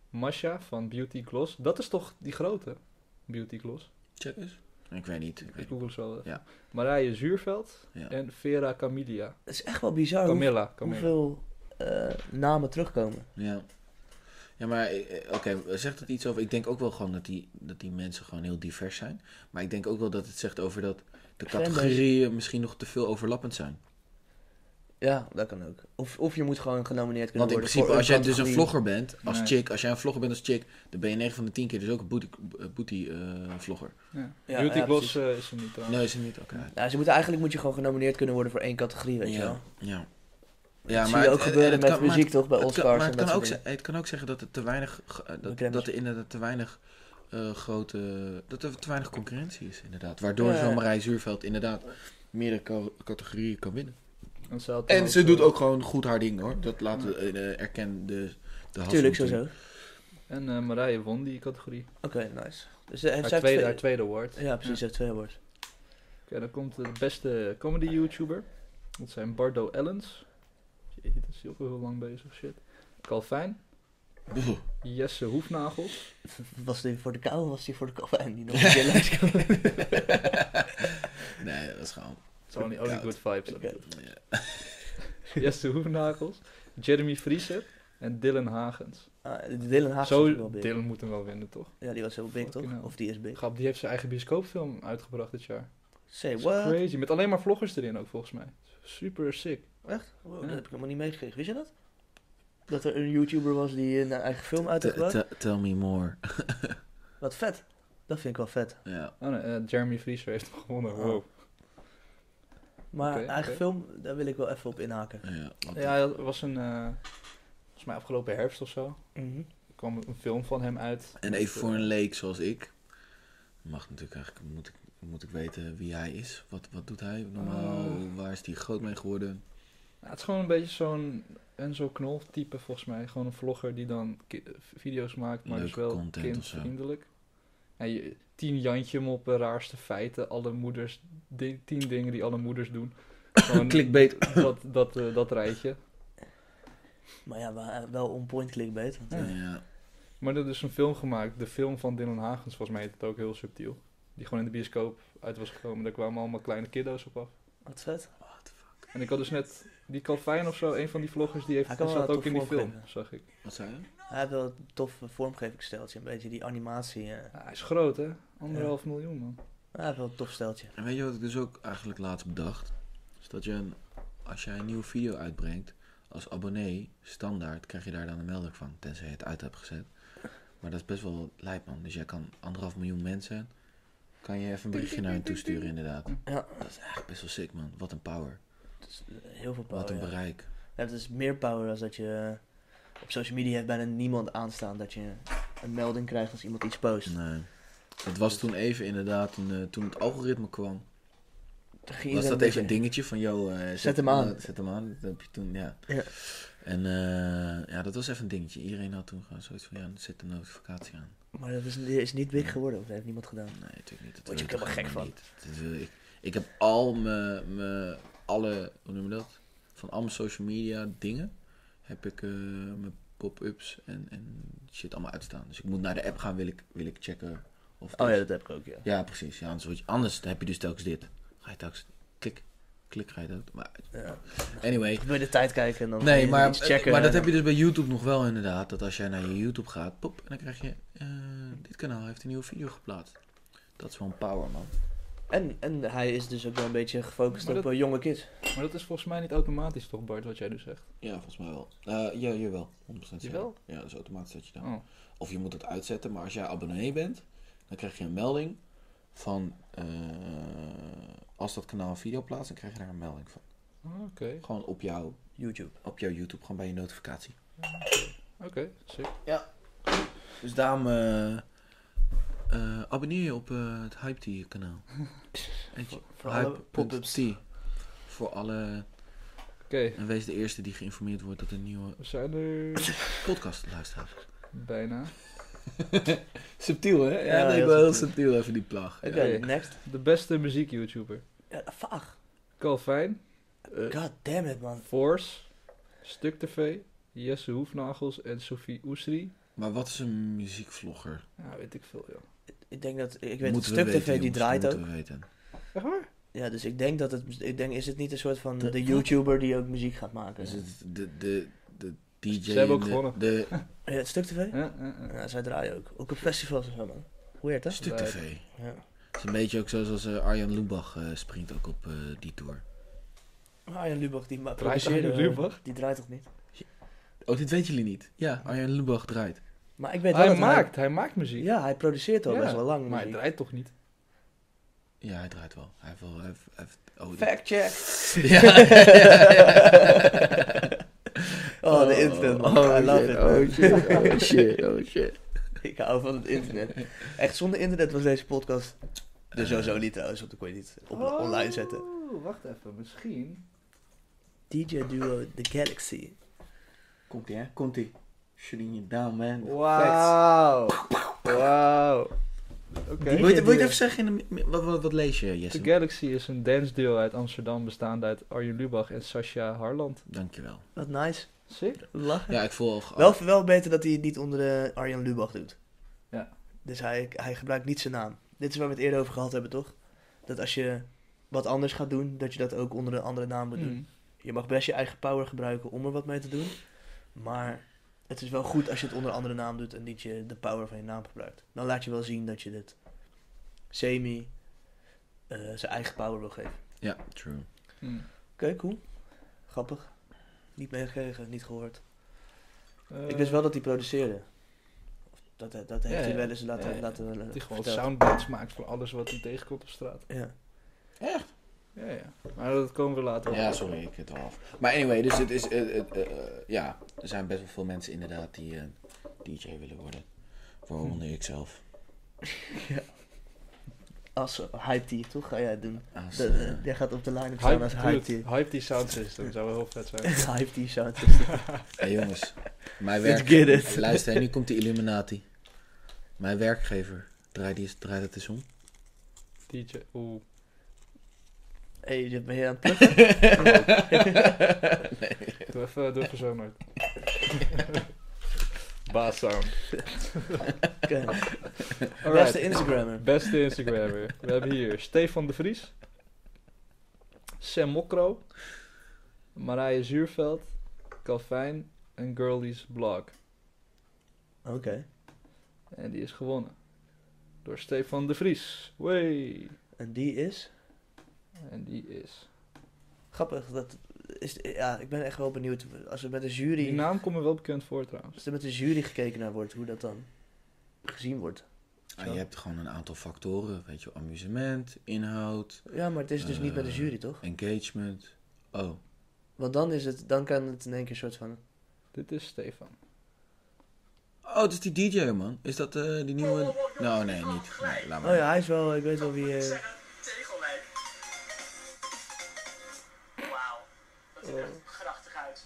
Speaker 3: Masha van Beauty Gloss. Dat is toch die grote Beauty Gloss?
Speaker 1: Check eens. Ik weet niet. Ik weet
Speaker 3: Ik
Speaker 1: niet.
Speaker 3: google ze wel even.
Speaker 1: Ja.
Speaker 3: Marije Zuurveld
Speaker 1: Ja.
Speaker 3: en Vera Camilia.
Speaker 2: Het is echt wel bizar Oh, hoe-
Speaker 3: Camilla, Camilla.
Speaker 2: hoeveel eh, namen terugkomen.
Speaker 1: Ja. Ja, maar eh, oké, zegt het iets over... Ik denk ook wel gewoon dat die, dat die mensen gewoon heel divers zijn. Maar ik denk ook wel dat het zegt over dat de
Speaker 2: Fanbase.
Speaker 1: categorieën misschien nog te veel overlappend zijn.
Speaker 2: Ja, dat kan ook. Of, of je moet gewoon genomineerd kunnen
Speaker 1: Want in
Speaker 2: worden.
Speaker 1: principe,
Speaker 2: voor
Speaker 1: als jij dus een
Speaker 2: categorie.
Speaker 1: vlogger bent, als
Speaker 3: Nee.
Speaker 1: chick, als jij een vlogger bent als chick, dan ben je 9 van de 10 keer dus ook een booty, eh, booty eh, vlogger.
Speaker 3: Ja.
Speaker 2: Ja,
Speaker 3: Beauty
Speaker 2: ja,
Speaker 3: Gloss eh, is er niet trouwens.
Speaker 1: Nee, is het niet? Oké.
Speaker 2: Ja, Nou, ze moeten, eigenlijk moet je gewoon genomineerd kunnen worden voor één categorie, weet je wel.
Speaker 1: Ja, ja.
Speaker 2: dat zie je ook
Speaker 1: het- eh,
Speaker 2: gebeuren
Speaker 1: het
Speaker 2: met
Speaker 1: kan- maar
Speaker 2: muziek
Speaker 1: het-
Speaker 2: toch, bij
Speaker 1: het
Speaker 2: Oscars
Speaker 1: kan- Maar het
Speaker 2: en
Speaker 1: kan,
Speaker 2: dat
Speaker 1: ook,
Speaker 2: soort
Speaker 1: ze- het kan ook zeggen dat er te weinig, ge- eh, dat,
Speaker 2: Beklemmen.
Speaker 1: dat er inderdaad te weinig eh, grote, dat er te weinig concurrentie is inderdaad. Waardoor
Speaker 2: Ja.
Speaker 1: zo'n Marij Zuurveld inderdaad meerdere co- categorieën kan winnen.
Speaker 3: En ze, had
Speaker 1: En
Speaker 3: toen
Speaker 1: ze
Speaker 3: ook,
Speaker 1: doet
Speaker 3: eh,
Speaker 1: ook gewoon goed haar ding hoor. Dat laten we eh, erkennen de, de hassel
Speaker 2: Tuurlijk,
Speaker 1: natuurlijk.
Speaker 2: sowieso.
Speaker 3: En eh Marije won die categorie.
Speaker 2: Oké, nice. Dus hij
Speaker 3: Haar
Speaker 2: heeft zij
Speaker 3: tweede,
Speaker 2: twee-
Speaker 3: haar tweede award.
Speaker 2: Ja, precies, hij heeft twee
Speaker 1: (laughs)
Speaker 2: awards.
Speaker 3: Oké, dan komt de beste comedy YouTuber. Dat zijn Bardo Ellens. Jeetje, dat is heel veel lang bezig, shit. Calvin.
Speaker 2: (laughs)
Speaker 1: Oeh.
Speaker 3: Jesse Hoefnagels.
Speaker 2: Was die voor de kou of was die voor de
Speaker 1: (laughs)
Speaker 2: koffijn? (laughs) Die nog een keer langs kwam?
Speaker 1: (laughs) Nee, dat is gewoon.
Speaker 3: It's only, only good vibes.
Speaker 2: Oké.
Speaker 1: ja.
Speaker 3: Jesse Hoefnagels. Jeremy Friese. En Dylan Hagens.
Speaker 2: Ah, de Dylan Haag was ook
Speaker 3: Zo,
Speaker 2: wel big.
Speaker 3: Dylan moet hem wel winnen, toch?
Speaker 2: Ja, die was heel big,
Speaker 3: Fucking
Speaker 2: toch?
Speaker 3: hell.
Speaker 2: Of die is big.
Speaker 3: Grap, die heeft zijn eigen bioscoopfilm uitgebracht dit jaar.
Speaker 2: Say
Speaker 3: That's
Speaker 2: what?
Speaker 3: Crazy. Met alleen maar vloggers erin ook, volgens mij. Super sick.
Speaker 2: Echt? Wow,
Speaker 3: Ja.
Speaker 2: Dat heb ik helemaal niet meegekregen. Wist je dat? Dat er een YouTuber was die een eigen film uit had gebracht?
Speaker 1: T- t- Tell me more. (laughs)
Speaker 2: Wat vet. Dat vind ik wel vet.
Speaker 1: Ja.
Speaker 3: Oh nee, eh, Jeremy Friese heeft hem gewonnen.
Speaker 2: Oh.
Speaker 3: Wow.
Speaker 2: Maar
Speaker 3: Oké,
Speaker 2: eigen
Speaker 3: oké.
Speaker 2: film, daar wil ik wel even op inhaken.
Speaker 1: Ja, want-
Speaker 3: Ja, dat was een... eh, volgens mij afgelopen herfst of zo. Er kwam een film van hem uit.
Speaker 1: En even voor een leek zoals ik. Mag natuurlijk eigenlijk, moet ik, moet ik weten wie hij is. Wat, wat doet hij normaal?
Speaker 3: Oh.
Speaker 1: Waar is hij groot mee geworden?
Speaker 3: Ja, Nou, het is gewoon een beetje zo'n Enzo Knol type volgens mij. Gewoon een vlogger die dan ki- video's maakt, maar
Speaker 1: Leuke
Speaker 3: dus wel
Speaker 1: content of zo.
Speaker 3: kindvriendelijk. En nou, je- tien Jantje op eh, raarste feiten, alle moeders, di- tien dingen die alle
Speaker 1: (laughs)
Speaker 3: moeders doen. Gewoon
Speaker 1: Clickbait.
Speaker 3: Dat, dat, eh, dat rijtje.
Speaker 2: Maar ja, wa- eh, wel on point clickbait. Want, eh,
Speaker 1: Ja.
Speaker 3: Maar er is een film gemaakt, de film van Dylan Hagens, volgens mij heet het ook heel subtiel. Die gewoon in de bioscoop uit was gekomen. Daar kwamen allemaal kleine kiddo's op af.
Speaker 2: Wat vet.
Speaker 3: En ik had dus net die Calvin of zo, een van die vloggers, die heeft,
Speaker 2: Hij kan wel
Speaker 3: zat
Speaker 2: een
Speaker 3: ook in die
Speaker 2: toffe
Speaker 3: film,
Speaker 2: vorm
Speaker 3: zag ik.
Speaker 1: Wat zei je?
Speaker 2: Hij heeft wel een tof vormgevingsstijltje. Een beetje die animatie. eh.
Speaker 3: Ja, hij is groot, hè? Anderhalf miljoen, man.
Speaker 2: Hij heeft wel een tof steltje.
Speaker 1: En weet je wat ik dus ook eigenlijk laatst bedacht? Is dat je, een, als jij een nieuwe video uitbrengt, als abonnee, standaard, krijg je daar dan een melding van. Tenzij je het uit hebt gezet. Maar dat is best wel lijp, man. Dus jij kan anderhalf miljoen mensen, kan je even een berichtje naar hen toesturen, inderdaad.
Speaker 2: Ja.
Speaker 1: Dat is eigenlijk best wel sick, man. Wat een power.
Speaker 2: Dus, eh, heel veel power.
Speaker 1: Wat een
Speaker 2: ja.
Speaker 1: bereik.
Speaker 2: Ja, het is meer power als dat je... eh, Op social media heeft bijna niemand aanstaan dat je een melding krijgt als iemand iets post.
Speaker 1: Nee. Het was toen even inderdaad, toen, eh, toen het algoritme kwam,
Speaker 2: Toen ging je
Speaker 1: was
Speaker 2: er
Speaker 1: dat
Speaker 2: een
Speaker 1: even een
Speaker 2: beetje-
Speaker 1: dingetje van, yo, eh,
Speaker 2: Zet hem aan.
Speaker 1: Zet hem aan, dat heb je toen, ja.
Speaker 2: Ja.
Speaker 1: En eh, ja, dat was even een dingetje. Iedereen had toen gewoon zoiets van, ja, er zit een notificatie aan.
Speaker 2: Maar dat is, is niet big geworden, of dat heeft niemand gedaan.
Speaker 1: Nee, natuurlijk niet. Dat
Speaker 2: Word je
Speaker 1: wil
Speaker 2: ook
Speaker 1: toch
Speaker 2: helemaal
Speaker 1: helemaal niet. Dat wil ik. ik heb al mijn, mijn- alle, hoe noem je dat? Van al mijn social media dingen, heb ik eh, mijn pop-ups en, en shit allemaal uitstaan. Dus ik moet naar de app gaan, wil ik, wil ik checken of het
Speaker 2: Oh ja,
Speaker 1: is.
Speaker 2: dat heb ik ook, ja.
Speaker 1: Ja, precies. Ja, anders, word je- anders heb je dus telkens dit. Ga je telkens klik, klik ga je dat. Maar
Speaker 2: ja.
Speaker 1: anyway.
Speaker 2: Wil je de tijd kijken en dan ga
Speaker 1: Nee,
Speaker 2: je
Speaker 1: maar,
Speaker 2: iets checken.
Speaker 1: maar dat
Speaker 2: en
Speaker 1: heb je dus bij YouTube nog wel inderdaad. Dat als jij naar je YouTube gaat, pop, en dan krijg je... eh, dit kanaal heeft een nieuwe video geplaatst. Dat is wel een power, man.
Speaker 2: En, en hij is dus ook wel een beetje gefocust
Speaker 3: Maar
Speaker 2: op
Speaker 3: dat-
Speaker 2: eh, jonge kids.
Speaker 3: Maar dat is volgens mij niet automatisch, toch, Bart, wat jij dus zegt?
Speaker 1: Ja, volgens mij wel. Eh ja, jawel. 100% zeker.
Speaker 3: Jawel?
Speaker 1: Ja, dat is automatisch dat je dan...
Speaker 3: Oh.
Speaker 1: Of je moet het uitzetten, maar als jij abonnee bent... dan krijg je een melding van... eh, als dat kanaal een video plaatst, dan krijg je daar een melding van.
Speaker 2: Ah,
Speaker 3: Oké,
Speaker 1: Gewoon op, jou,
Speaker 2: YouTube.
Speaker 1: op jouw YouTube, gewoon bij je notificatie.
Speaker 3: oké, sick.
Speaker 1: Dus daarom eh, eh, abonneer je op eh, het Hype Tea kanaal.
Speaker 2: (laughs)
Speaker 1: Weet je,
Speaker 2: voor alle
Speaker 1: Hype
Speaker 2: pop-ups.
Speaker 1: Tea. Voor alle.
Speaker 3: Oké,
Speaker 1: En wees de eerste die geïnformeerd wordt dat een nieuwe
Speaker 3: we zijn er (laughs)
Speaker 1: podcast luistert.
Speaker 3: bijna.
Speaker 1: Subtiel, hè? Ja,
Speaker 2: Ja,
Speaker 1: nee, ik
Speaker 2: heel
Speaker 1: ben heel
Speaker 2: subtiel.
Speaker 1: subtiel even die plag.
Speaker 2: Oké,
Speaker 3: Ja.
Speaker 2: next.
Speaker 3: De beste muziek-YouTuber.
Speaker 2: Ja, fuck.
Speaker 3: Calvin, eh,
Speaker 2: God damn it, man.
Speaker 3: Force, Stuk TV, Jesse Hoefnagels en Sophie Oesri.
Speaker 1: Maar wat is een muziekvlogger?
Speaker 3: Ja, weet ik veel, joh.
Speaker 2: Ik denk dat... Ik weet het
Speaker 1: Moeten we
Speaker 2: Stuk TV,
Speaker 1: weten,
Speaker 2: die
Speaker 1: jongens,
Speaker 2: draait
Speaker 1: moeten
Speaker 2: ook.
Speaker 1: we weten.
Speaker 3: Echt waar?
Speaker 2: Ja, dus ik denk dat het... Ik denk, is het niet een soort van
Speaker 1: De-
Speaker 2: de, YouTuber die ook muziek gaat maken?
Speaker 1: Dus het, de, de, de DJ.
Speaker 3: Ze hebben ook
Speaker 1: en de-
Speaker 3: gewonnen.
Speaker 1: De,
Speaker 2: (laughs) Ja, het Stuk TV?
Speaker 3: Ja, ja, ja.
Speaker 2: Ja, zij draaien ook. Ook op festivals en zo, man. Weird, hè?
Speaker 1: Stuk TV. Het
Speaker 2: Ja.
Speaker 1: is een beetje ook zo zoals eh, Arjan Lubach eh, springt ook op eh, die tour.
Speaker 2: Arjen Lubach, die ma-
Speaker 3: Draait
Speaker 2: produceerde...
Speaker 3: Arjen Lubach?
Speaker 2: Die draait toch niet?
Speaker 1: Oh, dit weten jullie niet. Ja, Arjan Lubach draait.
Speaker 2: Maar ik weet wel
Speaker 3: Hij
Speaker 2: dat
Speaker 3: maakt, hij maakt muziek.
Speaker 2: Ja, hij produceert al
Speaker 3: Ja,
Speaker 2: best wel lang
Speaker 3: Maar hij
Speaker 2: muziek.
Speaker 3: draait toch niet?
Speaker 1: Ja, hij draait wel. Hij heeft wel... Hij heeft, hij heeft, oh, die-
Speaker 2: Fact check!
Speaker 1: Ja.
Speaker 2: Oh, de internet, man.
Speaker 1: Oh,
Speaker 2: I love
Speaker 1: shit,
Speaker 2: it, man.
Speaker 1: Oh shit,
Speaker 2: (laughs)
Speaker 1: oh (laughs) shit, oh shit.
Speaker 2: Ik hou van het internet. Echt, zonder internet was deze podcast er sowieso niet trouwens, want dan kon je niet op,
Speaker 3: Oh.
Speaker 2: online zetten.
Speaker 3: Wacht even, misschien.
Speaker 2: DJ Duo The Galaxy.
Speaker 1: Komt-ie, hè? Komt-ie. Shutting you down, man.
Speaker 3: Wauw. Wauw. Oké.
Speaker 1: Wil je, wil je het even zeggen? In de, mi- wat, wat, wat lees je, Jesse?
Speaker 3: The Galaxy is een dance deel uit Amsterdam bestaande uit Arjen Lubach en Sascha Harland.
Speaker 1: Dankjewel.
Speaker 2: Wat nice.
Speaker 3: Sick.
Speaker 2: Lachen.
Speaker 1: Ja, ik volg...
Speaker 2: Wel, wel beter dat hij het niet onder de Arjan Lubach doet.
Speaker 3: Ja.
Speaker 2: Dus hij, hij gebruikt niet zijn naam. Dit is waar we het eerder over gehad hebben, toch? Dat als je wat anders gaat doen, dat je dat ook onder een andere naam
Speaker 3: Hmm.
Speaker 2: moet doen. Je mag best je eigen power gebruiken om er wat mee te doen. Maar het is wel goed als je het onder een andere naam doet en niet je de power van je naam gebruikt. Dan laat je wel zien dat je dit semi eh, zijn eigen power wil geven.
Speaker 1: Ja, true.
Speaker 3: Hmm.
Speaker 2: Oké, cool. Grappig. Niet meegekregen, niet gehoord.
Speaker 3: Eh,
Speaker 2: Ik wist wel dat hij produceerde. Of Dat, eh, dat heeft
Speaker 3: Ja,
Speaker 2: hij
Speaker 3: ja.
Speaker 2: wel eens laten...
Speaker 3: Ja, ja.
Speaker 2: laten laten-
Speaker 3: Die gewoon
Speaker 2: verteld.
Speaker 3: soundbites maakt van alles wat hij tegenkomt op straat.
Speaker 2: Ja.
Speaker 3: Ja, ja. Maar dat komen we later op.
Speaker 1: Ja, sorry, ik het al af. Maar anyway, dus het is... eh, eh, eh, eh, ja, er zijn best wel veel mensen inderdaad die eh, DJ willen worden. Waaronder ik zelf.
Speaker 2: Als eh, hype die, toch? Ga jij het doen.
Speaker 1: Als,
Speaker 2: Dat-
Speaker 1: eh,
Speaker 2: jij gaat op de line-up staan
Speaker 3: Hype,
Speaker 2: als hype
Speaker 3: dude, (laughs)
Speaker 2: die.
Speaker 3: hype die sound
Speaker 2: (laughs)
Speaker 3: system zou wel heel vet zijn.
Speaker 2: Hype die sound. (laughs)
Speaker 1: Hey jongens, mijn
Speaker 2: Let's
Speaker 1: werk...
Speaker 2: get it.
Speaker 1: Luister, en nu komt die Illuminati. Mijn werkgever Draai, die, eens- draai dat eens
Speaker 2: (laughs)
Speaker 1: om.
Speaker 3: DJ. Oeh.
Speaker 2: Hé, hey, je bent hier aan het plukken?
Speaker 3: Doe even, doe even zo nooit. Baas sound. (laughs)
Speaker 2: Oké. Beste
Speaker 3: Alright.
Speaker 2: Instagrammer.
Speaker 3: Beste Instagrammer. We hebben hier Stefan de Vries. Sam Mokro. Marije Zuurveld. Calvin. En Girlies Blog.
Speaker 2: (clears throat) Oké.
Speaker 3: En die is gewonnen. Door Stefan de Vries. Way.
Speaker 2: En die is...
Speaker 3: En die is...
Speaker 2: Grappig, dat is... Ja, ik ben echt wel benieuwd. Als er met een
Speaker 3: Die
Speaker 2: jury...
Speaker 3: naam komt me wel bekend voor trouwens.
Speaker 2: Als er met een jury gekeken naar wordt, hoe dat dan gezien wordt.
Speaker 1: Ah, je hebt gewoon een aantal factoren. Weet je, amusement, inhoud,
Speaker 2: Ja, maar het is dus niet met de
Speaker 1: Eh.
Speaker 2: jury, toch?
Speaker 1: engagement. Oh,
Speaker 2: Want dan is het... Dan kan het in één keer soort van...
Speaker 3: Dit is Stefan.
Speaker 1: oh het is die DJ, man. Is dat eh, die nieuwe... Nou, nee, niet. Nee, laat maar.
Speaker 2: Oh ja, hij is wel... Ik weet wel wie... eh,
Speaker 4: Tegelwijk. Wauw, dat ziet er echt grachtig uit.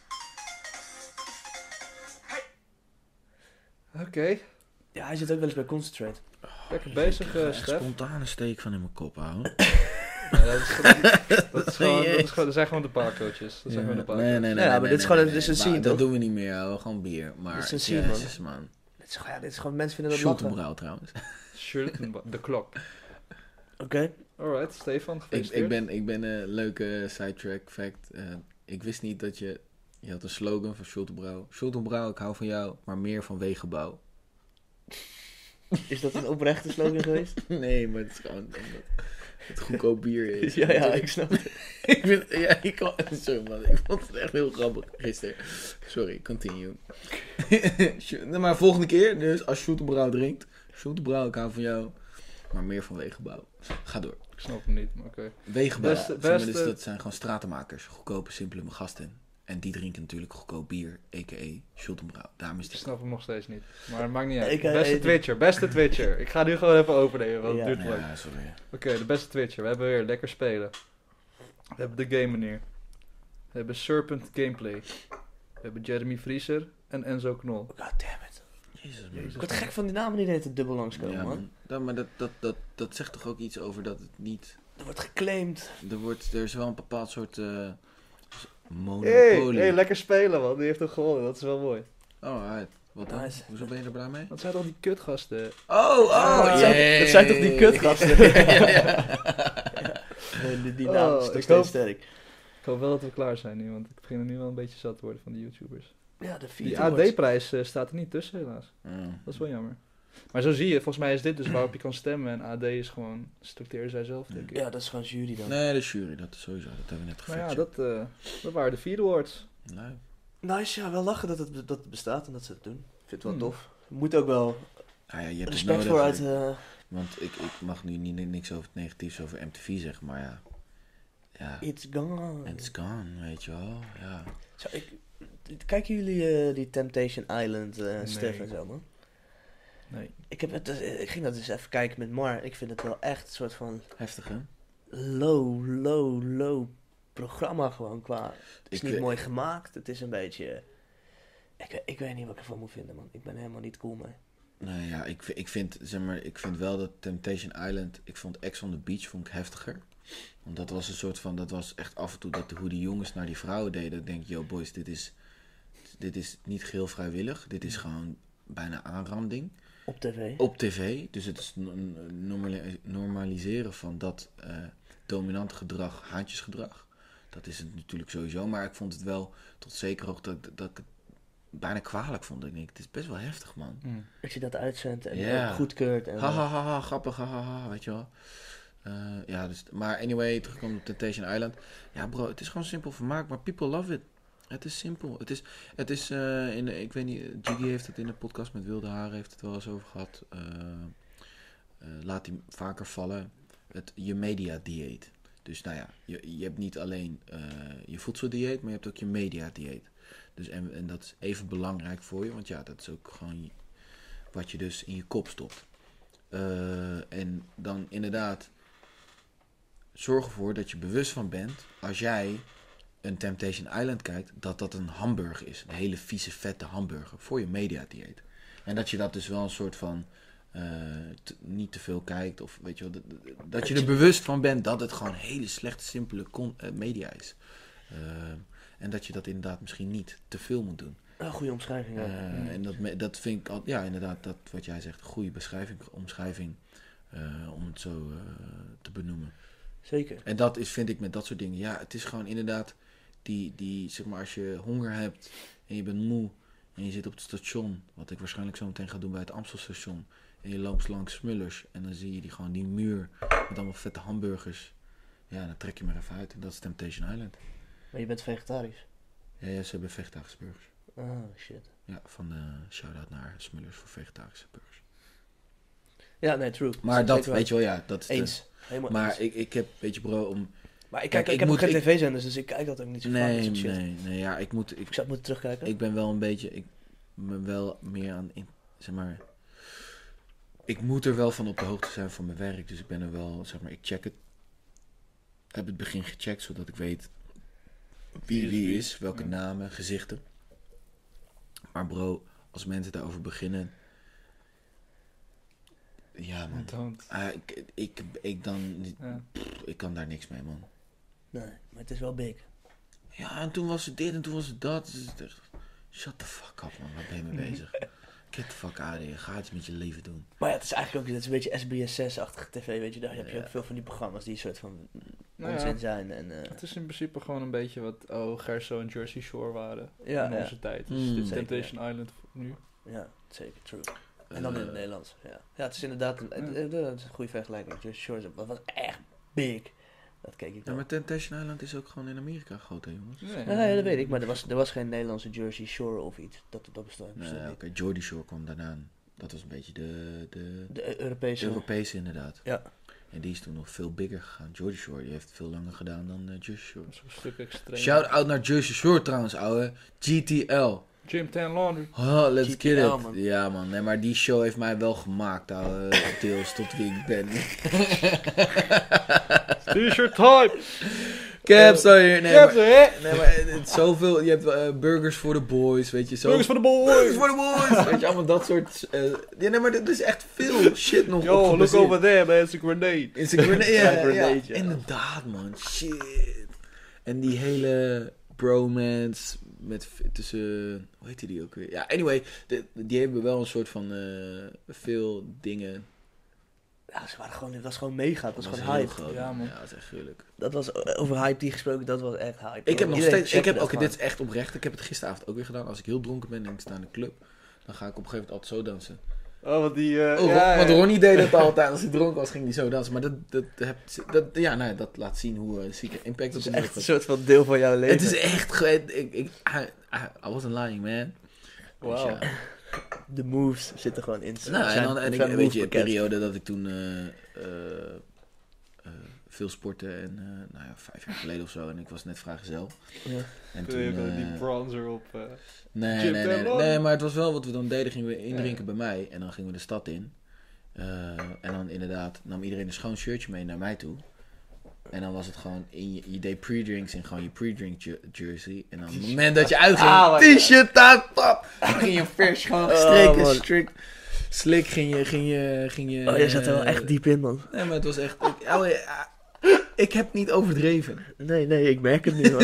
Speaker 3: Oké.
Speaker 2: Ja, hij zit ook wel eens bij Concentrate.
Speaker 3: Lekker bezig,
Speaker 1: Echt
Speaker 3: eh Stef.
Speaker 1: Spontane steek van in mijn kop, houden.
Speaker 3: Ja, dat, is
Speaker 1: (laughs)
Speaker 3: gewoon, dat, is gewoon, dat, is gewoon- dat zijn gewoon de paardcoaches. Dat zijn gewoon de
Speaker 1: nee, nee,
Speaker 3: paardcoaches.
Speaker 1: nee.
Speaker 2: Ja, maar dit is gewoon- dit is een scene,
Speaker 1: Dat
Speaker 2: toch?
Speaker 1: doen we niet meer, houden. gewoon bier. Maar
Speaker 2: Dit is een scene, man.
Speaker 1: jezus, man.
Speaker 2: Dit is, gewoon- ja, dit is gewoon... Mensen vinden dat
Speaker 1: Shoot
Speaker 2: lachen.
Speaker 1: hem
Speaker 2: Oké.
Speaker 1: rauw, trouwens.
Speaker 3: Shirt en ba- de klok. Alright, Stefan,
Speaker 1: Ik,
Speaker 3: gefeliciteerd.
Speaker 1: ik ben, ik ben een leuke sidetrack fact. Eh, ik wist niet dat je... Je had een slogan van Schultenbrouw. Schultenbrouw, ik hou van jou, maar meer van wegenbouw.
Speaker 2: Is dat een oprechte slogan geweest?
Speaker 1: (laughs) Nee, maar het is gewoon omdat het goedkoop bier is.
Speaker 2: (laughs) (laughs) ja, ja, ik snap het.
Speaker 1: ik vind, ja, ik kan, sorry man, ik vond het echt heel grappig gisteren. Sorry, continue. (laughs) Sjo- Nee, maar volgende keer, dus als Sjoerd de Brouw drinkt, Sjoerd de Brouw, ik hou van jou, maar meer van Wegenbouw. Ga door.
Speaker 3: Ik snap hem niet, maar oké.
Speaker 1: Wegenbouw,
Speaker 3: Beste-
Speaker 1: zeg maar,
Speaker 3: beste-
Speaker 1: dus dat zijn gewoon stratenmakers, goedkope, simpele gasten. En die drinken natuurlijk goedkoop bier, a.k.a. Sjoerd de Brouw. Daarom is
Speaker 3: Ik
Speaker 1: dit.
Speaker 3: snap hem nog steeds niet. Maar het maakt niet uit.
Speaker 2: Ik, eh,
Speaker 3: beste
Speaker 2: eh,
Speaker 3: Twitcher, beste Twitcher. Ik ga nu gewoon even overnemen, want
Speaker 2: Ja.
Speaker 3: het duurt lang.
Speaker 1: Ja, sorry.
Speaker 3: Oké, de beste Twitcher. We hebben weer lekker spelen. We hebben de game meneer. We hebben Serpent Gameplay. We hebben Jeremy Vriezer en Enzo Knol.
Speaker 2: God damn it.
Speaker 1: Jezus, man.
Speaker 2: Ik word gek van die namen die de hele tijd dubbel langskomen,
Speaker 1: Ja,
Speaker 2: man.
Speaker 1: man. Dat, maar dat, dat, dat, dat zegt toch ook iets over dat het niet...
Speaker 2: Er wordt geclaimd.
Speaker 1: Er, wordt, er is wel een bepaald soort eh,
Speaker 3: Hey,
Speaker 1: monopolie.
Speaker 3: hey, lekker spelen man. Die heeft hem gewonnen. Dat is wel mooi.
Speaker 1: Alright. Wat dan?
Speaker 2: Nice.
Speaker 1: Hoezo ben je er blij mee?
Speaker 3: Wat zijn al die kutgasten?
Speaker 1: Oh, oh,
Speaker 2: Ah, dat zijn-
Speaker 1: jee.
Speaker 2: dat zijn toch die (laughs) kutgasten?
Speaker 1: (laughs) Ja, ja.
Speaker 2: Nee, Eh, die, die
Speaker 3: Oh,
Speaker 2: naam is toch
Speaker 3: ik
Speaker 2: steeds
Speaker 3: hoop-
Speaker 2: sterk.
Speaker 3: Ik hoop wel dat we klaar zijn nu, want ik begin er nu wel een beetje zat te worden van de YouTubers.
Speaker 2: Ja, de vierde
Speaker 3: Die
Speaker 2: wordt-
Speaker 3: AD-prijs eh, staat er niet tussen helaas.
Speaker 1: Mm.
Speaker 3: Dat is wel jammer. Maar zo zie je, volgens mij is dit dus waarop je kan stemmen. En AD is gewoon, structuren zij zelf denk ik.
Speaker 2: Ja, dat is gewoon jury dan.
Speaker 1: Nee, de jury, dat is sowieso. Dat hebben we net
Speaker 3: Maar
Speaker 1: gefactcheckt.
Speaker 3: ja, dat, eh, dat waren de vier awards.
Speaker 1: Nou,
Speaker 2: Nice, ja, wel lachen dat het, be- dat het bestaat en dat ze het doen. Ik vind het wel
Speaker 3: Hmm.
Speaker 2: tof. Moet ook wel
Speaker 1: nou ja, je hebt
Speaker 2: respect
Speaker 1: het
Speaker 2: voor
Speaker 1: nodig.
Speaker 2: uit... eh,
Speaker 1: Want ik, ik mag nu niet, niks over het negatiefs over MTV zeggen, maar ja. Ja,
Speaker 2: eh, It's gone.
Speaker 1: it's gone, weet je wel. Ja.
Speaker 2: Zo, ik, kijken jullie eh, die Temptation Island, eh Stef en zo, man?
Speaker 3: Nee.
Speaker 2: Ik, heb het, eh, ik ging dat eens even kijken met Mar. Ik vind het wel echt een soort van
Speaker 1: Heftig, hè?
Speaker 2: low, low, low programma gewoon qua... Het is
Speaker 1: Ik
Speaker 2: niet
Speaker 1: weet-
Speaker 2: mooi gemaakt, het is een beetje... eh, Ik, ik weet niet wat ik ervan moet vinden, man. Ik ben helemaal niet cool mee.
Speaker 1: Nou ja, ik, vi- ik, vind, zeg maar, ik vind wel dat Temptation Island... Ik vond Ex on the Beach vond ik heftiger. Want dat was een soort van... Dat was echt af en toe dat, hoe die jongens naar die vrouwen deden. Ik denk, yo boys, dit is, dit is niet geheel vrijwillig. Dit is gewoon bijna aanranding.
Speaker 2: Op tv.
Speaker 1: Op tv. Dus het is een normali- normaliseren van dat eh dominante gedrag, haantjesgedrag. Dat is het natuurlijk sowieso. Maar ik vond het wel tot zekere hoogte dat, dat ik het bijna kwalijk vond. Ik denk, het is best wel heftig, man.
Speaker 2: Dat je dat uitzendt en
Speaker 1: Ja.
Speaker 2: eh, goedkeurt. En,
Speaker 1: Ha, ha, ha, ha, grappig, ha, ha, ha, weet je wel. Eh, ja, dus, maar anyway, terugkomen op Temptation Island. Ja bro, het is gewoon simpel vermaak, maar people love it. Het is simpel. Het is, het is eh, in, de- ik weet niet, Jiggy heeft het in de podcast met Wilde Haren heeft het wel eens over gehad. Eh, eh, laat die vaker vallen. Het, je media dieet. Dus nou ja, je, je hebt niet alleen eh, je voedseldieet, maar je hebt ook je media dieet. Dus en, en dat is even belangrijk voor je, want ja, dat is ook gewoon je- wat je dus in je kop stopt. Eh, en dan inderdaad, zorg ervoor dat je bewust van bent als jij een Temptation Island kijkt, dat dat een hamburger is. Een hele vieze, vette hamburger voor je media dieet. En dat je dat dus wel een soort van eh, t- niet te veel kijkt. Of weet je wel, dat- dat- dat je er bewust van bent dat het gewoon hele slechte, simpele con- eh, media is. Ehm, en dat je dat inderdaad misschien niet te veel moet doen.
Speaker 2: Een oh, goede omschrijving, ja.
Speaker 1: Eh, en dat, me- dat vind ik al, ja, inderdaad, dat wat jij zegt, goede beschrijving, omschrijving, eh, om het zo eh, te benoemen.
Speaker 2: Zeker.
Speaker 1: En dat is, vind ik met dat soort dingen. Ja, het is gewoon inderdaad die, die zeg maar, als je honger hebt en je bent moe en je zit op het station, wat ik waarschijnlijk zo meteen ga doen bij het Amstelstation, en je loopt langs Smullers en dan zie je die, gewoon die muur met allemaal vette hamburgers. Ja, dan trek je maar even uit en dat is Temptation Island.
Speaker 2: Maar je bent vegetarisch.
Speaker 1: Ja, ja ze hebben vegetarische burgers.
Speaker 2: Ah, shit.
Speaker 1: Ja, van de shout-out naar Smullers voor vegetarische burgers.
Speaker 2: Ja, nee, true.
Speaker 1: Maar dat, weet je wel, ja, dat is de-
Speaker 2: Eens. Helemaal
Speaker 1: Maar
Speaker 2: eens.
Speaker 1: ik, ik heb, weet je bro, om...
Speaker 2: maar
Speaker 1: kijk,
Speaker 2: ik, kijk,
Speaker 1: ik
Speaker 2: ik, heb
Speaker 1: moet-
Speaker 2: ook geen
Speaker 1: ik-
Speaker 2: tv-zenders, dus ik kijk dat ook niet zo vaak. dat
Speaker 1: Nee,
Speaker 2: soort shit.
Speaker 1: nee, nee, ja, ik moet... Ik,
Speaker 2: Ik zou het moeten terugkijken.
Speaker 1: Ik ben wel een beetje. Ik ben wel meer aan. In, zeg maar. Ik moet er wel van op de hoogte zijn van mijn werk. Dus ik ben er wel. Zeg maar, ik check het. Heb het begin gecheckt zodat ik weet. Wie wie is, welke
Speaker 3: Ja.
Speaker 1: namen, gezichten. Maar bro, als mensen daarover beginnen. Ja, man.
Speaker 3: Want,
Speaker 1: Ah, ik, ik, ik, dan, niet-
Speaker 3: ja.
Speaker 1: ik kan daar niks mee, man.
Speaker 2: Nee, maar het is wel big.
Speaker 1: Ja, en toen was het dit en toen was het dat. Dus het is echt, shut the fuck up, man. Waar ben je mee
Speaker 2: (laughs)
Speaker 1: bezig? Get the fuck out of here. Ga iets met je leven doen.
Speaker 2: Maar ja, het is eigenlijk ook het is een beetje SBS6-achtige tv, weet je. Daar heb je
Speaker 1: Ja.
Speaker 2: ook veel van die programma's die een soort van
Speaker 3: Nou ja,
Speaker 2: onzin zijn. En, eh,
Speaker 3: het is in principe gewoon een beetje wat oh, Gerso en Jersey Shore waren
Speaker 2: Ja,
Speaker 3: in
Speaker 2: ja.
Speaker 3: onze tijd. Dus
Speaker 1: Mm.
Speaker 3: dit is
Speaker 2: Zeker,
Speaker 3: Temptation Island nu.
Speaker 2: ja, zeker, true. En dan in het
Speaker 1: Eh,
Speaker 2: Nederlands, ja. Ja, het is inderdaad een, het-
Speaker 3: Ja.
Speaker 2: het- het is een goede vergelijking. Just Shores, dat was echt big. Dat keek ik
Speaker 1: Ja,
Speaker 2: dan.
Speaker 1: maar Temptation Island is ook gewoon in Amerika groot, hè, jongens?
Speaker 3: Nee,
Speaker 2: Nou, Ja, ja, dat weet ik, maar er was, er was geen Nederlandse Jersey Shore of iets. Dat, dat bestond,
Speaker 1: Nee,
Speaker 2: bestond
Speaker 1: Dus, eh, oké.
Speaker 2: niet.
Speaker 1: Jordy Shore kwam daarna. Dat was een beetje de, de,
Speaker 2: De Eu- Europese...
Speaker 1: Europese, inderdaad.
Speaker 2: Ja.
Speaker 1: En die is toen nog veel bigger gegaan. Jordy Shore, die heeft veel langer gedaan dan eh, Jersey Shore.
Speaker 3: Dat is een stuk extreem.
Speaker 1: Shout-out naar Jersey Shore trouwens, ouwe. GTL.
Speaker 3: Jim Tan Laundry.
Speaker 1: Oh, let's
Speaker 2: GTL,
Speaker 1: get it.
Speaker 2: man.
Speaker 1: Ja, man. Nee, maar die show heeft mij wel gemaakt,
Speaker 3: (laughs)
Speaker 1: ouwe. Deels tot wie ik ben.
Speaker 3: Eh, T-shirt type!
Speaker 1: Caps dan hier. Nee, maar,
Speaker 3: Captain, hè?
Speaker 1: nee, maar het, het- zoveel. Je hebt eh, burgers voor de boys, weet je. Zo,
Speaker 3: Jongens van de boys!
Speaker 1: voor de boys! weet je, allemaal dat soort. eh, ja, nee, maar er is echt veel shit nog.
Speaker 3: Yo, look
Speaker 1: opgebaseerd.
Speaker 3: over there, man, it's a grenade.
Speaker 1: Is een
Speaker 3: (laughs)
Speaker 1: grenade. Ja,
Speaker 2: Ja,
Speaker 1: ja,
Speaker 2: grenade, ja.
Speaker 1: Inderdaad, man. Shit. En die hele bromance met v- tussen. Hoe heette die ook weer? Ja, anyway. de- die hebben wel een soort van. eh, veel dingen.
Speaker 2: Ja, ze waren gewoon, het was gewoon mega, het was,
Speaker 1: Dat was
Speaker 2: gewoon
Speaker 1: heel
Speaker 2: hype.
Speaker 1: groot.
Speaker 3: Ja, man.
Speaker 1: Ja, dat is echt gruwelijk.
Speaker 2: Dat was over hype die gesproken, dat was echt hype.
Speaker 1: Ik heb nog
Speaker 2: Iedereen
Speaker 1: steeds, ik
Speaker 2: checkte
Speaker 1: heb,
Speaker 2: dat
Speaker 1: oké,
Speaker 2: gewoon.
Speaker 1: dit is echt oprecht. Ik heb het gisteravond ook weer gedaan. Als ik heel dronken ben en ik sta in de club, dan ga ik op een gegeven moment altijd zo dansen.
Speaker 3: Oh, wat die... eh,
Speaker 1: Oh,
Speaker 3: ja,
Speaker 1: Ron- want
Speaker 3: ja.
Speaker 1: Ronnie deed dat altijd. Als hij dronken was, ging hij zo dansen. Maar dat, dat, heb- dat, ja, nou, ja, dat laat zien hoe eh, zieke impact
Speaker 2: Het
Speaker 1: het
Speaker 2: is
Speaker 1: op
Speaker 2: echt
Speaker 1: (laughs)
Speaker 2: een
Speaker 1: heeft.
Speaker 2: soort van deel van jouw leven.
Speaker 1: Het is echt, ge- ik, ik, I, I- I wasn't lying, man. Dus
Speaker 3: Wauw.
Speaker 1: ja.
Speaker 2: De moves zitten gewoon in. Ze
Speaker 1: Nou, en
Speaker 2: zijn-
Speaker 1: dan, en
Speaker 2: ze
Speaker 1: ik,
Speaker 2: zijn
Speaker 1: weet je, een
Speaker 2: movepakket.
Speaker 1: periode dat ik toen eh, eh, eh, veel sportte en, eh, nou ja, vijf jaar geleden of zo. En ik was net vrijgezel.
Speaker 2: Ja.
Speaker 1: En
Speaker 3: Toen heb je
Speaker 1: eh,
Speaker 3: die bronzer op. eh.
Speaker 1: Nee, nee,
Speaker 3: Jim
Speaker 1: nee, nee.
Speaker 3: Tellon.
Speaker 1: Nee, maar het was wel wat we dan deden. Gingen we indrinken
Speaker 3: Ja.
Speaker 1: bij mij en dan gingen we de stad in. Eh, en dan inderdaad nam iedereen een schoon shirtje mee naar mij toe. En dan was het gewoon, in je, je deed pre-drinks in gewoon je pre-drink je- jersey. En dan op het moment
Speaker 2: (laughs)
Speaker 1: dat je uitging,
Speaker 3: Ah, my
Speaker 1: t-shirt aan, pap! Dan ging je vers gewoon gestreken,
Speaker 2: Oh, man.
Speaker 1: strik, slik, ging je, ging je, ging je...
Speaker 2: Oh, je zat er wel echt
Speaker 1: eh,
Speaker 2: diep in, man.
Speaker 1: Nee, maar het was echt, ik, ouwe, ah, ik heb niet overdreven.
Speaker 2: Nee, nee, ik merk het
Speaker 1: (laughs)
Speaker 2: nu, man.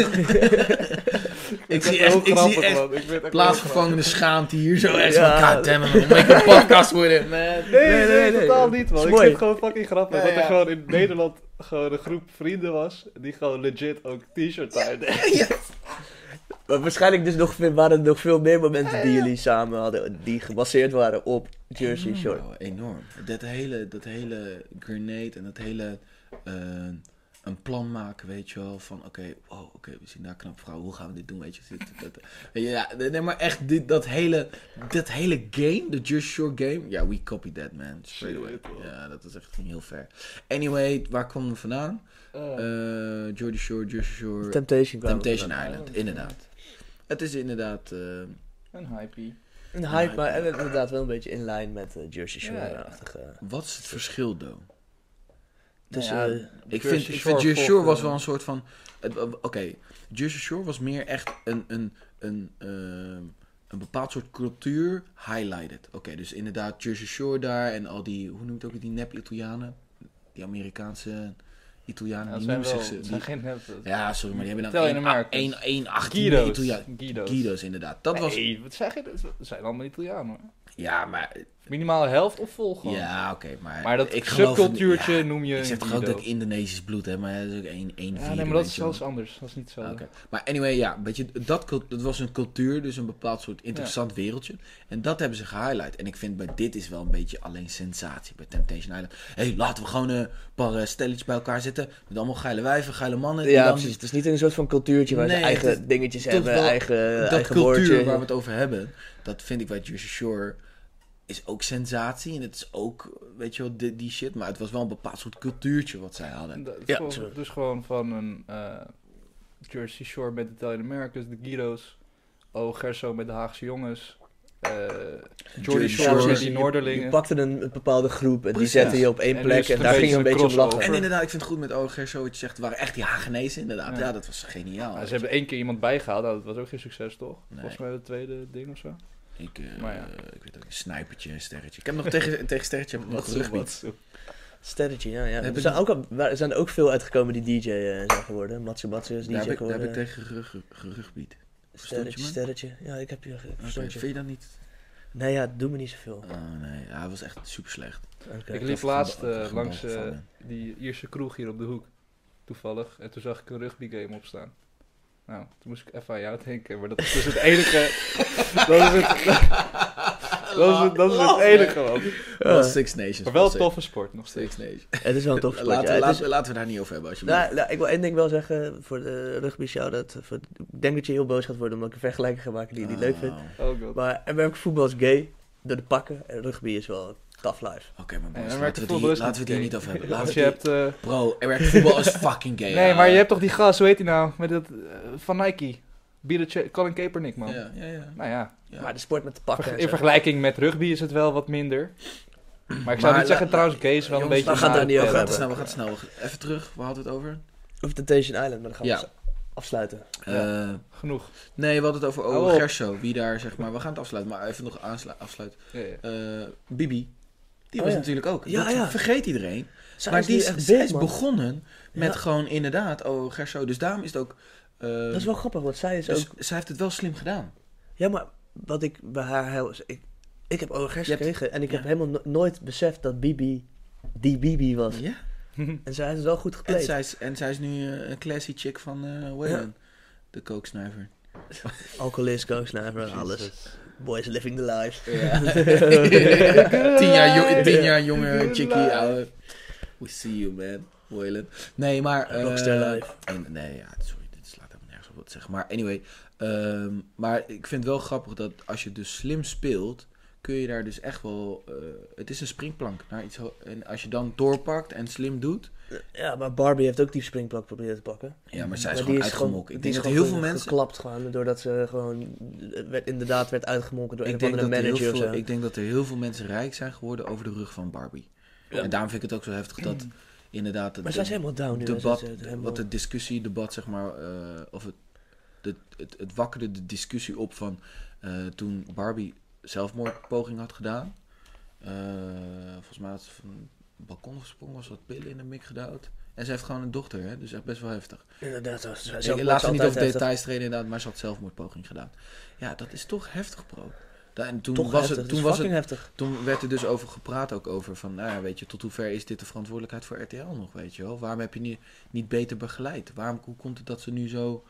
Speaker 1: Ik
Speaker 3: vind
Speaker 1: zie
Speaker 3: het
Speaker 1: echt,
Speaker 3: heel
Speaker 1: ik zie
Speaker 3: grappig,
Speaker 1: echt
Speaker 3: man. Ik vind het echt
Speaker 1: plaatsgevangene schaamte hier zo echt
Speaker 2: Ja.
Speaker 1: van goddammit man, make een podcast worden
Speaker 3: heel
Speaker 1: man.
Speaker 3: grappig. Nee,
Speaker 2: Nee,
Speaker 3: nee,
Speaker 2: nee, nee.
Speaker 3: totaal niet, man.
Speaker 2: Is
Speaker 3: Ik
Speaker 2: mooi.
Speaker 3: vind het gewoon fucking grappig
Speaker 1: Ja,
Speaker 3: dat
Speaker 1: ja.
Speaker 3: er gewoon in Nederland gewoon een groep vrienden was die gewoon legit ook t-shirt hadden.
Speaker 1: (laughs)
Speaker 2: maar waarschijnlijk dus nog, veel- waren er nog veel meer momenten die jullie samen hadden, die gebaseerd waren op Jersey Shore.
Speaker 1: Oh, enorm. Dat hele, dat hele grenade en dat hele eh, een plan maken, weet je wel, van oké, wow, oké, we zien daar knap vrouw, hoe gaan we dit doen, weet je. Dit, dat, dat. Weet je, Ja, nee, maar echt dit, dat, hele, dat hele game, de Just Shore game, ja, we copied that man, straight away.
Speaker 3: Shit, man.
Speaker 1: Ja, dat is echt ging heel ver. Anyway, waar komen we vandaan?
Speaker 3: Eh,
Speaker 1: Eh Jordy Shore, Just Shore,
Speaker 2: Temptation kwam.
Speaker 1: Temptation
Speaker 3: vandaan.
Speaker 1: Island, inderdaad. Het is inderdaad... eh,
Speaker 3: Een hypie.
Speaker 2: Een hype, maar eh, inderdaad wel een beetje in lijn met eh, Jersey Shore-achtige.
Speaker 1: Wat is het verschil, though?
Speaker 2: Dus,
Speaker 3: Nou ja,
Speaker 2: eh,
Speaker 1: Ik
Speaker 3: Jersey
Speaker 1: vind, ik vind
Speaker 3: Shore
Speaker 1: Jersey Shore
Speaker 3: volgt,
Speaker 1: was
Speaker 3: eh,
Speaker 1: wel een soort van... het- Oké, Jersey Shore was meer echt een, een, een ehm, een bepaald soort cultuur highlighted. Oké, dus inderdaad Jersey Shore daar en al die, hoe noemt het ook, die nep-Italianen? Die Amerikaanse Italianen,
Speaker 3: dat
Speaker 1: die
Speaker 3: zijn
Speaker 1: noemen
Speaker 3: wel,
Speaker 1: zich ze-
Speaker 3: dat
Speaker 1: die-
Speaker 3: zijn geen... dat-
Speaker 1: Ja, sorry, maar die hebben
Speaker 3: Tel je hem
Speaker 1: dan
Speaker 3: maar, dus.
Speaker 1: 1 18
Speaker 3: Guido's.
Speaker 1: Italianen.
Speaker 3: Guido's.
Speaker 1: Guido's, inderdaad. Dat was...
Speaker 3: Nee, wat zeg je? Dat zijn allemaal Italianen hoor.
Speaker 1: Ja, maar...
Speaker 3: Minimaal helft of vol gewoon.
Speaker 1: Ja, oké, maar...
Speaker 3: Maar dat
Speaker 1: ik geloof-
Speaker 3: subcultuurtje
Speaker 1: ja,
Speaker 3: noem je
Speaker 1: Ik zeg
Speaker 3: een
Speaker 1: toch ook
Speaker 3: Guido.
Speaker 1: dat ik Indonesisch bloed heb, maar dat is ook één één
Speaker 3: Ja,
Speaker 1: vierde,
Speaker 3: nee, maar dat
Speaker 1: weet
Speaker 3: is
Speaker 1: je wel.
Speaker 3: zelfs anders. Dat is niet
Speaker 1: Ah,
Speaker 3: hetzelfde.
Speaker 1: oké. Maar anyway, ja, weet je, dat, cult- dat was een cultuur, dus een bepaald soort interessant wereldje. En dat hebben ze gehighlight. En ik vind bij dit is wel een beetje alleen sensatie bij Temptation Island. Hé, hey, laten we gewoon eh, een paar eh, stelletjes bij elkaar zitten. Met allemaal geile wijven, geile mannen. die
Speaker 2: Ja,
Speaker 1: dan-
Speaker 2: precies. Het is niet een soort van cultuurtje waar ze
Speaker 1: Nee,
Speaker 2: eigen
Speaker 1: het is
Speaker 2: dingetjes
Speaker 1: toch
Speaker 2: hebben,
Speaker 1: wel
Speaker 2: eigen, eh,
Speaker 1: dat
Speaker 2: eigen
Speaker 1: cultuur
Speaker 2: woordje.
Speaker 1: waar we het over hebben, dat vind ik bij Jersey Shore is ook sensatie. En het is ook, weet je wel, die, die shit. Maar het was wel een bepaald soort cultuurtje wat zij hadden.
Speaker 3: Dat is
Speaker 2: Ja,
Speaker 3: gewoon-
Speaker 2: sorry.
Speaker 3: dus gewoon van een eh, Jersey Shore met de Italian Americans, de Guido's, O Gerso met de Haagse jongens, eh Jordy
Speaker 1: Jersey
Speaker 3: Shore
Speaker 1: Shore.
Speaker 3: met die
Speaker 2: Je
Speaker 3: Noorderlingen.
Speaker 2: pakte een, een bepaalde groep en
Speaker 1: Precies.
Speaker 2: die zette je op één
Speaker 3: En
Speaker 2: plek
Speaker 3: dus
Speaker 2: en
Speaker 3: een
Speaker 2: daar
Speaker 3: beetje
Speaker 2: ging je een
Speaker 3: een
Speaker 2: beetje om lachen.
Speaker 3: crossover.
Speaker 1: En inderdaad, ik vind het goed met O. Gerso wat je zegt. Het waren echt die Hagenezen, inderdaad. Ja,
Speaker 3: Ja.
Speaker 1: dat was geniaal.
Speaker 3: Nou, ze hebben één keer iemand bijgehaald, nou, dat was ook geen succes toch?
Speaker 1: Nee.
Speaker 3: Volgens mij het tweede ding of zo.
Speaker 1: Ik, eh,
Speaker 3: Maar ja.
Speaker 1: ik weet ook, een snijpertje, een sterretje. Ik heb nog tegen, (laughs) tegen sterretje heb ik nog rugbied.
Speaker 2: Sterretje, ja. ja.
Speaker 1: Heb
Speaker 2: Er
Speaker 1: ik-
Speaker 2: zijn, ook, al- waar- zijn er ook veel uitgekomen die DJ eh, zijn geworden. Matsu Matsu is DJ
Speaker 1: Daar heb, ik, daar
Speaker 2: geworden.
Speaker 1: heb ik tegen gerug,
Speaker 2: Oh,
Speaker 1: gerugbied. verstond je
Speaker 2: sterretje,
Speaker 1: me?
Speaker 2: sterretje. Ja, ik heb je ik verstond je.
Speaker 1: vind je dat niet?
Speaker 2: Nee, ja, doe me niet zoveel.
Speaker 1: Oh nee, hij was echt super slecht.
Speaker 2: Oké.
Speaker 3: Ik
Speaker 2: (laughs)
Speaker 3: liep
Speaker 1: van-
Speaker 3: laatst eh,
Speaker 1: van- van
Speaker 3: langs
Speaker 1: bal
Speaker 3: eh,
Speaker 1: gevangen.
Speaker 3: die Ierse kroeg hier op de hoek, toevallig, en toen zag ik een rugby game opstaan. Nou, toen moest ik even aan jou denken, maar dat is dus het enige. (laughs) dat is het,
Speaker 1: (laughs)
Speaker 3: dat is het, dat is het enige man.
Speaker 1: Wel Six Nations.
Speaker 3: Maar wel
Speaker 1: was
Speaker 3: een
Speaker 1: ik.
Speaker 3: toffe sport nog steeds.
Speaker 1: Six Nations.
Speaker 2: Het is wel een tof sport.
Speaker 1: (laughs) laten, we-
Speaker 2: ja. Het is-
Speaker 1: laten, we- laten we daar niet over hebben, alsjeblieft.
Speaker 2: Nou, nou, ik wil één ding wel zeggen voor de rugby shout-out. Voor- Ik denk dat je heel boos gaat worden omdat ik een vergelijking ga maken die je niet leuk vindt.
Speaker 1: Oh.
Speaker 3: Oh god.
Speaker 2: Maar Amerika voetbal is gay door de pakken en rugby is wel tough life.
Speaker 1: Oké, maar boys, laten,
Speaker 3: Ja, dan
Speaker 1: we
Speaker 3: werkt
Speaker 1: het
Speaker 3: voetbal
Speaker 1: hier,
Speaker 3: is
Speaker 1: laten we het hier
Speaker 3: gay.
Speaker 1: niet over hebben.
Speaker 3: Want
Speaker 1: Laten
Speaker 3: je
Speaker 1: we het
Speaker 3: hebt, eh,
Speaker 1: hier- Bro, er werkt voetbal is fucking gay.
Speaker 3: Nee,
Speaker 1: ja.
Speaker 3: maar je hebt toch die gast, hoe heet die nou? Met dat, eh, van Nike. Bielitsch- Colin Kaepernick, man.
Speaker 1: Ja, ja, ja.
Speaker 3: Nou ja,
Speaker 1: ja.
Speaker 2: Maar de sport met de pakken.
Speaker 3: verg-
Speaker 2: en
Speaker 3: in
Speaker 2: zo.
Speaker 3: vergelijking met rugby is het wel wat minder. Maar ik zou
Speaker 1: Maar
Speaker 3: niet zeggen,
Speaker 1: la-
Speaker 3: trouwens, Kees is wel
Speaker 1: jongens,
Speaker 3: een beetje...
Speaker 2: we gaan
Speaker 3: naar
Speaker 2: daar niet
Speaker 1: we
Speaker 3: het
Speaker 2: over
Speaker 1: gaan
Speaker 3: verder.
Speaker 1: te snel, we gaan te snel. Even terug, waar hadden we het over?
Speaker 2: Of Temptation Island, maar dan gaan we
Speaker 1: Ja.
Speaker 2: het afsluiten.
Speaker 3: Ja.
Speaker 1: Eh,
Speaker 3: Genoeg.
Speaker 1: Nee, we hadden het over
Speaker 3: Hou
Speaker 1: Owen
Speaker 3: op.
Speaker 1: Gerso. Wie daar, zeg maar. We gaan het afsluiten, maar even nog aanslu- afsluiten.
Speaker 3: Ja, ja.
Speaker 1: Eh, Bibi. Die
Speaker 2: Oh,
Speaker 1: was
Speaker 2: ja.
Speaker 1: natuurlijk ook.
Speaker 2: Ja,
Speaker 1: dat
Speaker 2: ja.
Speaker 1: vergeet iedereen.
Speaker 2: Zij
Speaker 1: maar
Speaker 2: is
Speaker 1: die
Speaker 2: nu
Speaker 1: is,
Speaker 2: echt
Speaker 1: zij
Speaker 2: big,
Speaker 1: is
Speaker 2: man.
Speaker 1: begonnen met
Speaker 2: Ja.
Speaker 1: gewoon inderdaad Owen Gerso. Dus daarom is het ook... eh,
Speaker 2: Dat is wel grappig, want zij is
Speaker 1: dus
Speaker 2: ook...
Speaker 1: zij heeft het wel slim gedaan.
Speaker 2: Ja, maar wat ik bij haar heel... is- Ik, ik heb ORG's
Speaker 1: Je hebt-
Speaker 2: gekregen en ik
Speaker 1: ja.
Speaker 2: heb helemaal no- nooit beseft dat Bibi die Bibi was.
Speaker 1: Ja.
Speaker 2: En zij is het wel goed
Speaker 1: En
Speaker 2: gepleed.
Speaker 1: zij, is, en zij is nu eh, een classy chick van eh Waylon. De kooksnuiver.
Speaker 2: Alcoholist, kooksnijver, alles.
Speaker 3: Jezus.
Speaker 2: Boys living the life.
Speaker 1: Ja. (laughs) tien, jaar jo- tien jaar jonger chickie. ouwe. We see you, man. Waylon. Nee, maar... eh,
Speaker 2: Rockstar life.
Speaker 1: En, nee, ja, sorry, dit slaat helemaal nergens op wat ik zeg. Maar anyway, ehm, maar ik vind het wel grappig dat als je dus slim speelt, kun je daar dus echt wel... eh, het is een springplank naar iets... ho- En als je dan doorpakt en slim doet...
Speaker 2: Ja, maar Barbie heeft ook die springplank proberen te pakken.
Speaker 1: Ja, maar zij is
Speaker 2: Maar die
Speaker 1: gewoon
Speaker 2: is
Speaker 1: uitgemokt.
Speaker 2: gewoon-
Speaker 1: Ik
Speaker 2: die
Speaker 1: denk dat
Speaker 2: is gewoon
Speaker 1: heel veel mensen...
Speaker 2: Geklapt gewoon, doordat ze gewoon eh, werd, inderdaad werd uitgemolken door een
Speaker 1: Ik
Speaker 2: of
Speaker 1: denk,
Speaker 2: andere
Speaker 1: dat er heel
Speaker 2: manager of
Speaker 1: veel,
Speaker 2: zo.
Speaker 1: ik denk dat er heel veel mensen rijk zijn geworden over de rug van Barbie.
Speaker 2: Ja. Mm.
Speaker 1: En daarom vind ik het ook zo heftig dat inderdaad... het-
Speaker 2: Maar zij is helemaal down nu. hè.
Speaker 1: debat,
Speaker 2: Ze is, eh, helemaal-
Speaker 1: wat de discussie, debat zeg maar, eh, of het, het, het, het wakkerde de discussie op van eh, toen Barbie zelfmoordpoging had gedaan. Eh, volgens mij had ze van het balkon gesprongen, was wat pillen in de mik geduwd. En ze heeft gewoon een dochter, hè? dus echt best wel heftig.
Speaker 2: Inderdaad, ze is
Speaker 1: Ik-
Speaker 2: zelfmoord
Speaker 1: laat
Speaker 2: is
Speaker 1: ze niet
Speaker 2: altijd
Speaker 1: over
Speaker 2: heftig.
Speaker 1: details treden inderdaad, maar ze had zelfmoordpoging gedaan. Ja, dat is toch heftig, bro. Da- En toen,
Speaker 2: Toch
Speaker 1: was,
Speaker 2: heftig,
Speaker 1: het,
Speaker 2: toen
Speaker 1: toen, was het,
Speaker 2: heftig.
Speaker 1: toen werd er dus over gepraat ook over van, nou ja, weet je, tot hoever is dit de verantwoordelijkheid voor RTL nog, weet je wel? Waarom heb je niet, niet beter begeleid? Waarom, hoe komt het dat ze nu zo,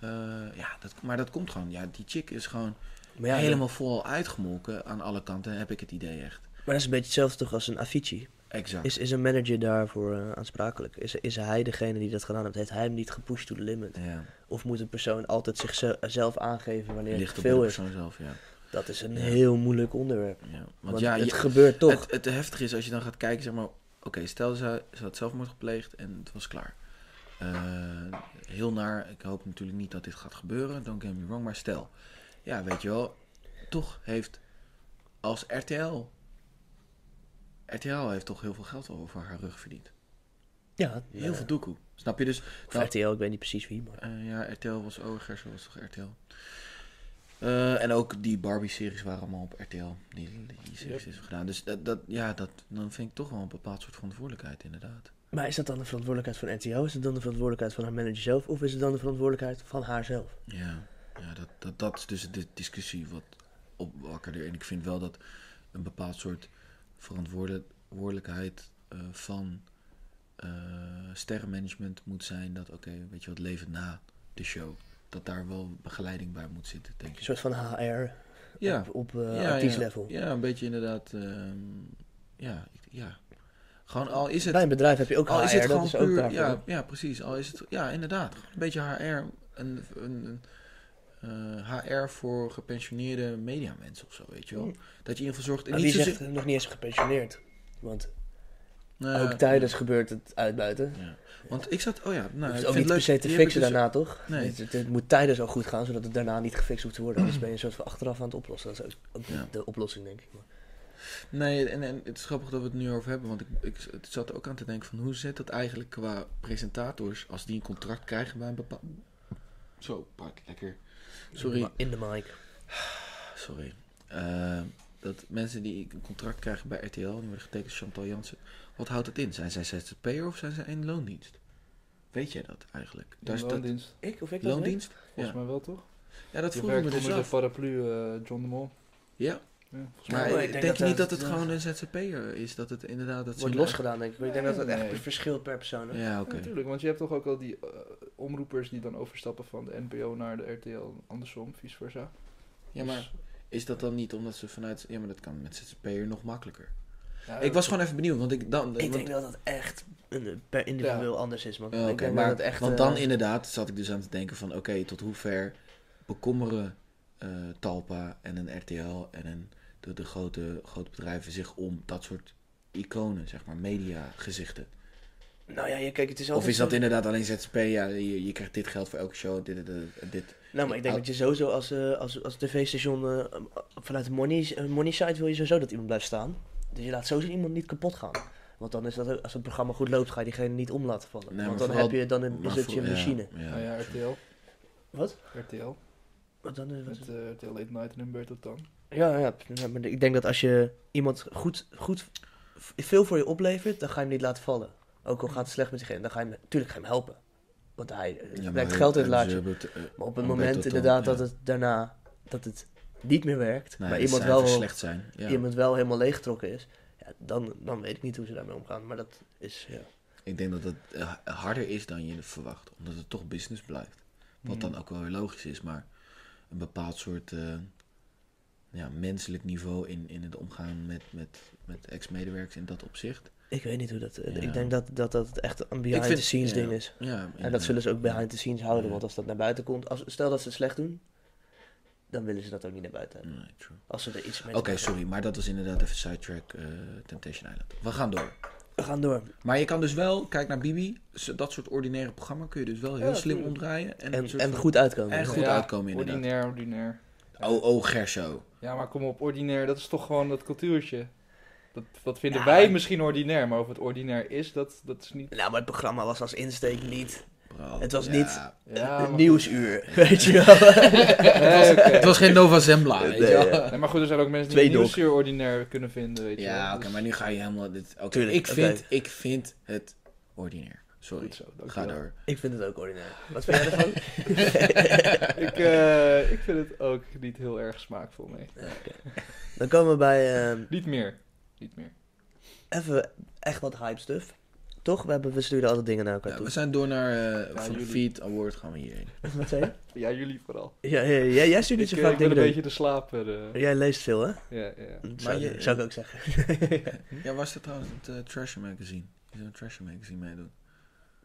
Speaker 1: eh, ja, dat, maar dat komt gewoon. Ja, die chick is gewoon
Speaker 2: Maar ja,
Speaker 1: helemaal vol uitgemolken aan alle kanten, heb ik het idee echt.
Speaker 2: Maar dat is een beetje hetzelfde toch als een Avicii.
Speaker 1: Exact.
Speaker 2: Is, is een manager daarvoor eh, aansprakelijk? Is, is hij degene die dat gedaan heeft? Heeft hij hem niet gepusht to the limit?
Speaker 1: ja,
Speaker 2: Of moet een persoon altijd zichzelf aangeven wanneer het
Speaker 1: ligt
Speaker 2: te
Speaker 1: op de
Speaker 2: veel is?
Speaker 1: persoon zelf, ja.
Speaker 2: Dat is een
Speaker 1: Ja.
Speaker 2: heel moeilijk onderwerp.
Speaker 1: ja. Want,
Speaker 2: Want
Speaker 1: ja,
Speaker 2: het
Speaker 1: je-
Speaker 2: gebeurt toch.
Speaker 1: Het, het heftige is als je dan gaat kijken, zeg maar, oké, stel ze, ze had zelfmoord gepleegd en het was klaar. Eh, heel naar, ik hoop natuurlijk niet dat dit gaat gebeuren, don't get me wrong, maar stel. Ja, weet je wel, toch heeft als RTL, RTL heeft toch heel veel geld over haar rug verdiend.
Speaker 2: ja,
Speaker 1: Heel veel doekoe, snap je dus?
Speaker 2: Of
Speaker 1: Nou,
Speaker 2: RTL, ik weet niet precies wie, maar...
Speaker 1: eh, ja, RTL was, oh, Gerso was toch RTL? Eh, en ook die Barbie-series waren allemaal op RTL. Die, die series
Speaker 3: Yep.
Speaker 1: is gedaan. Dus dat, dat, ja, dat, dan vind ik toch wel een bepaald soort verantwoordelijkheid, inderdaad.
Speaker 2: Maar is dat dan de verantwoordelijkheid van NTO? Is het dan de verantwoordelijkheid van haar manager zelf? Of is het dan de verantwoordelijkheid van haarzelf?
Speaker 1: Ja, ja dat, dat, dat is dus de discussie wat opwakkerde. En ik vind wel dat een bepaald soort verantwoorde- verantwoordelijkheid eh, van eh, sterrenmanagement moet zijn. Dat, oké, weet je wat, leven na de show. Dat daar wel begeleiding bij moet zitten, denk
Speaker 2: Een
Speaker 1: ik.
Speaker 2: soort van HR
Speaker 1: Ja.
Speaker 2: op, op eh,
Speaker 1: ja,
Speaker 2: artiestlevel.
Speaker 1: Ja, een beetje inderdaad. ehm, ja, ik- ja. Gewoon al is het.
Speaker 2: Bij een bedrijf heb je ook
Speaker 1: Al
Speaker 2: HR,
Speaker 1: is het
Speaker 2: dat
Speaker 1: gewoon
Speaker 2: is ook
Speaker 1: puur.
Speaker 2: daarvoor.
Speaker 1: Ja, ja, precies. Al is het. Ja, inderdaad. Een beetje HR. Een, een, een, eh, HR voor gepensioneerde mediamensen of zo, weet je wel.
Speaker 2: Hmm.
Speaker 1: Dat je in ieder geval zorgt. En
Speaker 2: Maar die
Speaker 1: niet
Speaker 2: zegt
Speaker 1: zozeer.
Speaker 2: nog niet eens gepensioneerd. Want
Speaker 1: Nou,
Speaker 2: ook
Speaker 1: ja.
Speaker 2: tijdens gebeurt het uitbuiten.
Speaker 1: Ja. Want ik zat. Oh ja, nou, ik
Speaker 2: het is
Speaker 1: vind
Speaker 2: ook
Speaker 1: het
Speaker 2: niet
Speaker 1: leuk.
Speaker 2: per se te
Speaker 1: die heb
Speaker 2: fixen
Speaker 1: ik dus-
Speaker 2: daarna, toch?
Speaker 1: Nee. Mm.
Speaker 2: Het, het- het moet tijdens al goed gaan, zodat het daarna niet gefixt hoeft te worden. Anders ben je een soort van achteraf aan het oplossen. Dat is ook, ook
Speaker 1: Ja.
Speaker 2: de oplossing, denk ik. Maar
Speaker 1: Nee, en, en het is grappig dat we het nu over hebben, want ik, ik zat er ook aan te denken van hoe zit dat eigenlijk qua presentators als die een contract krijgen bij een bepaald... Zo, Bart, lekker. Sorry,
Speaker 2: In de mic.
Speaker 1: sorry. Eh, dat mensen die een contract krijgen bij RTL, die worden getekend door Chantal Jansen, wat houdt dat in? Zijn zij zzp'er of zijn zij in loondienst? Weet jij dat eigenlijk? Daar
Speaker 3: Dus
Speaker 1: is dat-
Speaker 3: loondienst.
Speaker 2: Ik? Of ik dat
Speaker 1: loondienst?
Speaker 3: Volgens mij wel, toch?
Speaker 1: Ja, dat
Speaker 3: Je
Speaker 1: vroeg ik
Speaker 3: werkt
Speaker 1: me dus
Speaker 3: onder de
Speaker 1: af.
Speaker 3: paraplu eh, John de Mol.
Speaker 1: Ja,
Speaker 3: Ja, volgens mij.
Speaker 1: maar
Speaker 2: Oh, ik
Speaker 1: denk,
Speaker 2: denk dat
Speaker 1: je niet
Speaker 2: dat-
Speaker 1: dat het
Speaker 2: ja.
Speaker 1: gewoon een zzp'er is? Dat het inderdaad... Dat ze
Speaker 2: Wordt
Speaker 1: hun-
Speaker 2: losgedaan, denk ik. Maar ik denk dat het echt
Speaker 3: Nee.
Speaker 2: verschilt per persoon. hè?
Speaker 1: Ja, oké.
Speaker 3: Ja, natuurlijk, want je hebt toch ook al die eh, omroepers die dan overstappen van de NPO naar de RTL, andersom, vice versa.
Speaker 1: Ja, maar...
Speaker 3: Dus,
Speaker 1: Is dat dan niet omdat ze vanuit... Ja, maar dat kan met zzp'er nog makkelijker.
Speaker 3: ja,
Speaker 1: ik was gewoon even benieuwd, want ik dan...
Speaker 2: Ik
Speaker 1: want-
Speaker 2: denk dat dat echt een- eh, per individueel anders is, man.
Speaker 1: Ja,
Speaker 2: Ik
Speaker 1: oké,
Speaker 2: denk dat
Speaker 1: maar,
Speaker 2: het echt,
Speaker 1: want
Speaker 2: eh,
Speaker 1: dan inderdaad zat ik dus aan te denken van... Oké, tot hoever bekommeren eh, Talpa en een RTL en een, de, de grote, grote bedrijven zich om dat soort iconen, zeg maar, mediagezichten?
Speaker 2: Nou ja, je- kijk, het is altijd...
Speaker 1: Of is dat
Speaker 2: zo-
Speaker 1: inderdaad alleen zzp? Ja, je, je krijgt dit geld voor elke show, dit, dit, dit, dit.
Speaker 2: Nou, maar ik denk dat je sowieso als, eh, als, als tv-station eh, vanuit de money, eh, money site wil je sowieso dat iemand blijft staan. Dus je laat sowieso iemand niet kapot gaan. Want dan is dat ook, als het programma goed loopt, ga je diegene niet om laten vallen.
Speaker 1: Nee, maar
Speaker 2: Want dan,
Speaker 1: vooral-
Speaker 2: heb je, dan
Speaker 1: maar
Speaker 2: is het
Speaker 1: voor-
Speaker 2: je
Speaker 1: ja,
Speaker 2: machine.
Speaker 1: Ja,
Speaker 3: Nou ja, RTL.
Speaker 2: Wat?
Speaker 3: RTL.
Speaker 2: Wat dan is wat
Speaker 3: Met eh, RTL Late Night en Humberto Tan.
Speaker 2: Ja, ja, ja, maar ik denk dat als je iemand goed, goed v- veel voor je oplevert, dan ga je hem niet laten vallen. Ook al gaat het slecht met diegene, dan ga je hem natuurlijk ga je hem helpen. Want hij eh,
Speaker 1: Ja,
Speaker 2: brengt
Speaker 1: maar-
Speaker 2: geld in
Speaker 1: en
Speaker 2: het
Speaker 1: ze
Speaker 2: laadje.
Speaker 1: hebben het, eh,
Speaker 2: Maar op het
Speaker 1: Humberto
Speaker 2: moment
Speaker 1: Tan,
Speaker 2: inderdaad
Speaker 1: ja.
Speaker 2: dat het daarna dat het niet meer werkt,
Speaker 1: nou,
Speaker 2: maar
Speaker 1: de
Speaker 2: iemand
Speaker 1: cijfers
Speaker 2: wel,
Speaker 1: slecht zijn. Ja.
Speaker 2: iemand wel helemaal leeggetrokken is, ja, dan, dan weet ik niet hoe ze daarmee omgaan. Maar dat is, ja.
Speaker 1: Ik denk dat het eh, harder is dan je verwacht, omdat het toch business blijft.
Speaker 2: Hmm.
Speaker 1: Wat dan ook wel weer logisch is, maar een bepaald soort eh, ja, menselijk niveau in, in het omgaan met, met, met ex-medewerkers in dat opzicht.
Speaker 2: ik weet niet hoe dat...
Speaker 1: Ja.
Speaker 2: Ik denk dat dat, dat het echt een
Speaker 1: Ik vind-
Speaker 2: behind-the-scenes
Speaker 1: ja,
Speaker 2: ding is.
Speaker 1: Ja,
Speaker 2: En dat zullen ze ook behind the scenes houden,
Speaker 1: Ja.
Speaker 2: want als dat naar buiten komt, als, stel dat ze het slecht doen, dan willen ze dat ook niet naar buiten hebben.
Speaker 1: mm, Nee, true.
Speaker 2: Als ze er iets mee
Speaker 1: Oké, sorry, maar dat was inderdaad even sidetrack eh, Temptation Island. We gaan door.
Speaker 2: We gaan door.
Speaker 1: Maar je kan dus wel, kijk naar Bibi, z- dat soort ordinaire programma kun je dus wel heel
Speaker 3: Ja,
Speaker 1: slim
Speaker 3: tuurlijk.
Speaker 1: omdraaien. En,
Speaker 2: En,
Speaker 1: een soort
Speaker 2: en
Speaker 1: van-
Speaker 2: goed uitkomen.
Speaker 1: En goed
Speaker 3: Ja,
Speaker 1: uitkomen inderdaad.
Speaker 3: Ordinair, ordinair.
Speaker 1: Oh, oh, Gerso.
Speaker 3: Ja, maar kom op, ordinair, dat is toch gewoon dat cultuurtje. Dat, dat vinden
Speaker 2: Ja,
Speaker 3: wij
Speaker 2: maar-
Speaker 3: misschien ordinair, maar of het ordinair is, dat, dat is niet...
Speaker 2: Nou, maar het programma was als insteek niet
Speaker 1: Bro,
Speaker 2: Het was
Speaker 1: ja.
Speaker 2: niet-
Speaker 3: Ja,
Speaker 2: een
Speaker 3: maar-
Speaker 2: nieuwsuur,
Speaker 1: (laughs)
Speaker 2: weet je wel.
Speaker 3: (laughs) Nee, oké.
Speaker 1: Eh, Het was geen Nova Zembla, weet je
Speaker 2: (laughs) Nee,
Speaker 1: wel.
Speaker 2: ja.
Speaker 3: Nee, maar goed, er zijn ook mensen
Speaker 2: Twee
Speaker 3: die
Speaker 2: dok.
Speaker 3: nieuwsuur ordinair kunnen vinden, weet je wel.
Speaker 1: Ja, oké,
Speaker 3: Dus
Speaker 1: maar nu ga je helemaal dit. Oké,
Speaker 2: Tuurlijk,
Speaker 1: ik,
Speaker 2: oké.
Speaker 1: vind, ik vind het ordinair. Sorry.
Speaker 3: Goed zo,
Speaker 1: Ga
Speaker 3: dankjewel.
Speaker 1: door.
Speaker 2: Ik vind het ook ordinair. Wat vind jij ervan?
Speaker 3: (laughs)
Speaker 1: (laughs)
Speaker 3: ik, eh, ik vind het ook niet heel erg smaakvol, nee.
Speaker 2: Dan komen we bij ehm,
Speaker 3: Niet meer. Niet meer.
Speaker 2: even echt wat hype stuff. Toch? We, hebben, we sturen altijd dingen naar elkaar
Speaker 1: Ja,
Speaker 2: toe.
Speaker 1: we zijn door naar eh
Speaker 3: Ja,
Speaker 1: van
Speaker 3: jullie.
Speaker 1: Feed Award gaan we hierheen.
Speaker 2: Wat zei je?
Speaker 3: Ja, jullie vooral.
Speaker 2: Ja, ja, ja, jij stuurt
Speaker 3: Ik,
Speaker 2: niet zo
Speaker 3: eh,
Speaker 2: vaak
Speaker 3: ik ben
Speaker 2: dingen
Speaker 3: een
Speaker 2: door.
Speaker 3: beetje de slaper. eh.
Speaker 2: Jij leest veel, hè?
Speaker 3: Ja, ja.
Speaker 2: zou,
Speaker 1: je-
Speaker 2: zou ik ook zeggen. Hm?
Speaker 1: Ja, was dat trouwens het eh, Treasure Magazine? Je zou een Treasure Magazine meedoen.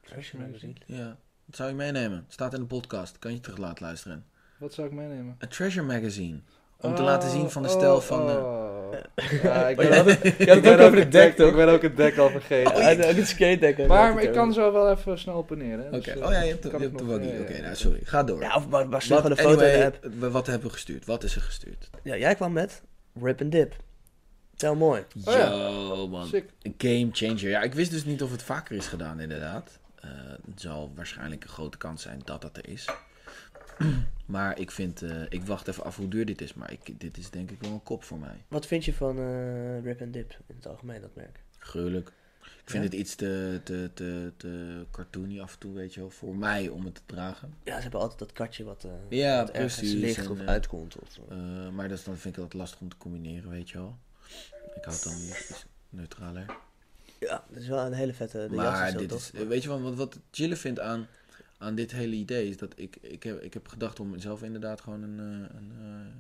Speaker 2: Treasure
Speaker 3: Magazine.
Speaker 1: Ja, dat zou je meenemen. Staat in de podcast. Kan je terug laten luisteren.
Speaker 3: Wat zou ik meenemen?
Speaker 1: Een Treasure Magazine. Om
Speaker 2: Oh,
Speaker 1: te laten zien van de stijl van, eh,
Speaker 3: Oh,
Speaker 1: Oh,
Speaker 3: Ja,
Speaker 2: Maar
Speaker 3: ik ben
Speaker 1: (laughs)
Speaker 2: jij-
Speaker 3: ook-
Speaker 2: jij hebt
Speaker 3: ik
Speaker 2: het
Speaker 3: ben
Speaker 2: ook over het dek,
Speaker 3: Ik
Speaker 2: toch?
Speaker 3: ben ook het dek al vergeten.
Speaker 2: Oh, (laughs) en ook het skate deck.
Speaker 3: maar, maar ik kan zo wel even snel op en neer, hè.
Speaker 1: Oké,
Speaker 3: Dus, eh,
Speaker 1: oh ja, je hebt, de-
Speaker 3: kan
Speaker 1: je
Speaker 3: ik
Speaker 1: hebt de
Speaker 3: nog-
Speaker 1: waggy.
Speaker 3: ja, ja.
Speaker 1: Oké, nou, sorry. Ga door.
Speaker 2: Ja, of maar, maar
Speaker 1: Wat-
Speaker 2: stuur gewoon een foto in de
Speaker 1: anyway,
Speaker 2: app.
Speaker 1: we- wat hebben we gestuurd? Wat is er gestuurd?
Speaker 2: Ja, jij kwam met Rip and Dip. Tel mooi.
Speaker 3: Oh ja.
Speaker 1: Yo, man.
Speaker 3: Sick.
Speaker 1: Een game changer. Ja, ik wist dus niet of het vaker is (clears throat) gedaan, inderdaad. Eh, het zal waarschijnlijk een grote kans zijn dat dat er is. Maar ik vind, eh, ik wacht even af hoe duur dit is. Maar ik, dit is denk ik wel een kop voor mij.
Speaker 2: Wat vind je van eh, Rip and Dip in het algemeen, dat merk?
Speaker 1: Gruwelijk. Ik vind
Speaker 2: Ja?
Speaker 1: het iets te, te, te, te cartoony af en toe, weet je wel. Voor mij om het te dragen.
Speaker 2: Ja, ze hebben altijd dat katje wat, eh,
Speaker 1: Ja,
Speaker 2: wat ergens
Speaker 1: precies,
Speaker 2: ligt
Speaker 1: en,
Speaker 2: of
Speaker 1: eh,
Speaker 2: uitkomt. Of,
Speaker 1: Eh, maar dat is, dan vind ik dat lastig om te combineren, weet je wel. Ik hou het dan iets neutraler.
Speaker 2: Ja, dat is wel een hele vette eh, de jas en
Speaker 1: Maar
Speaker 2: zo,
Speaker 1: dit
Speaker 2: toch?
Speaker 1: is, eh, weet je wel, wat, wat ik chille vind aan, aan dit hele idee is dat ik, ik, heb, ik heb gedacht om zelf inderdaad gewoon een, eh, een eh,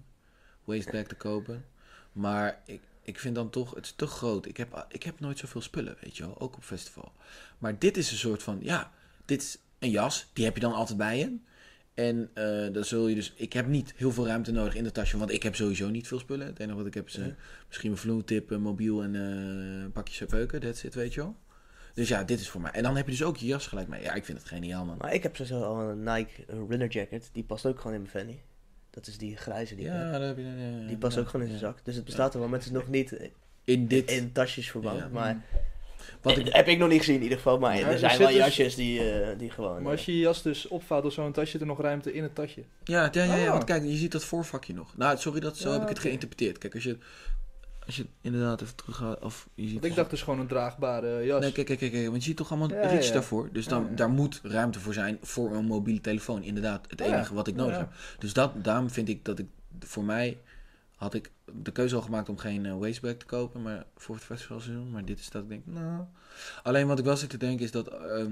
Speaker 1: wasteback te kopen. Maar ik, ik vind dan toch, het is te groot. Ik heb, ik heb nooit zoveel spullen, weet je wel, ook op festival. Maar dit is een soort van, ja, dit is een jas, die heb je dan altijd bij je. En eh, dan zul je dus, ik heb niet heel veel ruimte nodig in de tasje, want ik heb sowieso niet veel spullen. Het enige wat ik heb is eh,
Speaker 2: Ja.
Speaker 1: misschien mijn vloertip, een mobiel en eh, een pakje peuken, that's it, weet je wel. Dus ja, dit is voor mij. En dan heb je dus ook je jas gelijk mee. Ja, ik vind het geniaal, man.
Speaker 2: Maar ik heb sowieso al een Nike eh, runner jacket. Die past ook gewoon in mijn fanny. Dat is die grijze die ik heb. eh,
Speaker 1: Ja, dat heb je, ja, ja,
Speaker 2: Die past ook gewoon in
Speaker 1: ja.
Speaker 2: zijn zak. Dus het bestaat er wel. Mensen nog niet eh,
Speaker 1: In dit.
Speaker 2: in tasjes vervangen.
Speaker 1: Ja.
Speaker 2: Maar
Speaker 1: wat
Speaker 2: eh,
Speaker 1: ik,
Speaker 2: heb ik nog niet gezien in ieder geval. Maar
Speaker 3: Maar
Speaker 2: er
Speaker 3: er
Speaker 2: zijn
Speaker 3: zit
Speaker 2: wel
Speaker 3: dus-
Speaker 2: jasjes die, eh, die gewoon...
Speaker 3: Maar als je je jas dus opvouwt of zo, dan tasje er nog ruimte in het tasje.
Speaker 1: ja, ja, ja, ja,
Speaker 3: Ah.
Speaker 1: want kijk, je ziet dat voorvakje nog. Nou, sorry, dat, zo
Speaker 3: Ja,
Speaker 1: heb ik het
Speaker 3: oké.
Speaker 1: geïnterpreteerd. Kijk, als je, als je inderdaad even teruggaat, of je ziet...
Speaker 3: Want ik dacht dus gewoon een draagbare jas.
Speaker 1: Nee, kijk, kijk, kijk, kijk, want je ziet toch allemaal
Speaker 3: Ja,
Speaker 1: ritjes
Speaker 3: ja.
Speaker 1: daarvoor. Dus dan,
Speaker 3: Ja, ja.
Speaker 1: daar moet ruimte voor zijn voor een mobiele telefoon. Inderdaad, het
Speaker 3: Ja.
Speaker 1: enige wat ik nodig
Speaker 3: Ja.
Speaker 1: heb. Dus dat, daarom vind ik dat ik, voor mij had ik de keuze al gemaakt om geen eh, wasteback te kopen maar voor het festivalseizoen. Maar dit is dat ik denk, nou... Alleen wat ik wel zit te denken is dat, ehm,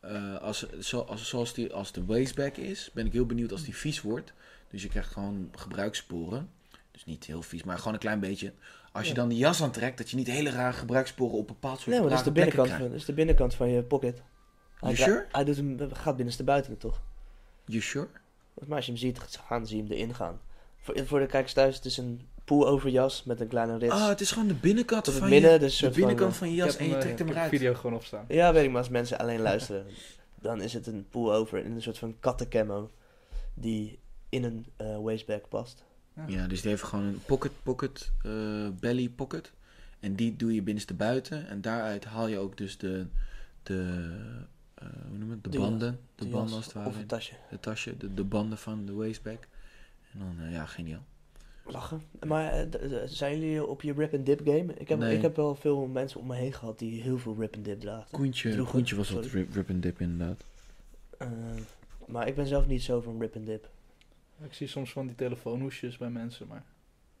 Speaker 1: eh, als, zo, als, zoals die, als de wasteback is, ben ik heel benieuwd als die vies wordt. Dus je krijgt gewoon gebruikssporen. Dus niet heel vies, maar gewoon een klein beetje. Als je
Speaker 3: Ja.
Speaker 1: dan die jas aantrekt, dat je niet hele rare gebruikssporen op bepaald soort
Speaker 2: Nee, maar dat is, de
Speaker 1: rare plekken
Speaker 2: binnenkant
Speaker 1: krijgt.
Speaker 2: van, dat is de binnenkant van je pocket. Hij,
Speaker 1: You
Speaker 2: dra-
Speaker 1: sure?
Speaker 2: hij doet hem, gaat binnenste buiten toch?
Speaker 1: You sure?
Speaker 2: Maar als je hem ziet gaan, zie je hem erin gaan. Voor, voor de kijkers thuis, het is een pullover jas met een kleine rits.
Speaker 1: Ah, het is gewoon de binnenkant
Speaker 2: Tot het
Speaker 1: van
Speaker 2: midden,
Speaker 1: je...
Speaker 2: dus
Speaker 1: De
Speaker 2: soort
Speaker 1: binnenkant
Speaker 2: van,
Speaker 1: van je
Speaker 3: Ik heb
Speaker 1: jas en je
Speaker 3: eh,
Speaker 1: trekt hem
Speaker 3: ik heb
Speaker 1: eruit.
Speaker 3: de video gewoon opstaan.
Speaker 2: Ja, weet ik, maar als mensen alleen (laughs) luisteren, dan is het een pullover in een soort van kattencamo die in een eh waistbag past.
Speaker 1: Ja, dus die heeft gewoon een pocket, pocket, eh, belly pocket. En die doe je binnenste buiten. En daaruit haal je ook dus de, de eh, hoe noem je het? De,
Speaker 2: De jas.
Speaker 1: banden. De,
Speaker 2: Die
Speaker 1: banden
Speaker 2: jas
Speaker 1: als het ware.
Speaker 2: Of een tasje.
Speaker 1: Het tasje, de, de banden van de waistback. En dan, eh, ja, geniaal.
Speaker 2: Lachen. Maar eh, d- d- zijn jullie op je rip and dip game? Ik heb,
Speaker 1: Nee.
Speaker 2: ik heb wel veel mensen om me heen gehad die heel veel rip and dip draagden.
Speaker 1: Koentje,
Speaker 2: Droeg-
Speaker 1: Koentje was op
Speaker 2: sorry.
Speaker 1: rip, rip and dip inderdaad.
Speaker 2: Eh, maar ik ben zelf niet zo van rip and dip.
Speaker 3: Ik zie soms van die telefoonhoesjes bij mensen, maar...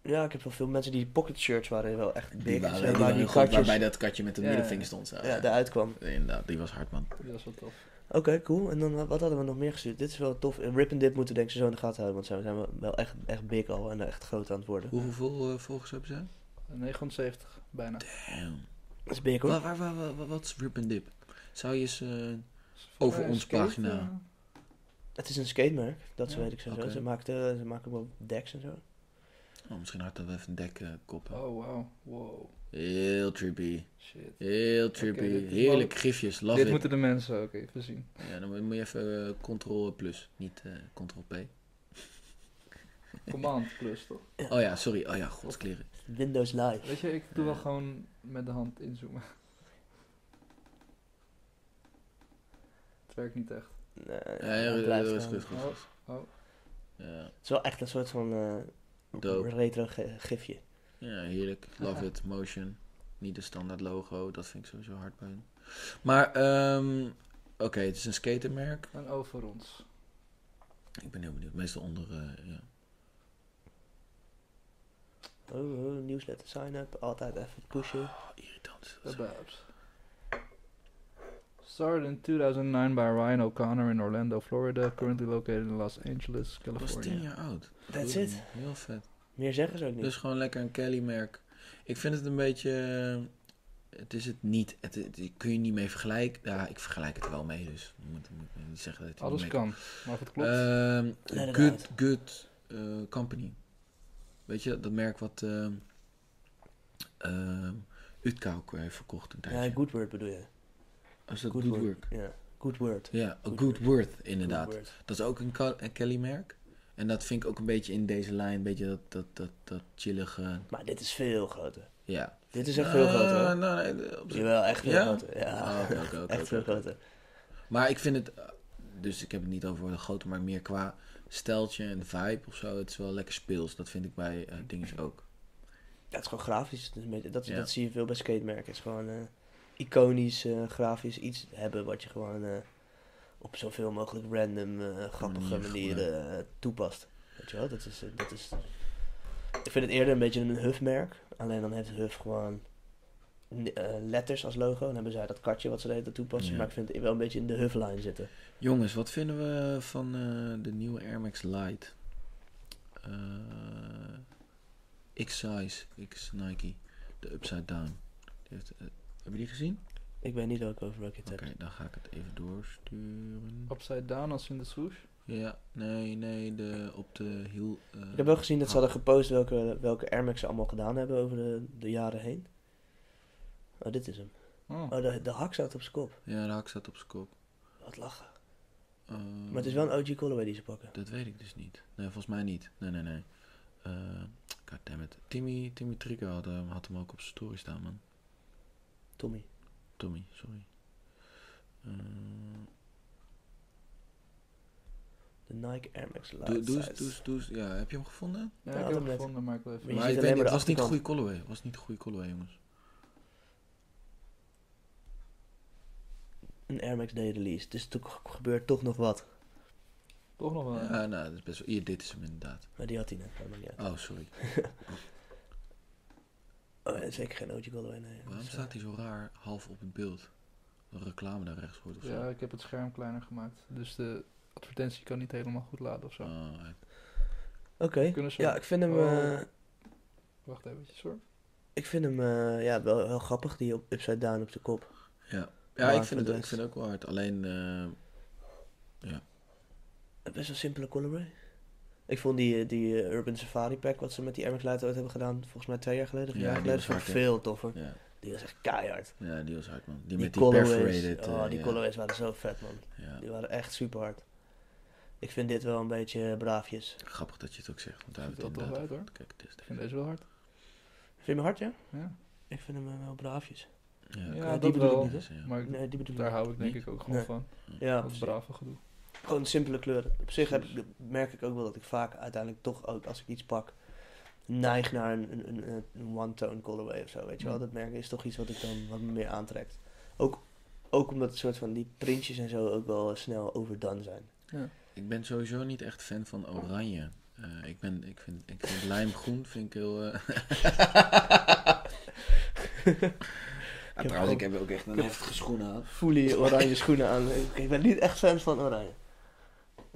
Speaker 2: Ja, ik heb wel veel mensen die pocket shirts waren wel echt
Speaker 1: Die
Speaker 2: dik. en
Speaker 1: waren,
Speaker 2: zo,
Speaker 1: die
Speaker 2: waar
Speaker 1: waren
Speaker 2: die
Speaker 1: heel goed,
Speaker 2: katjes-
Speaker 1: waarbij dat katje met de
Speaker 3: Ja,
Speaker 1: middelvinger
Speaker 3: ja.
Speaker 1: stond. Zo.
Speaker 2: Ja, daaruit kwam.
Speaker 1: Inderdaad, die was hard man.
Speaker 3: Dat is wel tof.
Speaker 2: Oké, cool. En dan eh, wat hadden we nog meer gestuurd? Dit is wel tof. En Rip and Dip moeten denk ik zo in de gaten houden, want zij zijn wel- wel echt, echt big al en echt groot aan het worden.
Speaker 1: Hoe, hoeveel eh, volgers hebben ze?
Speaker 3: 79, bijna.
Speaker 1: Damn.
Speaker 2: Dat is big hoor.
Speaker 1: Waar, waar, waar, waar- waar- wat is rip and dip? Zou je eens... eh, Over
Speaker 3: Eh,
Speaker 1: ons
Speaker 3: skate,
Speaker 1: pagina.
Speaker 3: eh,
Speaker 2: Het is een skatemerk, dat
Speaker 3: Ja,
Speaker 2: weet ik zo.
Speaker 1: oké.
Speaker 2: Ze, maakten, ze maken wel decks en zo.
Speaker 1: oh, misschien hard dat we even een dek eh, koppen.
Speaker 3: Oh, wow. Wow.
Speaker 1: Heel trippy.
Speaker 3: Shit.
Speaker 1: Heel trippy.
Speaker 3: Oké, dit-
Speaker 1: Heerlijk gifjes. Love
Speaker 3: Dit
Speaker 1: it.
Speaker 3: moeten de mensen ook even zien.
Speaker 1: Ja, dan moet je even eh, ctrl plus, niet eh, ctrl p.
Speaker 3: Command plus, toch?
Speaker 1: Oh ja, sorry. Oh ja, godskleren.
Speaker 2: Windows Live.
Speaker 3: Weet je, ik doe wel gewoon met de hand inzoomen. Het werkt niet echt.
Speaker 2: Nee,
Speaker 1: Ja, ja,
Speaker 2: het blijft
Speaker 1: dat is
Speaker 2: gewoon-
Speaker 1: goed. goed, goed.
Speaker 3: Oh, oh.
Speaker 1: Ja,
Speaker 2: Het is wel echt een soort van eh,
Speaker 1: Dope.
Speaker 2: retro ge- gifje.
Speaker 1: ja, heerlijk. Love
Speaker 2: (laughs)
Speaker 1: it. Motion. Niet de standaard logo. Dat vind ik sowieso hard bij hun. Maar, ehm, oké, het is een skatermerk.
Speaker 3: En over ons.
Speaker 1: Ik ben heel benieuwd. Meestal onder, eh, ja.
Speaker 2: Oh, oh, nieuwsletter sign-up, altijd even pushen.
Speaker 1: Oh, irritant.
Speaker 3: About. Started in 2009 by Ryan O'Connor in Orlando, Florida. Currently located in Los Angeles,
Speaker 1: Dat was tien
Speaker 3: California.
Speaker 1: jaar oud.
Speaker 2: That's
Speaker 1: Goed,
Speaker 2: it.
Speaker 1: man. Heel vet.
Speaker 2: Meer zeggen ze ook niet.
Speaker 1: Dus gewoon lekker een Kelly-merk. Ik vind het een beetje... eh, Het is het niet. Het, het- kun je niet mee vergelijken. Ja, ik vergelijk het wel mee, dus ik moet, moet niet zeggen dat het er
Speaker 3: Alles
Speaker 1: niet mee
Speaker 3: kan, maar het klopt.
Speaker 1: Ehm,
Speaker 2: Let it
Speaker 1: good good eh, Company. Weet je, dat merk wat ehm ehm, Utkauk heeft verkocht een tijdje.
Speaker 2: ja, Good Word bedoel je.
Speaker 1: Is dat
Speaker 2: Good
Speaker 1: Good,
Speaker 2: Work.
Speaker 1: Work?
Speaker 2: Ja, Good Word.
Speaker 1: Ja, A
Speaker 2: Good
Speaker 1: Good,
Speaker 2: Work.
Speaker 1: Worth inderdaad.
Speaker 2: Good Word.
Speaker 1: Dat is ook een, Ka- een Kelly-merk. En dat vind ik ook een beetje in deze lijn, een beetje dat, dat, dat, dat chillige...
Speaker 2: Maar dit is veel groter.
Speaker 1: Ja.
Speaker 2: Dit is echt veel groter. hoor.
Speaker 1: Eh, nou, nee, op zich-
Speaker 2: Jawel, echt veel
Speaker 1: Ja?
Speaker 2: groter. Ja,
Speaker 1: Oh, oké, oké, oké,
Speaker 2: (laughs) echt veel
Speaker 1: oké.
Speaker 2: groter.
Speaker 1: Maar ik vind het, eh, dus ik heb het niet over de grote, maar meer qua steltje en vibe of zo. Het is wel lekker speels. Dat vind ik bij eh dinges ook.
Speaker 2: Ja, het is gewoon grafisch. Het is een beetje- dat,
Speaker 1: Ja.
Speaker 2: dat zie je veel bij skatemerken. Het is gewoon eh, iconisch, eh, grafisch iets hebben wat je gewoon eh, op zoveel mogelijk random, eh, grappige
Speaker 1: Manier
Speaker 2: manieren eh, toepast. Weet je wel, dat is, eh, dat is... Ik vind het eerder een beetje een Huff-merk. Alleen dan heeft Huff gewoon n- eh, letters als logo. Dan hebben zij dat katje wat ze de hele tijd toepassen.
Speaker 1: Ja.
Speaker 2: Maar ik vind het wel een beetje in de Huff-line zitten.
Speaker 1: Jongens, wat vinden we van eh, de nieuwe Air Max Lite? Eh, X-Size, X Nike, de Upside Down. Die heeft, eh, heb je die gezien?
Speaker 2: Ik weet niet welke over welke het
Speaker 1: Oké,
Speaker 2: hebt.
Speaker 1: dan ga ik het even doorsturen.
Speaker 3: Upside down als in de swoosh.
Speaker 1: Ja, nee, nee, de, op de hiel. eh,
Speaker 2: Ik heb wel gezien dat ze hadden gepost welke, welke Air Max ze allemaal gedaan hebben over de, de jaren heen. Oh, dit is hem.
Speaker 3: Oh.
Speaker 2: Oh, de, de hak staat op zijn kop.
Speaker 1: Ja, de hak staat op zijn kop.
Speaker 2: Wat lachen.
Speaker 1: Eh,
Speaker 2: Maar het is wel een OG Colorway die ze pakken.
Speaker 1: Dat weet ik dus niet. Nee, volgens mij niet. Nee, nee, nee. Eh God damn it. Timmy, Timmy Trigger had, hem- had hem ook op zijn story staan, man.
Speaker 2: Tommy.
Speaker 1: Tommy, sorry. Eh,
Speaker 2: De Nike Air Max Lite
Speaker 1: doe, doe,
Speaker 2: size.
Speaker 1: eens- doe, eens- doe, eens- ja, heb je hem gevonden?
Speaker 3: Ja,
Speaker 2: Ja,
Speaker 3: ik
Speaker 2: dat
Speaker 3: heb hem
Speaker 2: net.
Speaker 3: gevonden, maar ik wil
Speaker 2: Maar
Speaker 3: even...
Speaker 2: je
Speaker 1: maar
Speaker 2: ziet
Speaker 1: ik weet
Speaker 2: alleen
Speaker 1: niet,
Speaker 2: maar
Speaker 1: het was
Speaker 2: de
Speaker 1: niet een
Speaker 2: achterkant.
Speaker 1: goede colorway. Het was niet een goede colorway, jongens.
Speaker 2: Een Air Max Day release. Dus toen g- gebeurt toch nog wat.
Speaker 3: Toch nog wel.
Speaker 1: Ja, nou, dat is best wel... Hier, dit is hem inderdaad.
Speaker 2: Maar die had hij net. Dat maakt niet uit.
Speaker 1: Oh, sorry.
Speaker 2: Oh, ja, zeker geen OG Colorway, nee.
Speaker 1: Waarom
Speaker 2: Zo.
Speaker 1: staat hij zo raar half op het beeld? Een reclame daar rechts wordt of zo.
Speaker 3: Ja, ik heb het scherm kleiner gemaakt. Dus de advertentie kan niet helemaal goed laden of zo.
Speaker 1: Oh, hij-
Speaker 2: Oké.
Speaker 3: Kunnen ze-
Speaker 2: Ja, ik vind hem...
Speaker 3: Oh.
Speaker 2: eh,
Speaker 3: Wacht eventjes hoor.
Speaker 2: ik vind hem eh, ja, wel heel grappig, die op, upside down op zijn kop.
Speaker 1: ja, ja
Speaker 2: Maar
Speaker 1: ik,
Speaker 2: voor
Speaker 1: vind
Speaker 2: de
Speaker 1: het, ik
Speaker 2: rest-
Speaker 1: vind het ook wel hard. Alleen, eh,
Speaker 2: Best wel simpele colorway. Ik vond die, eh, die eh, Urban Safari Pack, wat ze met die Air Max Lite ooit hebben gedaan, volgens mij twee jaar geleden, of een
Speaker 1: Ja,
Speaker 2: jaar
Speaker 1: die
Speaker 2: geleden,
Speaker 1: was
Speaker 2: vond ik
Speaker 1: hard, hè?
Speaker 2: veel toffer.
Speaker 1: ja.
Speaker 2: Die was echt keihard.
Speaker 1: ja, die was hard, man. Die,
Speaker 2: Die,
Speaker 1: met die
Speaker 2: colorways,
Speaker 1: perforated.
Speaker 2: oh,
Speaker 1: eh,
Speaker 2: die
Speaker 1: ja.
Speaker 2: colorways waren zo vet, man.
Speaker 1: Ja.
Speaker 2: Die waren echt super hard. Ik vind dit wel een beetje braafjes.
Speaker 1: Grappig dat je het ook zegt, want daar
Speaker 3: Ziet
Speaker 1: hebben we
Speaker 3: dat
Speaker 1: het
Speaker 3: toch
Speaker 1: inderdaad
Speaker 3: uit hoor.
Speaker 1: over. Kijk, het is
Speaker 3: Ik vind deze wel hard.
Speaker 2: Vind je hem hard, ja?
Speaker 3: Ja,
Speaker 2: Ik vind hem eh, wel braafjes.
Speaker 1: Ja,
Speaker 3: Ja,
Speaker 1: oké.
Speaker 3: dat
Speaker 2: die bedoel
Speaker 3: wel.
Speaker 2: ik niet,
Speaker 1: Dus, ja.
Speaker 3: Maar ik-
Speaker 2: Nee, die bedoel ik
Speaker 3: daar
Speaker 2: niet.
Speaker 3: hou ik denk
Speaker 1: Niet?
Speaker 3: ik ook gewoon
Speaker 2: Nee.
Speaker 3: van.
Speaker 2: Ja,
Speaker 3: Dat
Speaker 2: precies.
Speaker 3: brave gedoe.
Speaker 2: gewoon simpele kleuren. Op zich heb ik, merk ik ook wel dat ik vaak uiteindelijk toch ook, als ik iets pak, neig naar een, een, een, een one-tone colorway of zo. Weet je wel,
Speaker 3: Mm.
Speaker 2: dat merk is toch iets wat ik dan wat me meer aantrekt. Ook, ook omdat het soort van die printjes en zo ook wel snel overdone zijn.
Speaker 1: Ik ben sowieso niet echt fan van oranje. Eh, ik, ben, ik, vind, ik vind lijmgroen vind ik heel... eh, (laughs) Ah, trouwens, ik heb ook echt een heftige schoen aan.
Speaker 2: Voel je oranje schoenen aan. Ik- (laughs) Ik ben niet echt fan van oranje.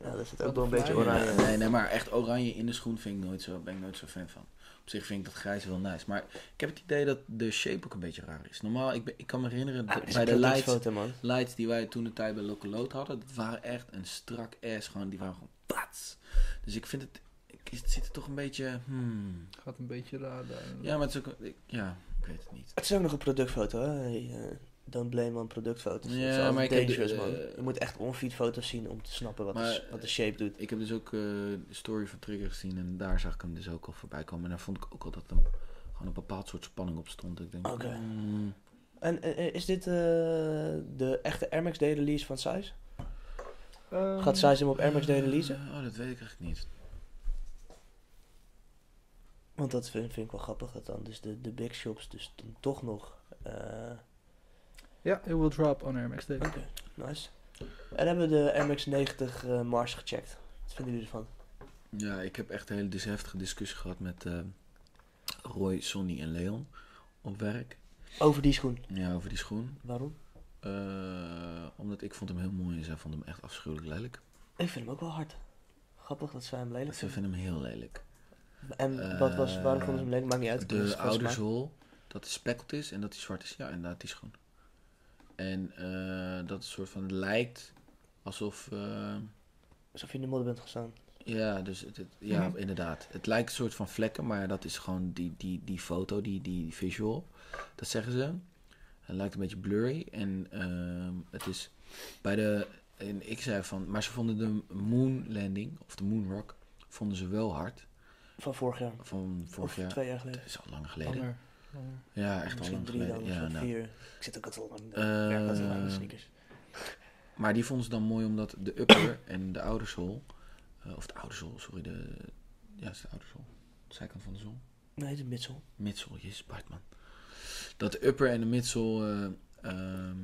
Speaker 2: Ja, daar zit ook
Speaker 3: Wat
Speaker 2: wel een
Speaker 3: een
Speaker 2: beetje
Speaker 3: flyer.
Speaker 2: oranje.
Speaker 1: Nee, nee, maar echt oranje in de schoen vind ik nooit zo, ben ik nooit zo fan van. Op zich vind ik dat grijs wel nice. Maar ik heb het idee dat de shape ook een beetje raar is. Normaal, ik, ben- ik kan me herinneren,
Speaker 2: Ah, dit is
Speaker 1: bij
Speaker 2: een
Speaker 1: de lights,
Speaker 2: product-foto, man.
Speaker 1: lights die wij toen de tijd bij Locomoot hadden, dat waren echt een strak ass. Gewoon, die waren gewoon pats. Dus ik vind het, ik, het zit er toch een beetje... hmm.
Speaker 3: Gaat een beetje raar daar.
Speaker 1: Ja, maar het is ook... ik- ja, ik weet het niet.
Speaker 2: Het is ook nog een productfoto, hè? Eh, Don't blame on productfoto's.
Speaker 1: Ja,
Speaker 2: dat is
Speaker 1: maar
Speaker 2: maar
Speaker 1: ik heb de-
Speaker 2: dangerous, man.
Speaker 1: eh,
Speaker 2: je moet echt on-feed foto's zien om te snappen wat,
Speaker 1: Maar,
Speaker 2: de, sh- wat de shape doet.
Speaker 1: Ik heb dus ook eh, de story van Trigger gezien en daar zag ik hem dus ook al voorbij komen. En daar vond ik ook al dat er gewoon een bepaald soort spanning op stond. Ik denk,
Speaker 2: Oké.
Speaker 1: mm,
Speaker 2: En eh, is dit eh, de echte Air Max Day release van Size?
Speaker 3: Ehm,
Speaker 2: Gaat Size hem op Air Max Day releasen?
Speaker 1: eh, oh, dat weet ik eigenlijk niet.
Speaker 2: Want dat vind, vind ik wel grappig, dat dan dus de, de big shops dus dan toch nog... eh,
Speaker 3: Ja, it will drop on Air Max Day.
Speaker 2: Oké, nice. En hebben we de Air Max 90 eh, Mars gecheckt. Wat vinden jullie ervan?
Speaker 1: Ja, ik heb echt een hele dis- heftige discussie gehad met eh, Roy, Sonny en Leon op werk.
Speaker 2: Over die schoen.
Speaker 1: Ja, over die schoen.
Speaker 2: Waarom?
Speaker 1: Eh, omdat ik vond hem heel mooi en zij vond hem echt afschuwelijk lelijk.
Speaker 2: Ik vind hem ook wel hard. Grappig dat zij hem lelijk
Speaker 1: Ze
Speaker 2: vinden.
Speaker 1: vinden hem heel lelijk.
Speaker 2: En wat was, waarom vonden ze hem lelijk? Maakt niet uit. Het
Speaker 1: de
Speaker 2: is gewoon smaak.
Speaker 1: ouderzool, dat die spekkeld is en dat die zwart is. Ja, inderdaad, die schoen. En eh, dat het soort van lijkt alsof... eh,
Speaker 2: Alsof je in de modder bent gestaan.
Speaker 1: ja, dus het, het- ja,
Speaker 3: Mhm.
Speaker 1: inderdaad. Het lijkt een soort van vlekken, maar dat is gewoon die, die, die foto, die, die visual. Dat zeggen ze. Het lijkt een beetje blurry. En ehm, het is bij de... En ik zei van... Maar ze vonden de moon landing, of de moon rock, vonden ze wel hard.
Speaker 2: Van vorig jaar.
Speaker 1: Van vorig
Speaker 2: of
Speaker 1: jaar.
Speaker 2: twee jaar
Speaker 1: Dat
Speaker 2: geleden.
Speaker 1: is al lang geleden.
Speaker 3: Langer, langer.
Speaker 1: Ja, echt al
Speaker 2: Misschien
Speaker 1: lang
Speaker 2: drie dan,
Speaker 1: geleden.
Speaker 2: of
Speaker 1: Ja,
Speaker 2: zo,
Speaker 1: nou.
Speaker 2: vier. Ik zit ook altijd lang in de,
Speaker 1: Eh,
Speaker 2: werk altijd lang in de sneakers. (coughs)
Speaker 1: Maar die vonden ze dan mooi omdat de upper en de oudersol Eh, of de oude zool, sorry. De, ja, het is de oude zool. De zijkant van de zool.
Speaker 2: Nee, het is Mitsel.
Speaker 1: Midsel, jezus Bart, man. Dat de upper en de midsel eh, ehm,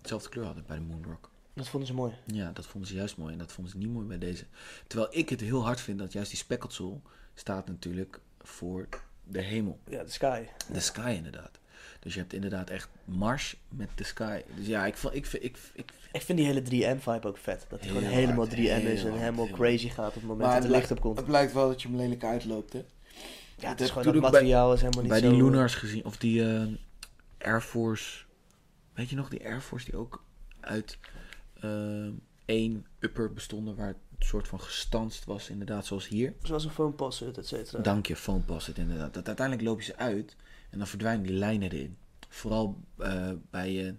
Speaker 1: dezelfde kleur hadden bij de Moonrock.
Speaker 2: Dat vonden ze mooi.
Speaker 1: Ja, dat vonden ze juist mooi en dat vonden ze niet mooi bij deze. Terwijl ik het heel hard vind dat juist die speckled soul staat natuurlijk voor de hemel.
Speaker 2: Ja, de Sky.
Speaker 1: De sky inderdaad. Dus je hebt inderdaad echt Mars met de sky. Dus ja, ik, vond- ik, vind- ik, ik,
Speaker 2: Ik vind die hele 3M-vibe ook vet. Dat hij
Speaker 1: Heel
Speaker 2: gewoon helemaal
Speaker 1: hard,
Speaker 2: 3M
Speaker 1: heel
Speaker 2: is en
Speaker 1: hard,
Speaker 2: helemaal
Speaker 1: heel
Speaker 2: crazy gaat op het moment dat het licht op komt.
Speaker 5: Het blijkt wel dat je hem lelijk uitloopt, hè?
Speaker 2: Ja, het
Speaker 5: dat
Speaker 2: is gewoon
Speaker 1: doet
Speaker 2: dat
Speaker 1: ook bij-
Speaker 2: materiaal is helemaal niet
Speaker 1: bij
Speaker 2: zo... eh,
Speaker 1: die Lunars gezien, of die eh, Air Force. Weet je nog, die Air Force die ook uit eh, één upper bestonden, waar het soort van gestanst was, inderdaad, zoals hier.
Speaker 2: Zoals een foam passet, et cetera.
Speaker 1: Dank je, foam past het inderdaad. Dat, uiteindelijk loop je ze uit en dan verdwijnen die lijnen erin. Vooral eh, bij je.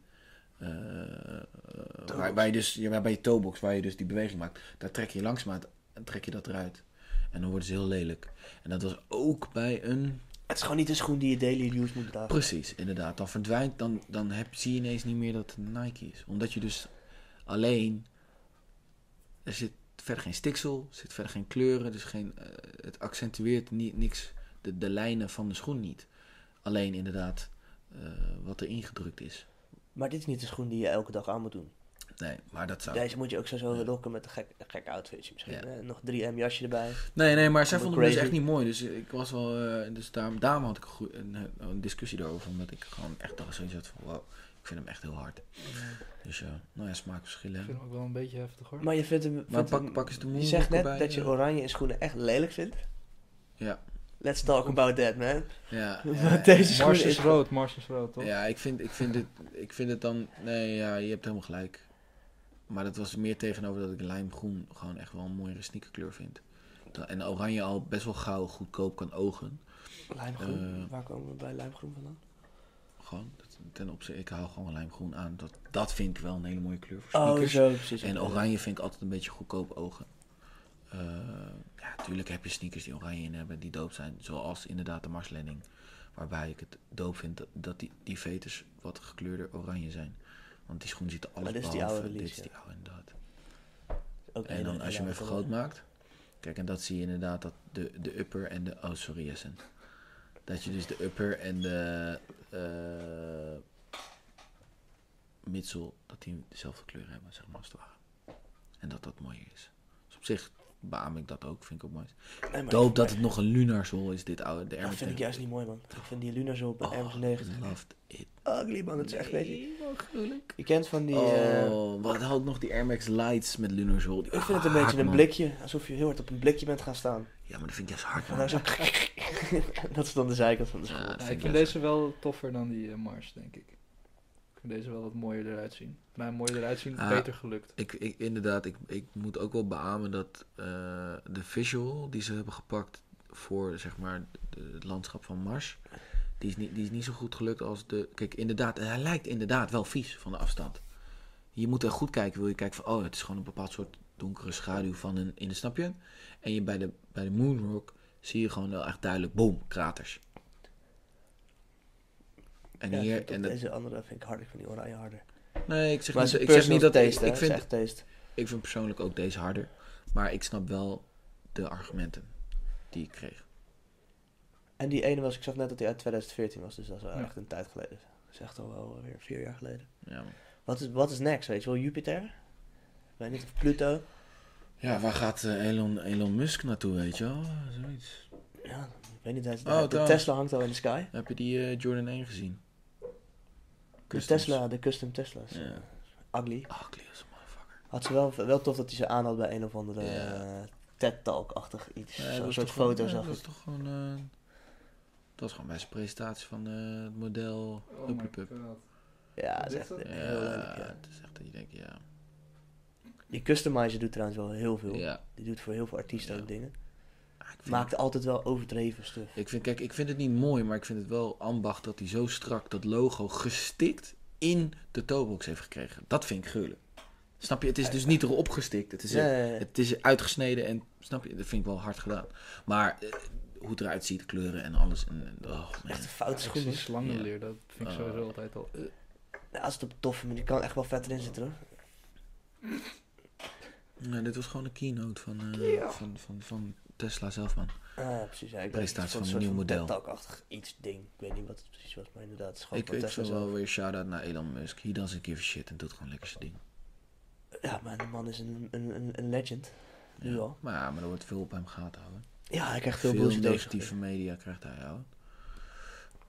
Speaker 1: eh, eh, waar, waar je dus, ja, waar- bij je toebox, waar je dus die beweging maakt, daar trek je langzaam en trek je dat eruit. En dan worden ze heel lelijk. En dat was ook bij een
Speaker 2: Het is gewoon niet de schoen die je daily use moet dragen.
Speaker 1: Precies, inderdaad. Dan verdwijnt, dan, dan heb, zie je ineens niet meer dat het een Nike is. Omdat je dus alleen, er zit verder geen stiksel, er zit verder geen kleuren, dus geen, eh, het accentueert niet, niks, de, de lijnen van de schoen niet. Alleen inderdaad eh, wat er ingedrukt is.
Speaker 2: Maar dit is niet de schoen die je elke dag aan moet doen.
Speaker 1: Nee, maar dat zou...
Speaker 2: Deze moet je ook zo zo lokken met een gek, gek outfitje misschien.
Speaker 1: Ja.
Speaker 2: hè? Nog 3M jasje erbij.
Speaker 1: Nee, nee, maar zij
Speaker 2: Crazy.
Speaker 1: vonden me dus echt niet mooi. Dus ik was wel. eh, dus daarom, daarom had ik een, goe- een, eh, een discussie daarover. Omdat ik gewoon echt dacht zoiets had van wow, ik vind hem echt heel hard. Dus ja, nou ja, smaakverschillen.
Speaker 3: Ik vind hem ook wel een beetje heftig hoor.
Speaker 2: Maar je vindt hem...
Speaker 1: Maar
Speaker 2: vindt
Speaker 1: pak,
Speaker 2: hem-
Speaker 1: pak eens de
Speaker 2: je
Speaker 1: moeilijke
Speaker 2: zegt net
Speaker 1: bij,
Speaker 2: dat je
Speaker 1: eh,
Speaker 2: oranje in schoenen echt lelijk vindt.
Speaker 1: Ja.
Speaker 2: Let's talk about that, man. (laughs)
Speaker 1: Ja,
Speaker 2: Want
Speaker 1: ja,
Speaker 2: deze schoenen
Speaker 3: Mars
Speaker 2: is
Speaker 3: is
Speaker 2: rood.
Speaker 3: rood, Mars is rood toch?
Speaker 1: ja ik, vind, ik, vind het, ik vind het dan... Nee, ja, je hebt helemaal gelijk. Maar dat was meer tegenover dat ik lijmgroen gewoon echt wel een mooiere sneakerkleur vind. Da- En oranje al best wel gauw goedkoop kan ogen.
Speaker 2: Lijmgroen.
Speaker 1: Eh.
Speaker 2: Waar komen we bij lijmgroen vandaan?
Speaker 1: Gewoon, dat- ten opzichte, ik hou gewoon lijmgroen aan. Dat, dat vind ik wel een hele mooie kleur voor
Speaker 2: Oh,
Speaker 1: sneakers.
Speaker 2: zo, precies.
Speaker 1: en oranje vind ik altijd een beetje goedkoop ogen. Eh, ja, tuurlijk heb je sneakers die oranje in hebben, die doop zijn. Zoals inderdaad de Mars Landing. Waarbij ik het doop vind dat, dat die, die veters wat gekleurder oranje zijn. Want die schoen ziet er alles
Speaker 2: dit is die
Speaker 1: behalve.
Speaker 2: oude
Speaker 1: dit
Speaker 2: release,
Speaker 1: is die oude, inderdaad.
Speaker 2: Ook
Speaker 1: En
Speaker 2: een
Speaker 1: dan als je hem
Speaker 2: hele
Speaker 1: even
Speaker 2: oude.
Speaker 1: groot maakt. Kijk, en dat zie je inderdaad dat de, de upper en de... Oh, sorry, Jessen. Dat je dus de upper en de... eh midsel, dat die dezelfde kleur hebben, zeg maar, als het ware. En dat dat mooier is. Dus op zich beaam ik dat ook, vind ik ook mooi.
Speaker 2: Nee, maar
Speaker 1: Doop
Speaker 2: ik-
Speaker 1: dat het nog een lunarsol is, dit oude. De
Speaker 2: Dat vind ik juist niet mooi, man. Ik vind die Luna's op een
Speaker 1: Oh,
Speaker 2: Hermes 90
Speaker 1: loved it.
Speaker 2: ugly, man. Het is echt, weet je...
Speaker 1: Nee, wat gruwelijk.
Speaker 2: Je kent van die... eh,
Speaker 1: Oh, wat had nog die Air Max Lights met lunarsol.
Speaker 2: ik vind het
Speaker 1: Ah,
Speaker 2: een beetje een blikje. Alsof je heel hard op een blikje bent gaan staan.
Speaker 1: Ja, maar dat vind ik juist hard,
Speaker 2: En
Speaker 1: man.
Speaker 2: dan zo... (laughs) dat is dan de zijkant van de schoen.
Speaker 1: Ja, dat
Speaker 3: Ja,
Speaker 1: vind
Speaker 3: ik
Speaker 1: ik
Speaker 3: vind
Speaker 1: juist-
Speaker 3: deze wel toffer dan die eh, Mars, denk ik. Ik vind deze wel wat mooier eruit zien. Nou, mooier eruit zien,
Speaker 1: Ah.
Speaker 3: beter gelukt.
Speaker 1: Ik, ik, inderdaad, ik, ik moet ook wel beamen dat eh, de visual die ze hebben gepakt voor zeg maar, de- het landschap van Mars, die is, niet, die is niet zo goed gelukt als de... Kijk, inderdaad, en hij lijkt inderdaad wel vies van de afstand. Je moet er goed kijken, wil je kijken van, oh, het is gewoon een bepaald soort donkere schaduw van een, in de snapje. En je bij de, bij de Moonrock zie je gewoon wel echt duidelijk, boom, kraters. En
Speaker 2: Ja, ik
Speaker 1: hier,
Speaker 2: vind
Speaker 1: en
Speaker 2: dat
Speaker 1: dat-
Speaker 2: deze andere vind ik harder. Ik vind die oranje harder.
Speaker 1: nee, ik zeg,
Speaker 2: Maar
Speaker 1: niet,
Speaker 2: het
Speaker 1: zo-
Speaker 2: is
Speaker 1: ik zeg niet dat
Speaker 2: taste,
Speaker 1: ik, ik vind,
Speaker 2: echt taste.
Speaker 1: ik vind persoonlijk ook deze harder. Maar ik snap wel de argumenten die ik kreeg.
Speaker 2: En die ene was... Ik zag net dat hij uit 2014 was. Dus dat is wel
Speaker 3: Ja.
Speaker 2: echt een tijd geleden. Dat is echt al wel eh, weer vier jaar geleden.
Speaker 1: Ja, man.
Speaker 2: Wat is, wat is next, weet je wel? Jupiter? Ik weet niet of Pluto.
Speaker 1: ja waar gaat eh, Elon, Elon Musk naartoe, weet je wel? Zoiets.
Speaker 2: Ja, ik weet niet. hij is-
Speaker 1: Oh,
Speaker 2: de
Speaker 1: trouwens.
Speaker 2: Tesla hangt al in de sky.
Speaker 1: Heb je die eh, Jordan 1 gezien?
Speaker 2: De
Speaker 1: Customs.
Speaker 2: Tesla, de custom Tesla's.
Speaker 1: Ja.
Speaker 2: Ugly.
Speaker 1: Ah, Cleo's motherfucker.
Speaker 2: Had ze wel, wel tof dat hij ze aan had bij een of andere
Speaker 1: Ja.
Speaker 2: eh, TED-talk-achtig iets.
Speaker 1: Nee,
Speaker 2: Zo'n
Speaker 1: was
Speaker 2: soort
Speaker 1: toch gewoon-
Speaker 2: foto
Speaker 1: nee,
Speaker 2: zag
Speaker 1: Dat
Speaker 2: ik.
Speaker 1: is toch gewoon... eh, dat was gewoon bij zijn presentatie van eh, het model.
Speaker 3: Oh my
Speaker 1: Hupplepup.
Speaker 3: god.
Speaker 2: Ja, dat is
Speaker 3: Is
Speaker 2: echt
Speaker 3: dat?
Speaker 1: Ja,
Speaker 2: heel leuk. Ja.
Speaker 1: het is echt dat je denkt, ja.
Speaker 2: Die customizer doet trouwens wel heel veel.
Speaker 1: ja.
Speaker 2: Die doet voor heel veel artiesten
Speaker 1: Ja.
Speaker 2: ook dingen.
Speaker 1: Ah, ik vind
Speaker 2: Maakt altijd wel overdreven stuff.
Speaker 1: Ik vind, kijk, ik vind het niet mooi, maar ik vind het wel ambacht dat hij zo strak dat logo gestikt in de toebox heeft gekregen. Dat vind ik gruwelijk. Snap je? Het is dus niet erop gestikt. Het is, er-
Speaker 2: Nee,
Speaker 1: het is uitgesneden en snap je? Dat vind ik wel hard gedaan. Maar eh, hoe het eruit ziet, de kleuren en alles. En, en- oh, man.
Speaker 2: echt een foute
Speaker 3: Ik zie
Speaker 2: schoenen.
Speaker 3: die slangenleer, dat vind ik
Speaker 1: Ah.
Speaker 3: sowieso altijd al.
Speaker 2: Nou, Ja, als het op een toffe manier kan, echt wel vet erin zitten hoor.
Speaker 1: Ja, dit was gewoon een keynote van, eh, van, van, van Tesla zelf, man.
Speaker 2: Ah, precies. Ja,
Speaker 1: Presentatie
Speaker 2: ik weet niet,
Speaker 1: van een
Speaker 2: soort
Speaker 1: nieuw model.
Speaker 2: bedtakachtig iets ding. Ik weet niet wat het precies was, maar inderdaad, het is gewoon
Speaker 1: Ik,
Speaker 2: van
Speaker 1: ik
Speaker 2: Tesla
Speaker 1: zou
Speaker 2: zelf.
Speaker 1: wel weer shout-out naar Elon Musk. He doesn't give a shit en doet gewoon lekker zijn ding.
Speaker 2: Ja, maar de man is een, een, een, een legend. Nu al.
Speaker 1: Maar ja, maar er wordt veel op hem gaten houden.
Speaker 2: Ja, hij krijgt veel,
Speaker 1: Veel,
Speaker 2: boze
Speaker 1: negatieve
Speaker 2: negatief.
Speaker 1: media krijgt hij, houden.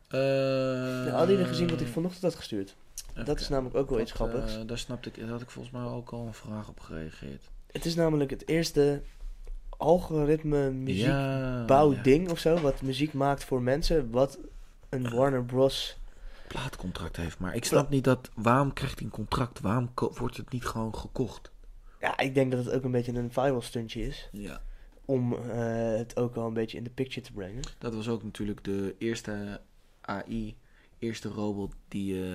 Speaker 1: Eh
Speaker 2: Nou, hadden jullie gezien wat ik vanochtend had gestuurd?
Speaker 1: even
Speaker 2: Dat is
Speaker 1: kijken.
Speaker 2: namelijk ook wel iets
Speaker 1: Ehm, Dat, eh,
Speaker 2: grappigs.
Speaker 1: daar snapte ik, daar had ik volgens mij ook al een vraag op gereageerd.
Speaker 2: Het is namelijk het eerste algoritme muziek
Speaker 1: ja, ja.
Speaker 2: bouwding of zo, wat muziek maakt voor mensen, wat een Warner Bros.
Speaker 1: plaatcontract heeft. Maar ik snap niet dat, waarom krijgt hij een contract? Waarom ko- wordt het niet gewoon gekocht?
Speaker 2: Ja, ik denk dat het ook een beetje een viral stuntje is.
Speaker 1: Ja.
Speaker 2: Om eh, het ook wel een beetje in de picture te brengen.
Speaker 1: Dat was ook natuurlijk de eerste AI, eerste robot die eh,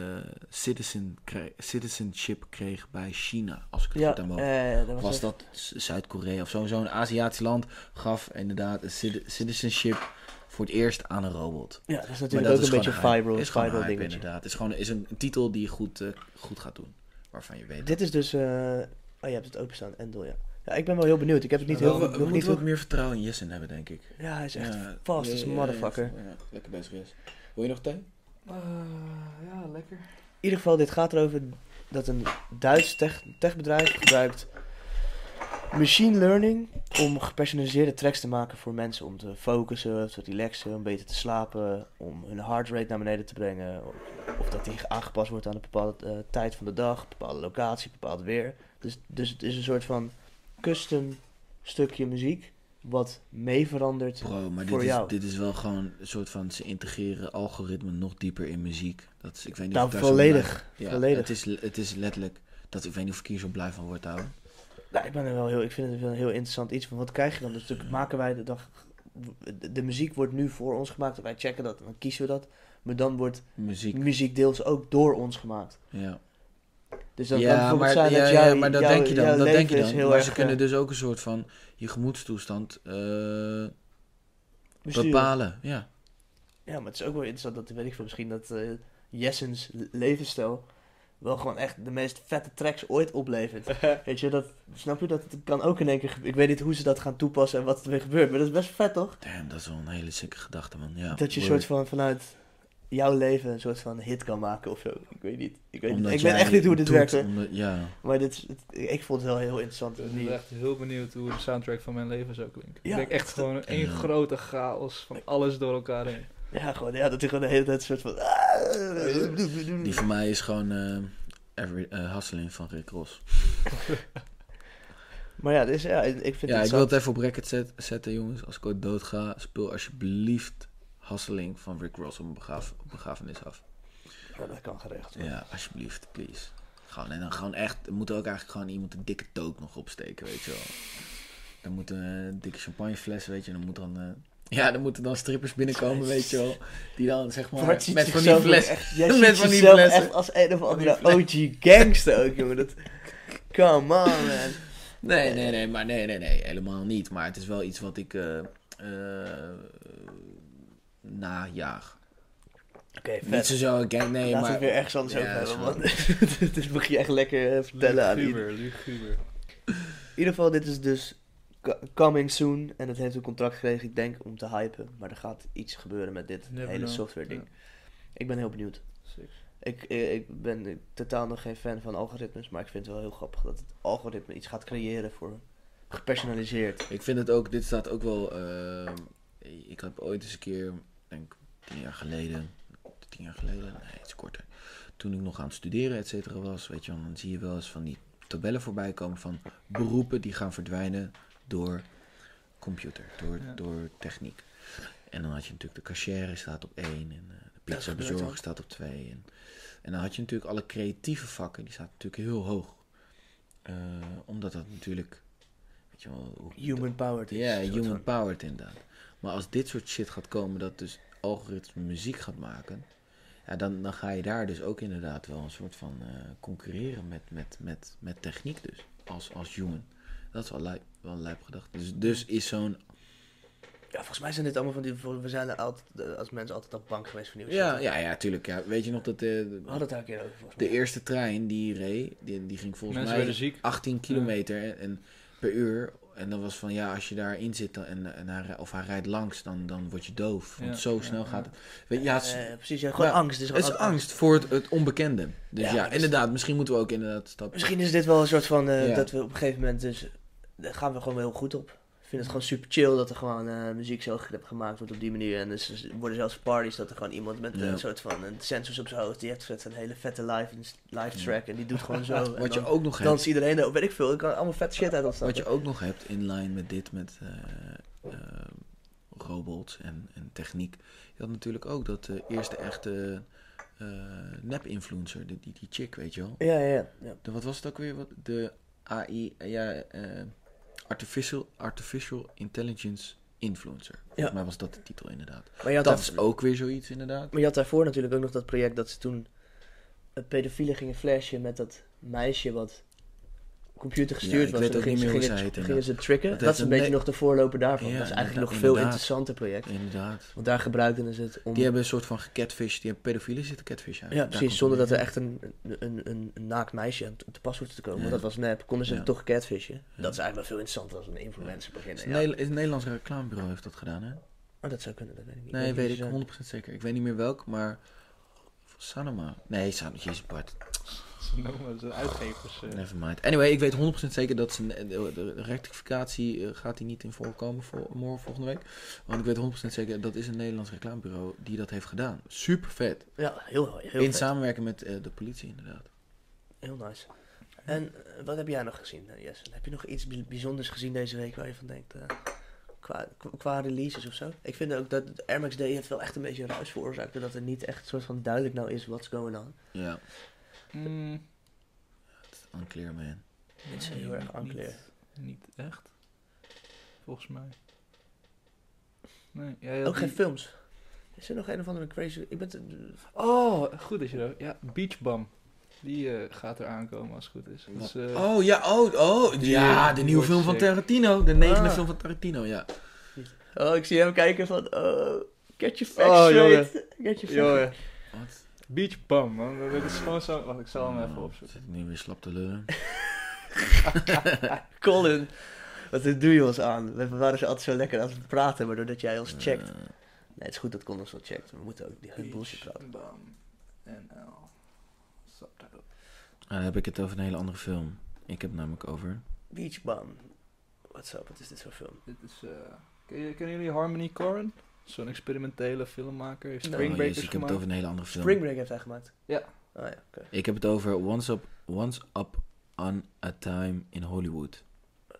Speaker 1: citizen kre- citizenship kreeg bij China, als ik het goed aan mogen.
Speaker 2: eh, dat
Speaker 1: was
Speaker 2: echt-
Speaker 1: dat Z- Zuid-Korea of zo? Zo'n Aziatisch land gaf inderdaad een citi- citizenship voor het eerst aan een robot.
Speaker 2: Ja, dat is
Speaker 1: Maar
Speaker 2: natuurlijk
Speaker 1: dat
Speaker 2: ook een beetje
Speaker 1: gewoon hype.
Speaker 2: viral,
Speaker 1: Is gewoon
Speaker 2: viral
Speaker 1: hype,
Speaker 2: dingetje.
Speaker 1: inderdaad. Het is gewoon is een, een titel die je goed, eh, goed gaat doen. Waarvan je weet.
Speaker 2: Dit is dus... eh Oh, je hebt het openstaan, Endel, ja. Ja, ik ben wel heel benieuwd. Ik heb het niet heel
Speaker 1: we,
Speaker 2: goed...
Speaker 1: we
Speaker 2: nog niet
Speaker 1: moeten
Speaker 2: heel...
Speaker 1: wat meer vertrouwen in Jessen hebben, denk ik.
Speaker 2: Ja, hij is echt
Speaker 1: Ja,
Speaker 2: fast
Speaker 1: ja,
Speaker 2: as a
Speaker 1: ja,
Speaker 2: motherfucker.
Speaker 1: ja, ja. lekker bezig is. Wil je nog thee?
Speaker 3: Eh, ja, lekker.
Speaker 2: In ieder geval, dit gaat erover dat een Duits tech, techbedrijf gebruikt machine learning om gepersonaliseerde tracks te maken voor mensen. Om te focussen, te relaxen, om beter te slapen, om hun heart rate naar beneden te brengen. Of dat die aangepast wordt aan een bepaalde eh, tijd van de dag, bepaalde locatie, bepaald weer. Dus, dus het is een soort van custom stukje muziek wat mee verandert.
Speaker 1: Bro, maar dit
Speaker 2: Voor
Speaker 1: is,
Speaker 2: jou.
Speaker 1: dit is wel gewoon een soort van... Ze integreren algoritme nog dieper in muziek. Dat is, ik weet niet
Speaker 2: Nou,
Speaker 1: of ik daar zo blij-
Speaker 2: volledig.
Speaker 1: Ja,
Speaker 2: volledig.
Speaker 1: Het, is, het is letterlijk... Dat, ik weet niet of ik hier zo blij van word, houden.
Speaker 2: Nou, ik ben er wel heel, ik vind het wel een heel interessant iets van wat krijg je dan? Dus natuurlijk maken wij de dag, de, de muziek wordt nu voor ons gemaakt, wij checken dat en dan kiezen we dat, maar dan wordt
Speaker 1: Muziek,
Speaker 2: muziek deels ook door ons gemaakt.
Speaker 1: ja.
Speaker 2: Dus dan
Speaker 1: ja,
Speaker 2: kan bijvoorbeeld
Speaker 1: maar,
Speaker 2: zijn
Speaker 1: ja,
Speaker 2: dat jouw,
Speaker 1: ja, maar dat
Speaker 2: jouw-
Speaker 1: denk je dan.
Speaker 2: jouw
Speaker 1: Dat
Speaker 2: leven
Speaker 1: denk je
Speaker 2: is
Speaker 1: dan.
Speaker 2: heel
Speaker 1: Maar
Speaker 2: erg
Speaker 1: ze kunnen
Speaker 2: eh,
Speaker 1: dus ook een soort van je gemoedstoestand eh,
Speaker 2: besturen.
Speaker 1: bepalen. Ja.
Speaker 2: Ja, maar het is ook wel interessant dat, weet ik veel, misschien dat eh Jessens levensstijl wel gewoon echt de meest vette tracks ooit
Speaker 1: (laughs)
Speaker 2: oplevert. weet je, dat, snap je, dat het kan ook in één keer, gebe- ik weet niet hoe ze dat gaan toepassen en wat er weer gebeurt, maar dat is best vet toch?
Speaker 1: Damn, dat is wel een hele sikke gedachte, man. Ja,
Speaker 2: Dat je een
Speaker 1: word.
Speaker 2: soort van vanuit jouw leven een soort van hit kan maken of zo. Ik weet niet. Ik weet, niet.
Speaker 1: Omdat
Speaker 2: Ik weet
Speaker 1: jij
Speaker 2: echt niet hoe dit
Speaker 1: doet,
Speaker 2: werkt. hè.
Speaker 1: omdat- ja.
Speaker 2: Maar dit, is- het- ik vond het wel heel interessant.
Speaker 3: Ik
Speaker 2: Die-
Speaker 3: ben echt heel benieuwd hoe de soundtrack van mijn leven zou klinken.
Speaker 2: Ja,
Speaker 3: ik denk echt
Speaker 2: dat-
Speaker 3: gewoon één
Speaker 1: Ja.
Speaker 3: grote chaos van alles door elkaar heen.
Speaker 2: Ja, gewoon, ja, dat hij gewoon de hele tijd een soort van...
Speaker 1: Die van mij is gewoon eh every, eh, Hasselin van Rick Ross.
Speaker 2: Maar ja, dus, ja ik vind
Speaker 1: Ja,
Speaker 2: het
Speaker 1: ik wil het even op record zet- zetten, jongens. Als ik ooit dood ga, speel alsjeblieft Hasselin van Rick Ross op mijn begraaf, op begrafenis af.
Speaker 2: Ja, dat kan geregeld worden.
Speaker 1: Ja, alsjeblieft, please. Gewoon, en dan gewoon echt, er moet ook eigenlijk gewoon iemand een dikke toot nog opsteken, weet je wel. Dan moet een eh, dikke champagnefles, weet je, en dan moet dan... eh, ja, dan moeten dan strippers binnenkomen, weet je wel. Die dan, zeg maar,
Speaker 2: Bart ziet
Speaker 1: met van die
Speaker 2: zichzelf
Speaker 1: fles...
Speaker 2: echt-
Speaker 1: (laughs)
Speaker 2: jij
Speaker 1: met
Speaker 2: ziet
Speaker 1: van die
Speaker 2: jezelf
Speaker 1: flessen.
Speaker 2: echt als een of andere
Speaker 1: die
Speaker 2: OG gangster ook, jongen. Dat, come on, man.
Speaker 1: Nee, nee, nee, maar nee, nee, nee, helemaal niet. Maar het is wel iets wat ik eh eh najaag.
Speaker 2: Oké,
Speaker 1: Niet
Speaker 2: vet.
Speaker 1: zozeer een gang, nee,
Speaker 2: Laten we
Speaker 1: maar...
Speaker 2: het weer ergens anders
Speaker 1: Ja,
Speaker 2: over
Speaker 1: dat is
Speaker 2: hebben, man. (laughs) Dit mag je echt lekker eh, vertellen aan iedereen.
Speaker 3: Luguber, luguber.
Speaker 2: In ieder geval, dit is dus co- coming soon. En dat heeft een contract gekregen, ik denk, om te hypen. Maar er gaat iets gebeuren met dit
Speaker 3: Never
Speaker 2: hele
Speaker 3: know.
Speaker 2: software ding.
Speaker 3: Ja.
Speaker 2: Ik ben heel benieuwd.
Speaker 3: Sick.
Speaker 2: Ik, eh, ik ben eh, totaal nog geen fan van algoritmes. Maar ik vind het wel heel grappig dat het algoritme iets gaat creëren voor gepersonaliseerd.
Speaker 1: Ik vind het ook, dit staat ook wel. eh, ik heb ooit eens een keer, ik denk tien jaar geleden, tien jaar geleden, nee, iets korter. Toen ik nog aan het studeren, et cetera, was, weet je, wel, dan zie je wel eens van die tabellen voorbij komen van beroepen die gaan verdwijnen door computer, door,
Speaker 3: Ja.
Speaker 1: door techniek. En dan had je natuurlijk de cashier staat op één en eh, de
Speaker 2: gebeurt
Speaker 1: pizza bezorger staat op twee. En, en dan had je natuurlijk alle creatieve vakken, die zaten natuurlijk heel hoog. Eh, omdat dat natuurlijk, weet je wel, hoe,
Speaker 2: Human powered. is
Speaker 1: ja,
Speaker 2: een soort
Speaker 1: human
Speaker 2: van-
Speaker 1: powered inderdaad. Maar als dit soort shit gaat komen, dat dus algoritme muziek gaat maken, ja, dan, dan ga je daar dus ook inderdaad wel een soort van eh, concurreren met, met, met, met techniek dus, als, als human. Dat is wel, lijp, wel een lijp gedacht. Dus, dus is zo'n...
Speaker 2: Ja, volgens mij zijn dit allemaal van die... We zijn er altijd, eh, als mensen altijd op bank geweest van nieuws.
Speaker 1: Ja, ja, ja, tuurlijk. Ja. Weet je nog dat eh, de,
Speaker 2: We Dus hadden het daar een keer over, volgens mij.
Speaker 1: de eerste trein die reed, die, die ging volgens
Speaker 3: Mensen
Speaker 1: mij
Speaker 3: werden ziek.
Speaker 1: 18 kilometer en, en per uur. En dan was van ja, als je daarin zit dan- en, en hij, rij- of hij rijdt langs, dan, dan word je doof. Want
Speaker 3: Ja,
Speaker 1: zo
Speaker 3: ja,
Speaker 1: snel
Speaker 3: ja.
Speaker 1: gaat het. Weet, je, ja, het is,
Speaker 2: Eh, precies, ja, gewoon
Speaker 1: Ja,
Speaker 2: angst. Het is,
Speaker 1: het is
Speaker 2: gewoon
Speaker 1: angst voor het, het onbekende. Dus
Speaker 2: Ja,
Speaker 1: ja,
Speaker 2: dus-
Speaker 1: inderdaad, misschien moeten we ook inderdaad stappen.
Speaker 2: Misschien is dit wel een soort van eh,
Speaker 1: Ja.
Speaker 2: dat we op een gegeven moment dus daar gaan we gewoon wel heel goed op. Ik vind het gewoon super chill dat er gewoon eh, muziek zo ge- gemaakt wordt op die manier. En dus er worden zelfs parties dat er gewoon iemand met
Speaker 1: Ja.
Speaker 2: een soort van een sensors op zijn hoofd. Die heeft vet een hele vette live, live track en die doet
Speaker 1: (laughs)
Speaker 2: gewoon zo. en
Speaker 1: Wat je
Speaker 2: dan
Speaker 1: ook nog hebt.
Speaker 2: danst iedereen er, weet ik veel. Ik kan allemaal vet shit uit ontstaan.
Speaker 1: Wat je ook nog hebt in lijn met dit, met eh, eh, robots en, en techniek. Je had natuurlijk ook dat eh, eerste echte eh, nep-influencer, die, die, die chick, weet je wel.
Speaker 2: Ja, ja, ja, ja.
Speaker 1: De, wat was het ook weer? Wat, de AI, eh, ja, eh, Artificial, Artificial Intelligence Influencer. Volgens mij was dat de titel inderdaad.
Speaker 2: Maar, je had
Speaker 1: Dat
Speaker 2: daar-
Speaker 1: is ook weer zoiets inderdaad.
Speaker 2: maar je had daarvoor natuurlijk ook nog dat project dat ze toen een pedofiele gingen flashen met dat meisje wat computer
Speaker 1: Ja,
Speaker 2: gestuurd
Speaker 1: ik
Speaker 2: was.
Speaker 1: weet
Speaker 2: en
Speaker 1: ook
Speaker 2: gingen,
Speaker 1: niet meer hoe
Speaker 2: gingen,
Speaker 1: ze heet,
Speaker 2: gingen
Speaker 1: inderdaad.
Speaker 2: ze tricken.
Speaker 1: Dat
Speaker 2: Dat,
Speaker 1: heeft
Speaker 2: is een
Speaker 1: een
Speaker 2: beetje
Speaker 1: ne-
Speaker 2: nog de voorloper daarvan.
Speaker 1: Ja,
Speaker 2: dat is eigenlijk
Speaker 1: inderdaad,
Speaker 2: nog veel
Speaker 1: inderdaad.
Speaker 2: interessanter project.
Speaker 1: Inderdaad.
Speaker 2: Want daar gebruikten ze het om...
Speaker 1: Die hebben een soort van gecatfish, die hebben pedofielen zitten catfish uit.
Speaker 2: ja, precies. Zonder dat er echt een, een, een, een naakt meisje aan t- te pas hoefde te komen.
Speaker 1: Ja.
Speaker 2: Want dat was nep. Konden ze
Speaker 1: Ja.
Speaker 2: toch catfishen.
Speaker 1: Ja.
Speaker 2: Dat is eigenlijk wel veel interessanter als een influencer
Speaker 1: Het
Speaker 2: beginnen.
Speaker 1: is een
Speaker 2: Ja.
Speaker 1: Nederla- het Nederlands reclamebureau heeft dat gedaan, hè?
Speaker 2: Oh, dat zou kunnen. Dat eh, weet ik niet.
Speaker 1: Nee, weet
Speaker 2: niet
Speaker 1: ik
Speaker 2: zo-
Speaker 1: 100% zeker. Ik weet niet meer welk, maar. Sanoma. Nee, Sanoma. Jezus, Bart.
Speaker 3: Ze noemen ze uitgevers. eh.
Speaker 1: Never mind. Anyway, ik weet 100% zeker dat ze, de, de rectificatie eh, gaat hier niet in voorkomen voor, morgen, volgende week. Want ik weet 100% zeker dat is een Nederlands reclamebureau die dat heeft gedaan. Super vet.
Speaker 2: Ja, heel, heel,
Speaker 1: in
Speaker 2: vet.
Speaker 1: samenwerking met eh, de politie, inderdaad.
Speaker 2: heel nice. En eh, wat heb jij nog gezien, eh, Jesse? Heb je nog iets bij- bijzonders gezien deze week waar je van denkt... eh, qua, qua- qua releases of zo? Ik vind ook dat Air Max Day heeft wel echt een beetje een ruis veroorzaakt. Doordat er niet echt soort van duidelijk nou is what's going on.
Speaker 1: Ja,
Speaker 3: Mm,
Speaker 1: unclear man.
Speaker 2: Het is heel
Speaker 3: nee,
Speaker 2: erg unclear.
Speaker 3: Niet, niet echt. Volgens mij. Nee, jij had
Speaker 2: Ook
Speaker 3: die-
Speaker 2: geen films. Is er nog een of andere crazy... Ik ben te-
Speaker 3: Oh, goed dat je dat... Ja, Beach Bum. Die eh, gaat er aankomen als het goed is. Dat is, eh,
Speaker 1: Oh ja, oh, oh. Ja, de nieuwe film van Tarantino. De negende
Speaker 2: Ah.
Speaker 1: film van Tarantino, ja.
Speaker 2: Oh, ik zie hem kijken van... Oh, get your facts
Speaker 3: Oh, jongen.
Speaker 2: straight. Get your
Speaker 3: Joh,
Speaker 2: facts
Speaker 3: ja.
Speaker 1: Wat?
Speaker 3: Beach Bum, man. Dat is gewoon zo... Wacht, ik zal hem even
Speaker 1: Zit
Speaker 3: opzoeken.
Speaker 1: ik nu weer slap te lullen?
Speaker 2: Colin. Wat doe je ons aan? We waren ze altijd zo lekker aan het praten, maar doordat jij ons checkt...
Speaker 1: Eh,
Speaker 2: Nee, het is goed dat Colin ons wel checkt. We moeten ook die hun bullshit praten.
Speaker 3: Beach Bum. NL. Subtitle.
Speaker 1: Ah, Dan heb ik het over een hele andere film. Ik heb het namelijk over.
Speaker 2: Beach Bum. What's up? Wat is dit voor film?
Speaker 3: Dit is... eh, ken je- kennen jullie Harmony Korine? Zo'n experimentele filmmaker. Heeft
Speaker 2: Nee.
Speaker 1: Oh,
Speaker 3: Spring Breakers
Speaker 1: jezus, ik heb het
Speaker 3: gemaakt.
Speaker 1: over een hele andere film.
Speaker 2: Spring Break heeft hij gemaakt.
Speaker 3: Ja.
Speaker 2: Oh ja, oké.
Speaker 1: Ik heb het over Once Up, Once Up on a Time in Hollywood.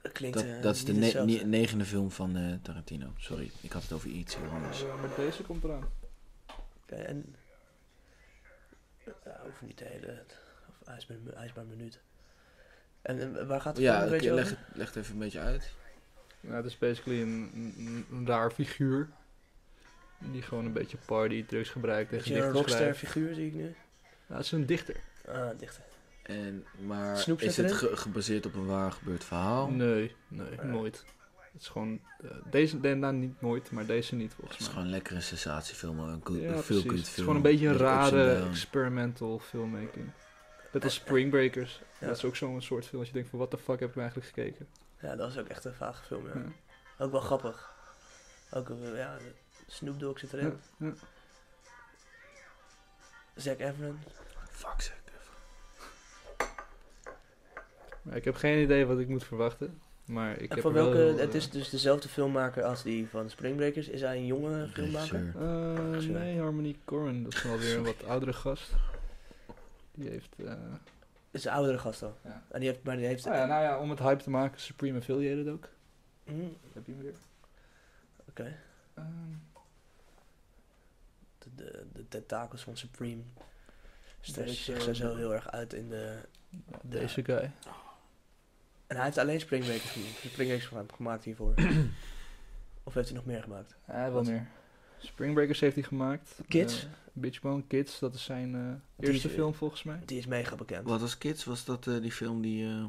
Speaker 2: Dat klinkt
Speaker 1: Dat,
Speaker 2: eh,
Speaker 1: dat is de
Speaker 2: niet
Speaker 1: ne-
Speaker 2: hetzelfde.
Speaker 1: ne- negende film van eh, Tarantino. Sorry, ik had het over iets heel anders.
Speaker 3: Eh, maar deze komt eraan.
Speaker 2: Oké, en... Ja, hoeft niet de hele... Of ijsbaar, ijsbaar minuut. En, en waar gaat het
Speaker 1: Ja,
Speaker 2: film een
Speaker 1: oké,
Speaker 2: beetje
Speaker 1: leg,
Speaker 2: over?
Speaker 1: het- leg het even een beetje uit.
Speaker 3: Nou, het is basically een, een, een raar figuur. Die gewoon een beetje party drugs gebruikt en
Speaker 2: Beetje een
Speaker 3: gedichten
Speaker 2: rockster
Speaker 3: schrijft.
Speaker 2: figuur zie ik nu.
Speaker 3: Nou, het is een dichter.
Speaker 2: Ah, dichter.
Speaker 1: En, maar
Speaker 2: Snoep
Speaker 1: is
Speaker 2: zit
Speaker 1: het
Speaker 2: erin?
Speaker 1: ge- gebaseerd op een waar gebeurd
Speaker 2: Oh.
Speaker 1: verhaal?
Speaker 3: Nee, nee, nooit. Het is gewoon... eh, deze, nee, nou niet nooit, maar deze niet
Speaker 1: Het
Speaker 3: volgens
Speaker 1: is
Speaker 3: mij.
Speaker 1: gewoon een lekkere sensatiefilm, een good,
Speaker 3: ja,
Speaker 1: een
Speaker 3: precies.
Speaker 1: feel good film.
Speaker 3: Het is gewoon een beetje een
Speaker 1: Met ups en
Speaker 3: rare
Speaker 1: downs.
Speaker 3: experimental filmmaking. Net als
Speaker 2: Oh,
Speaker 3: Spring Breakers.
Speaker 2: Ja.
Speaker 3: Dat is ook zo'n soort film dat je denkt van, what the fuck heb ik nou eigenlijk gekeken?
Speaker 2: Ja, dat was ook echt een vage film, ja.
Speaker 3: Ja.
Speaker 2: Ook wel grappig. Ook, eh, ja, Snoop Dogg zit erin.
Speaker 3: Ja, ja.
Speaker 2: Zac Efron.
Speaker 1: Fuck zeg.
Speaker 3: Maar ik heb geen idee wat ik moet verwachten. Maar ik
Speaker 2: en
Speaker 3: heb
Speaker 2: van
Speaker 3: er wel
Speaker 2: welke...
Speaker 3: heel,
Speaker 2: het is
Speaker 3: eh,
Speaker 2: dus dezelfde filmmaker als die van Spring Breakers. Is hij een jonge filmmaker?
Speaker 1: Regisseur.
Speaker 3: Eh,
Speaker 2: Regisseur.
Speaker 3: nee, Harmony Korine, dat is wel weer een wat oudere gast. Die heeft... eh,
Speaker 2: Het is een oudere gast al.
Speaker 3: Ja.
Speaker 2: En die heeft... Maar die heeft...
Speaker 3: nou, ja, nou ja, om het hype te maken, Supreme Affiliated ook.
Speaker 2: Hm,
Speaker 3: Heb je hem weer?
Speaker 2: Oké.
Speaker 3: Ehm,
Speaker 2: De, de, de tentakels van Supreme stretchen
Speaker 3: Deze,
Speaker 2: zich zo- zo
Speaker 3: eh,
Speaker 2: heel erg uit in de...
Speaker 3: ja, deze guy.
Speaker 2: En hij heeft alleen Spring Breakers gemaakt, Spring Breakers gemaakt- gemaakt
Speaker 3: (clears throat)
Speaker 2: hiervoor. of heeft hij nog meer gemaakt?
Speaker 3: Hij wel
Speaker 2: Wat?
Speaker 3: meer. Spring Breakers heeft hij gemaakt.
Speaker 2: Kids?
Speaker 3: Eh, Bitch Bone Kids, dat is zijn eh,
Speaker 2: Die
Speaker 3: eerste
Speaker 2: is-
Speaker 3: film volgens mij.
Speaker 2: Die is mega bekend.
Speaker 1: Wat was Kids? Was dat eh, die film die... eh,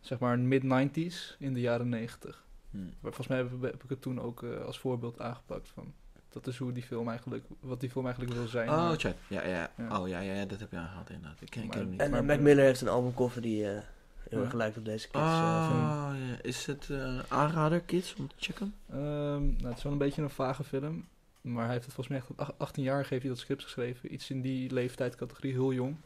Speaker 3: Zeg maar mid-90s in de jaren 90.
Speaker 1: hm.
Speaker 3: Maar volgens mij heb, heb ik het toen ook eh, als voorbeeld aangepakt van... Dat is hoe die film eigenlijk, wat die film eigenlijk wil zijn.
Speaker 1: Oh,
Speaker 3: maar-
Speaker 1: chat. Ja, ja.
Speaker 3: Ja.
Speaker 1: Oh, ja, ja, ja, dat heb je aangehaald inderdaad. Ik ken, ik
Speaker 3: Maar-
Speaker 1: ken hem niet.
Speaker 2: En
Speaker 3: Maar-
Speaker 2: eh, Mac Miller heeft een albumcover die eh, heel erg lijkt op deze kids. eh, film.
Speaker 1: Ah, ja. Is het eh, aanrader, kids, om te checken?
Speaker 3: Ehm, nou, het is wel een beetje een vage film. Maar hij heeft het volgens mij echt op ach- 18 jaar heeft hij dat script geschreven. Iets in die leeftijdscategorie, heel jong.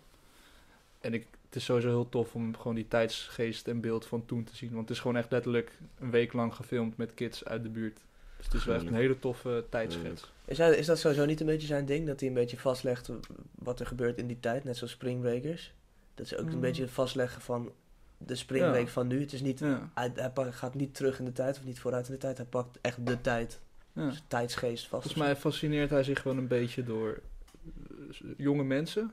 Speaker 3: En ik, het is sowieso heel tof om gewoon die tijdsgeest en beeld van toen te zien. Want het is gewoon echt letterlijk een week lang gefilmd met kids uit de buurt. Dus het is wel echt een hele toffe tijdsgids.
Speaker 2: Is, hij- is dat sowieso niet een beetje zijn ding? Dat hij een beetje vastlegt wat er gebeurt in die tijd, net zoals Spring Breakers? Dat is ook een
Speaker 3: Mm.
Speaker 2: beetje vastleggen van de Spring Break
Speaker 3: Ja.
Speaker 2: van nu. Het is niet,
Speaker 3: Ja,
Speaker 2: hij, hij pak- gaat niet terug in de tijd of niet vooruit in de tijd. Hij pakt echt de tijd,
Speaker 3: ja.
Speaker 2: zijn tijdsgeest vast.
Speaker 3: Volgens mij fascineert hij zich wel een beetje door eh, jonge mensen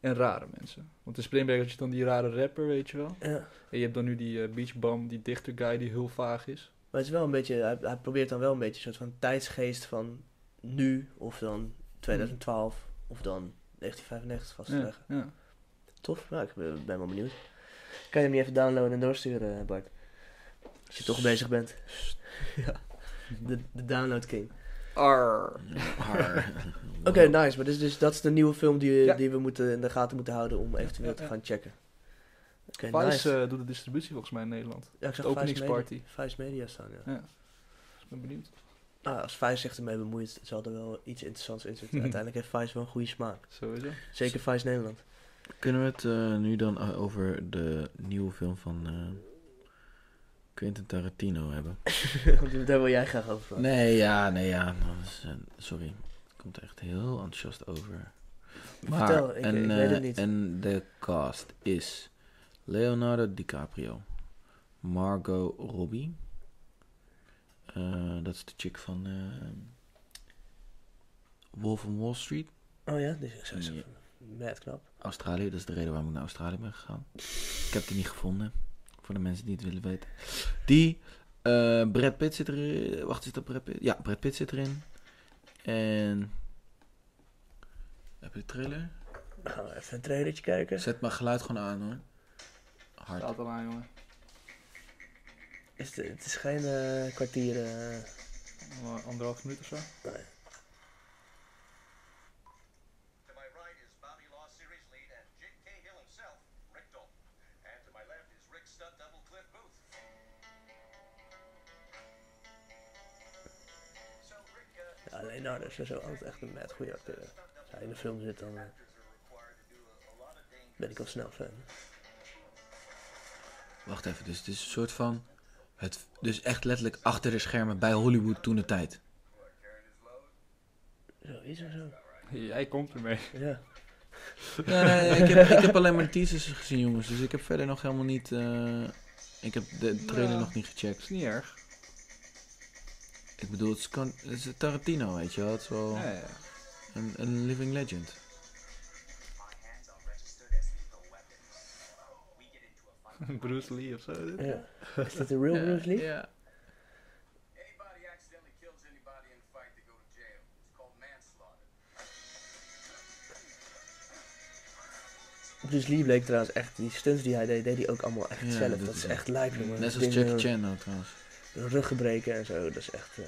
Speaker 3: en rare mensen. Want in Spring Breakers had je dan die rare rapper, weet je wel.
Speaker 2: Ja.
Speaker 3: En je hebt dan nu die eh, Beach Bum, die dichter guy die heel vaag is.
Speaker 2: Maar het is wel een beetje, hij, hij probeert dan wel een beetje een soort van tijdsgeest van nu of
Speaker 3: Hmm.
Speaker 2: dan 2012 of dan 1995 vast te
Speaker 3: Ja,
Speaker 2: leggen.
Speaker 3: ja.
Speaker 2: Tof, nou, ik ben, ben wel benieuwd. Kan je hem niet even downloaden en doorsturen, eh, Bart? Als je toch bezig bent. ja, de, de Download King.
Speaker 1: Haar. (laughs)
Speaker 2: Oké, nice. Maar dus, dus dat is de nieuwe film die,
Speaker 3: Ja.
Speaker 2: die we moeten in de gaten moeten houden om eventueel
Speaker 3: ja,
Speaker 2: te
Speaker 3: ja.
Speaker 2: gaan checken. Oké,
Speaker 3: Vice
Speaker 2: nice.
Speaker 3: eh, doet de distributie volgens mij in Nederland.
Speaker 2: ja, ik zag
Speaker 3: de
Speaker 2: Vice
Speaker 3: openingsparty.
Speaker 2: Media, Vice Media staan, ja.
Speaker 3: Dus ik ben benieuwd.
Speaker 2: Ah, als Vice zich ermee bemoeit, zal er wel iets interessants in
Speaker 3: (laughs)
Speaker 2: zitten. Uiteindelijk heeft Vice wel een goede smaak.
Speaker 3: Sowieso.
Speaker 2: Zeker Vice
Speaker 3: (laughs)
Speaker 2: Nederland.
Speaker 1: Kunnen we het eh, nu dan eh, over de nieuwe film van eh, Quentin Tarantino hebben?
Speaker 2: Want Daar wil jij graag over praten.
Speaker 1: Nee, ja, nee, ja. dat is, eh, sorry. Komt er echt heel enthousiast over. Maar,
Speaker 2: Vertel, ik-
Speaker 1: en,
Speaker 2: ik weet het
Speaker 1: eh,
Speaker 2: niet.
Speaker 1: En de cast is Leonardo DiCaprio, Margot Robbie. eh, dat is de chick van eh, Wolf of Wall Street.
Speaker 2: Oh ja, dus ik zou
Speaker 1: Ja.
Speaker 2: zeggen, mad knap.
Speaker 1: Australië, dat is de reden waarom ik naar Australië ben gegaan. Ik heb die niet gevonden. Voor de mensen die het willen weten. Die. eh Brad Pitt zit erin. Wacht, is dat Brad Pitt? Ja, Brad Pitt zit erin. En. Heb je de trailer?
Speaker 2: Dan gaan we even een trailertje kijken.
Speaker 1: Zet mijn geluid gewoon aan hoor. Hard.
Speaker 3: Staat al aan, jongen.
Speaker 2: Is de- het is geen eh, kwartier. eh,
Speaker 3: Al, eh, Anderhalf minuut of zo.
Speaker 4: To my right is Bobby Law series lead and Jake K. Hill himself, Rick Dalton. And to my left is Rick stunt double Cliff Booth. So Rick, uh,
Speaker 2: ja, Leonardo is sowieso altijd echt een mad goede acteur. Als hij in de film zit, dan eh,
Speaker 4: are required to do a, a lot of dangerous.
Speaker 2: ben ik al snel fan.
Speaker 1: Wacht even, dus het is een soort van. Het, dus echt letterlijk achter de schermen bij Hollywood toen de tijd.
Speaker 2: Zoiets of zo.
Speaker 3: Jij komt ermee.
Speaker 2: Ja.
Speaker 1: Ja, nee, ik, heb, ik heb alleen maar teasers gezien, jongens. Dus ik heb verder nog helemaal niet. eh, ik heb de trailer
Speaker 3: Ja.
Speaker 1: nog niet gecheckt.
Speaker 3: Is niet erg.
Speaker 1: Ik bedoel, het is, kan, het is Tarantino, weet je wel. Het is wel
Speaker 3: Ja, ja.
Speaker 2: (laughs)
Speaker 1: een, een living legend.
Speaker 3: (laughs) Bruce Lee of zo. dit.
Speaker 2: ja. Is dit de real
Speaker 1: Ja,
Speaker 2: Bruce Lee?
Speaker 1: Ja.
Speaker 4: Anybody accidentally kills anybody in a fight, they go to jail. It's called manslaughter.
Speaker 2: Bruce Lee bleek trouwens echt, die stunts die hij deed, deed hij ook allemaal echt
Speaker 1: Ja,
Speaker 2: zelf.
Speaker 1: dat
Speaker 2: Dat is
Speaker 1: is-
Speaker 2: echt lijp, jongen.
Speaker 1: Net
Speaker 2: Dat
Speaker 1: zoals
Speaker 2: ding,
Speaker 1: Jackie
Speaker 2: eh,
Speaker 1: Chan nou, trouwens.
Speaker 2: Rug gebreken en zo, dat is echt... eh,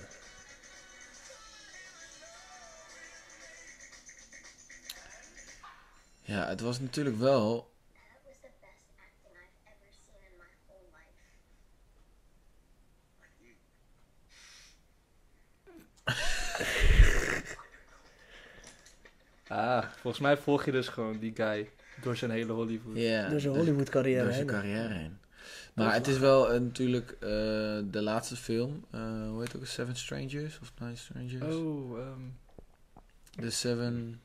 Speaker 1: Ja, het was natuurlijk wel...
Speaker 6: That was the best acting I've ever seen in my whole life.
Speaker 3: Ah, volgens mij volg je dus gewoon die guy door zijn hele Hollywood.
Speaker 1: Ja,
Speaker 2: door zijn Hollywood carrière
Speaker 1: Door zijn carrière heen. Maar het is wel eh, natuurlijk eh, de laatste film. eh, hoe heet het ook? Seven Strangers of Nine Strangers?
Speaker 3: Oh, ehm,
Speaker 1: De Seven...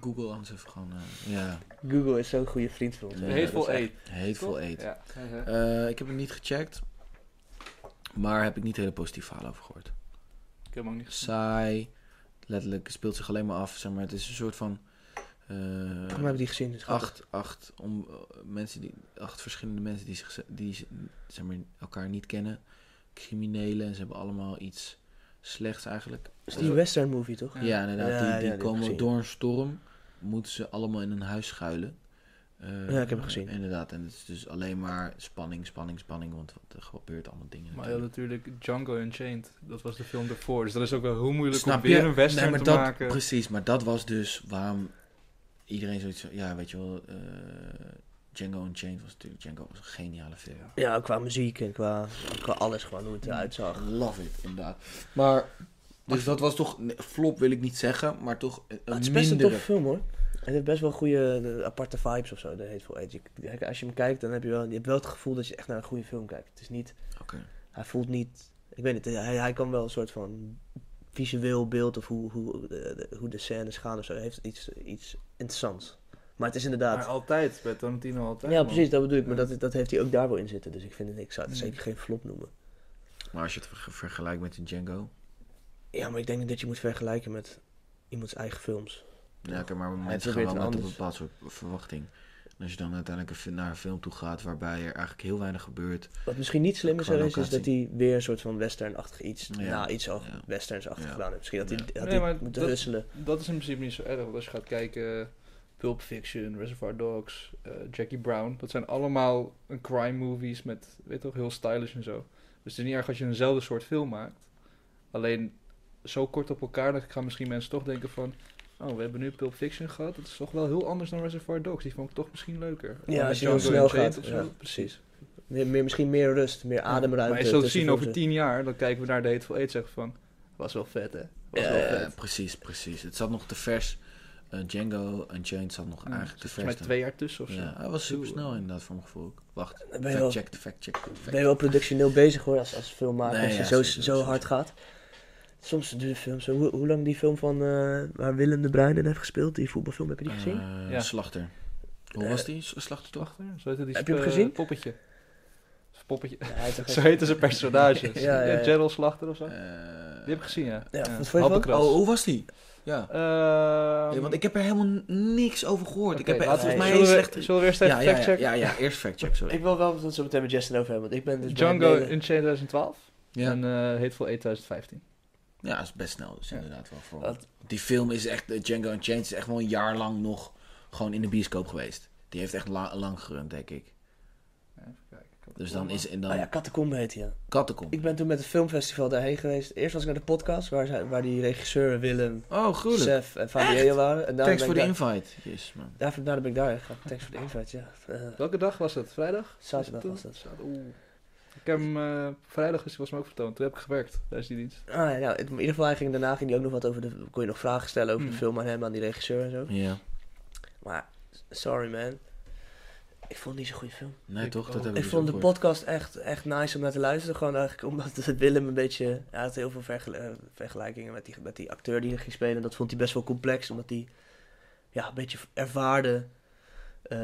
Speaker 1: Google anders even gewoon... eh, ja,
Speaker 2: Google is zo'n goede vriend voor ons.
Speaker 1: Ja,
Speaker 2: hè.
Speaker 3: Hateful
Speaker 2: Dat is echt-
Speaker 3: Eight.
Speaker 1: Hateful
Speaker 3: toch?
Speaker 1: Eight.
Speaker 3: Ja.
Speaker 1: Eh, ik heb hem niet gecheckt. Maar heb ik niet hele positieve verhalen over gehoord.
Speaker 3: Ik heb hem ook niet gezien.
Speaker 1: saai. Letterlijk het speelt zich alleen maar af. Zeg maar. Het is een soort van. eh,
Speaker 2: Volgens mij heb ik die gezien. dus grappig.
Speaker 1: acht, acht, om, eh, mensen die, acht verschillende mensen die, zich, die z- zeg maar, elkaar niet kennen. Criminelen. En ze hebben allemaal iets slechts eigenlijk. Eh,
Speaker 2: Dat is Dus die western movie, toch?
Speaker 1: Ja,
Speaker 3: Ja.
Speaker 1: inderdaad.
Speaker 2: Ja,
Speaker 1: die
Speaker 2: ja,
Speaker 1: die
Speaker 2: die heb ik
Speaker 1: komen
Speaker 2: gezien.
Speaker 1: door een storm. Moeten ze allemaal in een huis schuilen. Eh,
Speaker 2: Ja, ik heb hem gezien.
Speaker 1: Inderdaad. En het is dus alleen maar spanning, spanning, spanning. Want er gebeurt allemaal dingen.
Speaker 3: Maar je had
Speaker 1: natuurlijk.
Speaker 3: natuurlijk Django Unchained. Dat was de film ervoor. Dus dat is ook wel heel moeilijk
Speaker 1: Snap
Speaker 3: om weer
Speaker 1: je?
Speaker 3: een western
Speaker 1: Nee, maar
Speaker 3: te
Speaker 1: dat,
Speaker 3: maken.
Speaker 1: Precies, maar dat was dus waarom iedereen zoiets van, ja, weet je wel, eh, Django Unchained was natuurlijk Django was een geniale film.
Speaker 2: Ja, qua muziek en qua, qua alles gewoon hoe het eruit zag.
Speaker 1: Love it, inderdaad. Maar, dus dat was toch, nee, flop wil ik niet zeggen, maar toch een
Speaker 2: Maar Ah, Nou, het
Speaker 1: een
Speaker 2: is best een
Speaker 1: mindere.
Speaker 2: toffe film hoor. Het heeft best wel goede eh, aparte vibes of zo, de Hateful Eight. Je- Als je hem kijkt, dan heb je wel, je hebt wel het gevoel dat je echt naar een goede film kijkt. Het is niet,
Speaker 1: Oké.
Speaker 2: hij voelt niet, ik weet niet, hij, hij kan wel een soort van visueel beeld of hoe, hoe, de, de- hoe de scènes gaan of zo. Hij heeft iets, iets interessants. Maar het is
Speaker 3: Maar
Speaker 2: inderdaad,
Speaker 3: altijd, bij Tarantino altijd.
Speaker 2: ja
Speaker 3: man.
Speaker 2: precies, dat bedoel ik. Maar
Speaker 3: Ja.
Speaker 2: dat, dat heeft hij ook daar wel in zitten. Dus ik, vind, het- ik zou het
Speaker 3: Nee.
Speaker 2: zeker geen flop noemen.
Speaker 1: Maar als je het ver- vergelijkt met een Django.
Speaker 2: Ja, maar ik denk dat je moet vergelijken met iemands eigen films.
Speaker 1: Ja, oké, maar
Speaker 2: Hij
Speaker 1: mensen gaan
Speaker 2: probeert
Speaker 1: wel met
Speaker 2: een
Speaker 1: een
Speaker 2: anders.
Speaker 1: bepaald soort verwachting. En als je dan uiteindelijk een fi- naar een film toe gaat waarbij er eigenlijk heel weinig gebeurt.
Speaker 2: Wat misschien niet slim is,
Speaker 1: Qua
Speaker 2: er is, is
Speaker 1: locatie.
Speaker 2: dat hij weer een soort van westernachtig iets,
Speaker 1: Ja.
Speaker 2: nou iets al
Speaker 1: Ja.
Speaker 2: westerns-achtig
Speaker 1: Ja.
Speaker 2: gedaan heeft. Misschien had hij,
Speaker 1: Ja.
Speaker 2: had hij
Speaker 3: Nee, maar
Speaker 2: moeten
Speaker 3: dat-
Speaker 2: husselen.
Speaker 3: Dat is in principe niet zo erg. Want als je gaat kijken, Pulp Fiction, Reservoir Dogs, eh, Jackie Brown. Dat zijn allemaal een crime movies met, weet je toch, heel stylish en zo. Dus het is niet erg als je eenzelfde soort film maakt. Alleen zo kort op elkaar, dan gaan misschien mensen toch denken van... Oh, we hebben nu Pulp Fiction gehad. Dat is toch wel heel anders dan Reservoir Dogs. Die vond ik toch misschien leuker.
Speaker 2: Ja,
Speaker 3: Met
Speaker 2: als je heel
Speaker 3: Django
Speaker 2: snel
Speaker 3: Unchained
Speaker 2: gaat.
Speaker 3: of zo.
Speaker 2: Ja, precies. Meer, meer, misschien meer rust, meer ademruimte.
Speaker 3: Maar je zult
Speaker 2: tussen
Speaker 3: zien over
Speaker 2: films.
Speaker 3: tien jaar, dan kijken we naar de Hateful Eight zeggen van... Was wel vet, hè? Was
Speaker 2: Ja,
Speaker 3: wel
Speaker 2: ja,
Speaker 3: vet.
Speaker 1: Eh, precies, precies. Het zat nog te vers. Eh, Django Unchained zat nog
Speaker 3: Ja,
Speaker 1: eigenlijk te vers.
Speaker 3: zit Volgens
Speaker 1: dan.
Speaker 3: mij twee jaar tussen of zo.
Speaker 1: Ja, hij was super snel inderdaad voor mijn gevoel. Wacht,
Speaker 2: Dan ben je
Speaker 1: fact
Speaker 2: wel-
Speaker 1: check, fact check.
Speaker 2: Ben je wel productioneel bezig hoor, als, als filmmaker,
Speaker 1: Nee,
Speaker 2: als je
Speaker 1: ja,
Speaker 2: zo,
Speaker 1: zeker,
Speaker 2: zo
Speaker 1: zeker.
Speaker 2: hard gaat. Soms duurt films, hoe, hoe lang die film van, eh, waar Willem de Bruijn in heeft gespeeld, die voetbalfilm, heb je die gezien?
Speaker 1: Eh,
Speaker 3: Ja.
Speaker 1: Slachter. Hoe
Speaker 2: Eh,
Speaker 1: was die? S- Slachter toch?
Speaker 3: Wachter, zo heette die
Speaker 2: Heb je hem
Speaker 3: sp- eh,
Speaker 2: gezien?
Speaker 3: Poppetje. Of Poppetje.
Speaker 2: Ja, hij is toch
Speaker 3: Zo
Speaker 2: echt-
Speaker 3: heette zijn personage.
Speaker 2: (laughs) Ja, ja, ja.
Speaker 3: Gerald Slachter of zo. Die
Speaker 1: Eh,
Speaker 3: heb ik Eh, gezien, ja.
Speaker 2: Ja, wat vond je ervan?
Speaker 3: Happenkras.
Speaker 1: oh, hoe was die? Ja.
Speaker 3: Ehm,
Speaker 1: Nee, want ik heb er helemaal n- niks over gehoord. ik
Speaker 3: oké,
Speaker 1: heb er,
Speaker 3: laten we-
Speaker 1: volgens mij
Speaker 2: nee,
Speaker 1: heel
Speaker 3: zullen,
Speaker 1: slecht...
Speaker 3: we, zullen we eerst even
Speaker 1: Ja, ja, ja,
Speaker 3: factchecken?
Speaker 1: ja, ja, eerst factcheck, sorry.
Speaker 2: Ik wil wel dat we het zo meteen met Justin over hebben, want ik ben dus bij
Speaker 3: Django
Speaker 2: het
Speaker 3: in
Speaker 2: delen-
Speaker 3: 2012
Speaker 1: Ja.
Speaker 3: en eh Hateful Eight 2015.
Speaker 1: Ja, dat is best snel dus
Speaker 3: Ja.
Speaker 1: inderdaad wel voor.
Speaker 2: Wat?
Speaker 1: Die film is echt, eh, Django Unchained is echt wel een jaar lang nog gewoon in de bioscoop geweest. Die heeft echt la- lang gerund, denk ik.
Speaker 3: Ja, even kijken.
Speaker 1: Dus dan is en dan
Speaker 2: Oh ja, Catacombe heet hij, ja.
Speaker 1: Catacomb.
Speaker 2: Ik ben toen met het filmfestival daarheen geweest. Eerst was ik naar de podcast, waar, zij- waar die regisseur Willem,
Speaker 1: Oh, gruwelijk.
Speaker 2: Sef en Fabio waren. En daarna ben
Speaker 1: Thanks
Speaker 2: ik
Speaker 1: voor de
Speaker 2: daar-
Speaker 1: invite. Jezus, man.
Speaker 2: Daarvoor daarna ben ik daar gegaan. Thanks voor de invite, ja. Eh,
Speaker 3: Welke dag was dat? Vrijdag?
Speaker 2: Zaterdag
Speaker 3: Toen?
Speaker 2: was dat.
Speaker 3: Zaterdag. Oeh. Ik heb hem, eh, vrijdag is, was hem ook vertoond. Toen heb ik gewerkt tijdens die dienst.
Speaker 2: ah, ja, nou, in ieder geval hij ging, daarna ging hij ook nog wat over de... Kon je nog vragen stellen over de
Speaker 3: Hmm.
Speaker 2: film aan hem, aan die regisseur en zo.
Speaker 1: Ja.
Speaker 2: Maar, sorry man. Ik vond het niet zo'n goede film.
Speaker 1: Nee,
Speaker 3: Ik-
Speaker 1: toch? Dat
Speaker 3: oh.
Speaker 1: heb ik
Speaker 2: Ik
Speaker 1: dus
Speaker 2: vond
Speaker 1: ook
Speaker 2: de
Speaker 1: gehoord.
Speaker 2: podcast echt, echt nice om naar te luisteren. Gewoon eigenlijk omdat (laughs) Willem een beetje... Hij had heel veel vergel- eh, vergelijkingen met die, met die acteur die er ging spelen. En dat vond hij best wel complex. Omdat hij ja, een beetje ervaarde... eh,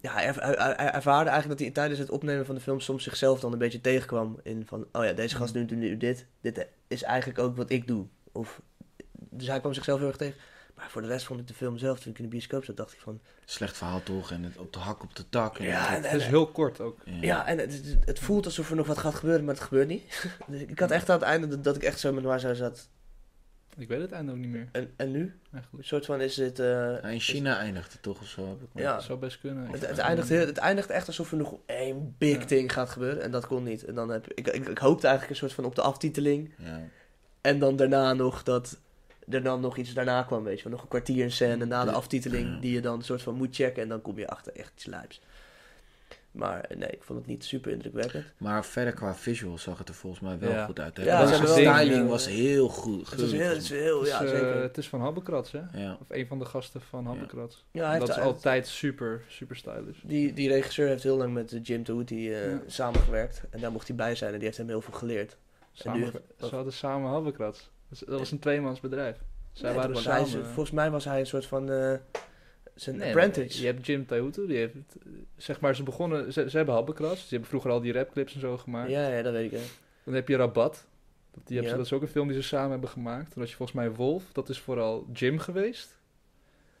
Speaker 2: ja, hij er- hij- hij- hij ervaarde eigenlijk dat hij tijdens het opnemen van de film soms zichzelf dan een beetje tegenkwam. In van, oh ja, deze gast doet nu dit. Dit is eigenlijk ook wat ik doe. Of, dus hij kwam zichzelf heel erg tegen. Maar voor de rest vond ik de film zelf, toen ik in de bioscoop zat, dacht ik van...
Speaker 1: Slecht verhaal toch? En het op de hak op de tak. En
Speaker 2: Ja, en-
Speaker 3: Het is heel kort ook.
Speaker 2: Ja, en het, het- het voelt alsof er nog wat gaat gebeuren, maar het gebeurt niet. (laughs) Dus ik had echt aan het einde dat, dat ik echt zo met Marza zat.
Speaker 3: Ik weet het einde ook niet meer.
Speaker 2: En, en nu? Een
Speaker 3: Eigenlijk.
Speaker 2: soort van is het... eh,
Speaker 1: Ja, Nou, in China eindigt het toch of zo? Heb ik maar-
Speaker 2: Ja.
Speaker 3: Dat zou best kunnen.
Speaker 2: het, het, eindigt heel, het eindigt echt alsof er nog één big
Speaker 3: Ja.
Speaker 2: thing gaat gebeuren. En dat kon niet. En dan heb ik, ik, ik hoopte eigenlijk een soort van op de aftiteling.
Speaker 1: Ja.
Speaker 2: En dan daarna nog dat er dan nog iets daarna kwam, weet je. wel. Nog een kwartier scène na de
Speaker 1: Ja.
Speaker 2: aftiteling
Speaker 1: Ja.
Speaker 2: die je dan een soort van moet checken. En dan kom je achter echt iets lijps. Maar eh, nee, ik vond het niet super indrukwekkend.
Speaker 1: Maar verder qua visuals zag het er volgens mij wel
Speaker 3: Ja.
Speaker 1: goed uit. Hè?
Speaker 2: Ja,
Speaker 1: De
Speaker 2: ze hebben wel-
Speaker 1: styling
Speaker 2: ja.
Speaker 1: was heel goed.
Speaker 2: Het is heel, het is heel
Speaker 3: Het is,
Speaker 2: ja,
Speaker 3: eh,
Speaker 2: zeker.
Speaker 3: het is van Habbekrats, hè?
Speaker 1: Ja.
Speaker 3: Of een van de gasten van Habbekrats.
Speaker 2: Ja, hij
Speaker 3: dat
Speaker 2: heeft-
Speaker 3: is altijd super, super stylish.
Speaker 2: Die, die regisseur heeft heel lang met eh, Jim Tahuti eh,
Speaker 3: Ja.
Speaker 2: samengewerkt. En daar mocht hij bij zijn en die heeft hem heel veel geleerd.
Speaker 3: Samen,
Speaker 2: nu-
Speaker 3: ze hadden samen Habbekrats. Dus Dat was een tweemans bedrijf. Zij
Speaker 2: Nee,
Speaker 3: waren
Speaker 2: toen was
Speaker 3: samen.
Speaker 2: hij- volgens mij was hij een soort van eh, zijn
Speaker 3: Nee,
Speaker 2: apprentice.
Speaker 3: Je hebt Jim Taihutu, die heeft, eh, zeg maar, ze begonnen, ze, ze hebben Habbekrats. Ze hebben vroeger al die rapclips en zo gemaakt.
Speaker 2: ja, ja, dat weet ik. hè.
Speaker 3: Dan heb je Rabat. Dat, die hebben ze-
Speaker 2: Ja.
Speaker 3: dat is ook een film die ze samen hebben gemaakt. Dan had je volgens mij Wolf, dat is vooral Jim geweest.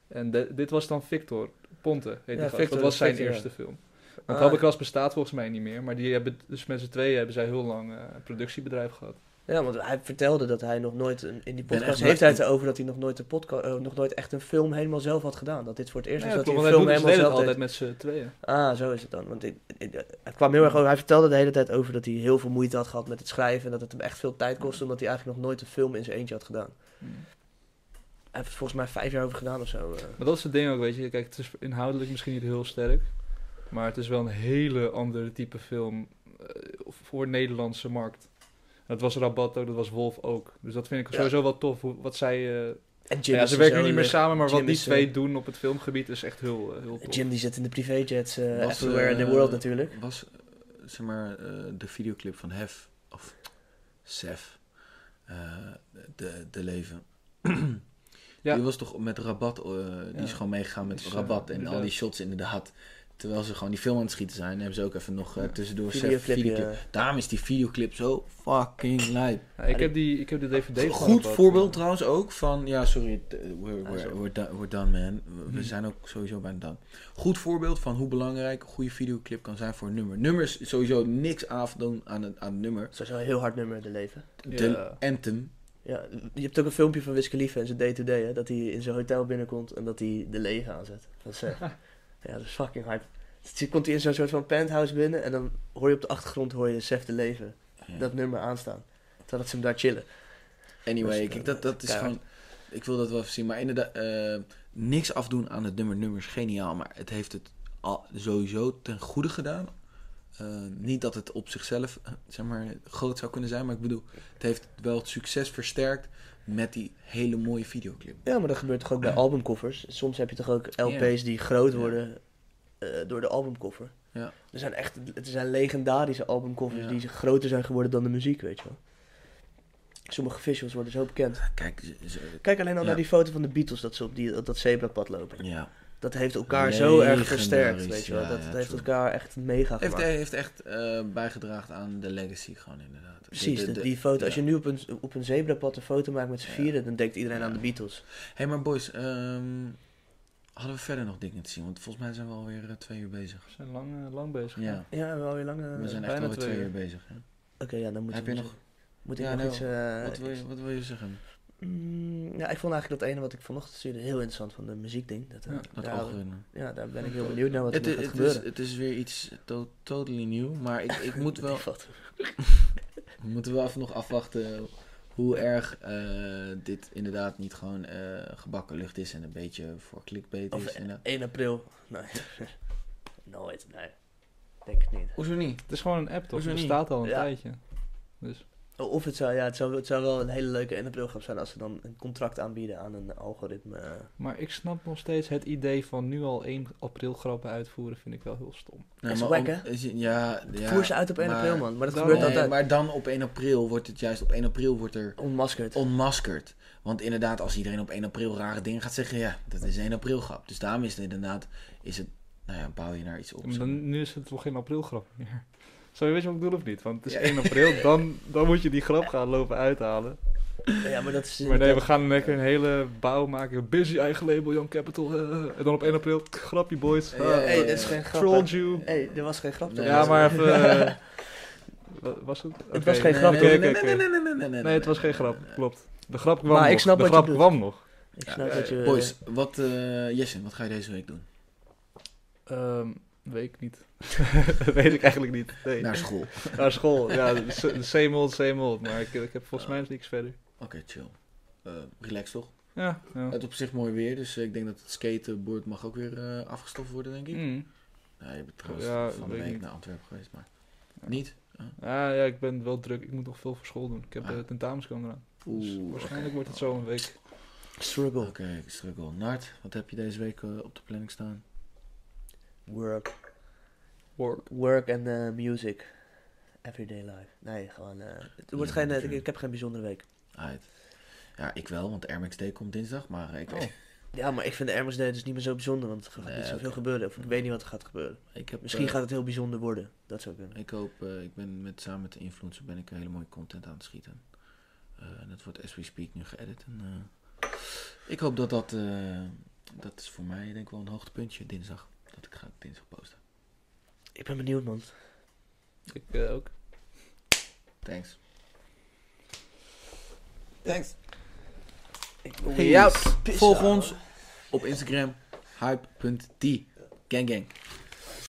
Speaker 3: En de- dit was dan Victor Ponte, heet die gast.
Speaker 2: Victor,
Speaker 3: Dat was zijn
Speaker 2: Victor, ja.
Speaker 3: eerste film.
Speaker 2: Ah,
Speaker 3: Want Habbekrats bestaat volgens mij niet meer. Maar die hebben, dus met z'n tweeën hebben zij heel lang eh, een productiebedrijf gehad.
Speaker 2: Ja, want hij vertelde dat hij nog nooit, een- in die
Speaker 1: ben
Speaker 2: podcast
Speaker 1: echt-
Speaker 2: heeft hij het erover dat hij nog nooit, een podca- eh, nog nooit echt een film helemaal zelf had gedaan. Dat dit voor het eerst
Speaker 3: Nee,
Speaker 2: was
Speaker 3: dat
Speaker 2: dat
Speaker 3: klopt,
Speaker 2: hij een
Speaker 3: want
Speaker 2: film
Speaker 3: hij doet
Speaker 2: helemaal
Speaker 3: het
Speaker 2: zelf deed.
Speaker 3: altijd met z'n tweeën.
Speaker 2: Ah, zo is het dan. Want ik, ik- eh, het kwam heel erg over, hij vertelde de hele tijd over dat hij heel veel moeite had gehad met het schrijven. En dat het hem echt veel tijd kostte, omdat hij eigenlijk nog nooit een film in zijn eentje had gedaan. Hij heeft er volgens mij vijf jaar over gedaan of zo. eh.
Speaker 3: Maar dat is het ding ook, weet je. Kijk, het is inhoudelijk misschien niet heel sterk. Maar het is wel een hele andere type film eh, voor Nederlandse markt. Dat was Rabatto, dat was Wolf ook. Dus dat vind ik
Speaker 2: Ja.
Speaker 3: sowieso wel tof, hoe- wat zij... eh,
Speaker 2: En Jim
Speaker 3: nou ja,
Speaker 2: is
Speaker 3: ze
Speaker 2: er
Speaker 3: werken
Speaker 2: zo
Speaker 3: nu niet meer
Speaker 2: in-
Speaker 3: samen, maar
Speaker 2: Jim
Speaker 3: wat die
Speaker 2: is, eh,
Speaker 3: twee doen op het filmgebied is echt heel, eh, heel tof.
Speaker 2: Jim die zit in de privéjets eh
Speaker 1: Was,
Speaker 2: everywhere in the
Speaker 1: eh,
Speaker 2: world natuurlijk.
Speaker 1: Was, eh, zeg maar, eh, de videoclip van Hef, of Sef, eh, de, de leven.
Speaker 3: (clears throat) Ja.
Speaker 1: Die was toch met Rabat, eh, die
Speaker 3: Ja.
Speaker 1: is gewoon meegegaan met
Speaker 3: Is, eh,
Speaker 1: Rabat en
Speaker 3: inderdaad.
Speaker 1: al die shots inderdaad. Terwijl ze gewoon die film aan het schieten zijn, hebben ze ook even nog eh,
Speaker 3: Ja.
Speaker 1: tussendoor Sef
Speaker 2: Videoclipje.
Speaker 1: videoclip. Daarom is die videoclip zo fucking lijp.
Speaker 3: Ja, ik, heb die, ik heb de DVD van
Speaker 1: Goed
Speaker 3: Rabat.
Speaker 1: voorbeeld trouwens ook van... Ja, sorry, t- we're,
Speaker 2: Ah, zo.
Speaker 1: we're, we're, done, we're done, man. We- We
Speaker 3: Mhm.
Speaker 1: zijn ook sowieso bijna done. Goed voorbeeld van hoe belangrijk een goede videoclip kan zijn voor een nummer. Nummers sowieso niks afdoen aan het, aan het nummer.
Speaker 2: Sowieso een heel hard nummer in de leven.
Speaker 1: De
Speaker 3: eh, Ja.
Speaker 1: anthem.
Speaker 2: Ja, je hebt ook een filmpje van Wiz Khalifa in zijn day-to-day, hè, dat hij in zijn hotel binnenkomt en dat hij de leven aanzet. Dat is, eh,
Speaker 1: (laughs)
Speaker 2: ja, dat is fucking hype. Dus dan komt hij in zo'n soort van penthouse binnen en dan hoor je op de achtergrond hoor je Sef de leven,
Speaker 1: Ja.
Speaker 2: dat nummer aanstaan. Terwijl dat ze hem daar chillen.
Speaker 1: Anyway,
Speaker 2: Dus,
Speaker 1: kijk,
Speaker 2: eh,
Speaker 1: dat, dat is
Speaker 2: keihard.
Speaker 1: gewoon... Ik wil dat wel even zien. Maar inderdaad, eh, niks afdoen aan het nummer. Nummer is geniaal, maar het heeft het al, sowieso ten goede gedaan. Eh, niet dat het op zichzelf eh, zeg maar, groot zou kunnen zijn, maar ik bedoel, het heeft wel het succes versterkt met die hele mooie videoclip.
Speaker 2: Ja, maar dat gebeurt toch ook bij albumcovers. Soms heb je toch ook LP's die groot worden eh, door de albumcover.
Speaker 1: Ja.
Speaker 2: Er zijn echt er zijn legendarische albumcovers
Speaker 1: Ja.
Speaker 2: die groter zijn geworden dan de muziek, weet je wel. Sommige visuals worden zo bekend.
Speaker 1: Kijk, ze- ze-
Speaker 2: Kijk alleen al
Speaker 1: Ja.
Speaker 2: naar die foto van de Beatles dat ze op die, op dat zebrapad lopen.
Speaker 1: ja.
Speaker 2: Dat heeft elkaar zo erg
Speaker 1: Legendarisch,
Speaker 2: versterkt, weet je wel.
Speaker 1: ja,
Speaker 2: Dat
Speaker 1: ja,
Speaker 2: heeft
Speaker 1: true.
Speaker 2: elkaar echt mega
Speaker 1: heeft,
Speaker 2: gemaakt.
Speaker 1: heeft echt eh, bijgedragen aan de legacy gewoon inderdaad.
Speaker 2: Precies,
Speaker 1: De- de- de-
Speaker 2: die foto. Als
Speaker 1: ja.
Speaker 2: je nu op een, op een zebrapad een foto maakt met z'n
Speaker 1: Ja.
Speaker 2: vieren, dan denkt iedereen
Speaker 1: Ja.
Speaker 2: aan de Beatles.
Speaker 1: hey, maar boys, ehm, hadden we verder nog dingen te zien? Want volgens mij zijn we alweer eh, twee uur bezig.
Speaker 3: We zijn lang, eh, lang bezig.
Speaker 1: Ja,
Speaker 2: Ja, wel weer lang. eh,
Speaker 1: we zijn echt
Speaker 3: bijna
Speaker 1: alweer
Speaker 3: twee
Speaker 1: twee
Speaker 3: uur.
Speaker 1: uur bezig. Hè?
Speaker 2: Oké, ja, dan moet
Speaker 1: Heb
Speaker 2: ik
Speaker 1: je
Speaker 2: nog-
Speaker 1: nog-
Speaker 2: Moet ik
Speaker 1: Ja,
Speaker 2: nog
Speaker 1: nee,
Speaker 2: iets... eh,
Speaker 1: Wat wil,
Speaker 2: iets-
Speaker 1: je, wat wil je zeggen?
Speaker 2: Mm, ja, ik vond eigenlijk dat ene wat ik vanochtend stuurde heel interessant van de muziekding. Dat, eh,
Speaker 3: Ja,
Speaker 1: Dat
Speaker 2: daar,
Speaker 1: algoritme.
Speaker 2: ja, daar ben ik heel benieuwd naar wat
Speaker 1: Het,
Speaker 2: er nog
Speaker 1: het,
Speaker 2: gaat
Speaker 1: het, is,
Speaker 2: gebeuren.
Speaker 1: het is weer iets to- totally nieuw, maar ik, ik
Speaker 2: (laughs)
Speaker 1: moet wel,
Speaker 2: Wat-
Speaker 1: we moeten wel even nog afwachten hoe erg eh, dit inderdaad niet gewoon eh, gebakken lucht is en een beetje voor clickbait
Speaker 2: Of eh,
Speaker 1: is. En,
Speaker 2: 1 april. (laughs) Nee. Nooit, nee. Denk het niet.
Speaker 1: Hoezo niet?
Speaker 3: Het is gewoon een app, toch?
Speaker 1: Hoezo
Speaker 3: Het
Speaker 1: niet?
Speaker 3: bestaat al een
Speaker 2: Ja.
Speaker 3: tijdje.
Speaker 2: Oh, Of het zou, ja, het zou, het zou wel een hele leuke 1 april grap zijn als ze dan een contract aanbieden aan een algoritme. eh.
Speaker 3: Maar ik snap nog steeds het idee van nu al 1 april grappen uitvoeren, vind ik wel heel stom.
Speaker 1: Nee,
Speaker 2: is
Speaker 1: maar
Speaker 2: wack,
Speaker 1: om-
Speaker 2: hè?
Speaker 1: is- ja, ja.
Speaker 2: Voer ze uit op 1
Speaker 1: maar-
Speaker 2: april, man. Maar dat
Speaker 3: Nee,
Speaker 2: gebeurt
Speaker 1: Nee,
Speaker 2: altijd.
Speaker 1: maar dan op 1 april wordt het juist, op 1 april wordt er
Speaker 2: Onmaskerd.
Speaker 1: onmaskerd. Want inderdaad, als iedereen op 1 april rare dingen gaat zeggen, ja, dat is 1 april grap. Dus daarom is het inderdaad, is het, nou ja, bouw je naar iets op.
Speaker 3: Maar dan, nu is het toch geen aprilgrap meer. Zo, je weet je wat ik bedoel of niet? Want het is
Speaker 1: Ja.
Speaker 3: 1 april, dan, dan moet je die grap gaan lopen uithalen.
Speaker 2: ja, maar dat is...
Speaker 3: Maar nee, we gaan lekker een hele bouw maken. Busy eigen label, Young Capital. eh, en dan op 1 april, grapje boys.
Speaker 1: Ja,
Speaker 3: eh,
Speaker 2: Oh, hey, dat is geen grap.
Speaker 3: trolled
Speaker 2: hè.
Speaker 3: you.
Speaker 2: hey, er was geen grap.
Speaker 1: Nee,
Speaker 2: toch?
Speaker 3: Ja, maar even... eh, wa- was het? Oké.
Speaker 2: was geen
Speaker 1: Nee,
Speaker 2: grap,
Speaker 1: nee,
Speaker 2: toch?
Speaker 1: nee,
Speaker 3: Oké,
Speaker 1: nee,
Speaker 3: oké.
Speaker 1: nee, nee, nee, nee, nee, nee,
Speaker 3: Nee, het was
Speaker 1: nee,
Speaker 3: geen
Speaker 1: nee,
Speaker 3: grap,
Speaker 1: nee, nee.
Speaker 3: klopt. De grap kwam
Speaker 2: Maar ik
Speaker 3: nog.
Speaker 2: snap
Speaker 3: de
Speaker 2: wat je
Speaker 3: grap
Speaker 2: bedoelt.
Speaker 3: kwam nog.
Speaker 2: Ik snap
Speaker 3: Ja,
Speaker 2: dat je...
Speaker 1: Boys, wat, eh Jesse, wat ga je deze week doen?
Speaker 3: Ehm, weet ik niet. (laughs) weet ik eigenlijk niet. Nee.
Speaker 1: Naar school.
Speaker 3: Naar school, ja, s- same old, same old. Maar ik, ik heb volgens mij nog niks verder.
Speaker 1: Oké, chill. Eh, relax toch?
Speaker 3: Ja, ja.
Speaker 1: Het op zich mooi weer, dus eh, ik denk dat het skatenboard mag ook weer eh, afgestoft worden, denk ik.
Speaker 3: Mm.
Speaker 1: Nou, je bent trouwens
Speaker 3: Ja,
Speaker 1: van de
Speaker 3: weet ik
Speaker 1: week
Speaker 3: niet.
Speaker 1: naar Antwerpen geweest, maar niet.
Speaker 3: Ah, ja, ik ben wel druk. Ik moet nog veel voor school doen. Ik heb
Speaker 1: Ah.
Speaker 3: eh, tentamens komen eraan. Dus
Speaker 1: Oeh,
Speaker 3: waarschijnlijk
Speaker 1: oké.
Speaker 3: wordt het zo een week.
Speaker 2: Struggle.
Speaker 1: Oké, ik struggle. Nart, wat heb je deze week eh, op de planning staan?
Speaker 2: Work.
Speaker 3: Work.
Speaker 2: Work en eh, music. Everyday life. Nee, gewoon. eh, het wordt
Speaker 1: Ja,
Speaker 2: geen, eh,
Speaker 1: oké.
Speaker 2: ik, ik heb geen bijzondere week.
Speaker 1: Uit. Ja, ik wel, want RMXD komt dinsdag, maar ik,
Speaker 3: Oh.
Speaker 2: Ja, maar ik vind de Hermes Day dus niet meer zo bijzonder, want er gaat
Speaker 1: Nee,
Speaker 2: niet zoveel
Speaker 1: oké.
Speaker 2: gebeuren. Of ik weet niet wat er gaat gebeuren.
Speaker 1: ik heb...
Speaker 2: Misschien
Speaker 1: eh,
Speaker 2: gaat het heel bijzonder worden. Dat zou kunnen.
Speaker 1: Ik hoop, eh, ik ben met, samen met de influencer ben ik een hele mooie content aan het schieten. Eh, en dat wordt as we speak nu geëdit. En, eh, ik hoop dat dat, eh, dat is voor mij denk ik wel een hoogtepuntje dinsdag. Dat ik ga dinsdag posten.
Speaker 2: Ik ben benieuwd, man.
Speaker 3: Ik eh, ook.
Speaker 1: Thanks.
Speaker 2: Ik
Speaker 1: Hey,
Speaker 2: jou
Speaker 1: Volg ons op Instagram, hype.t. Gang gang.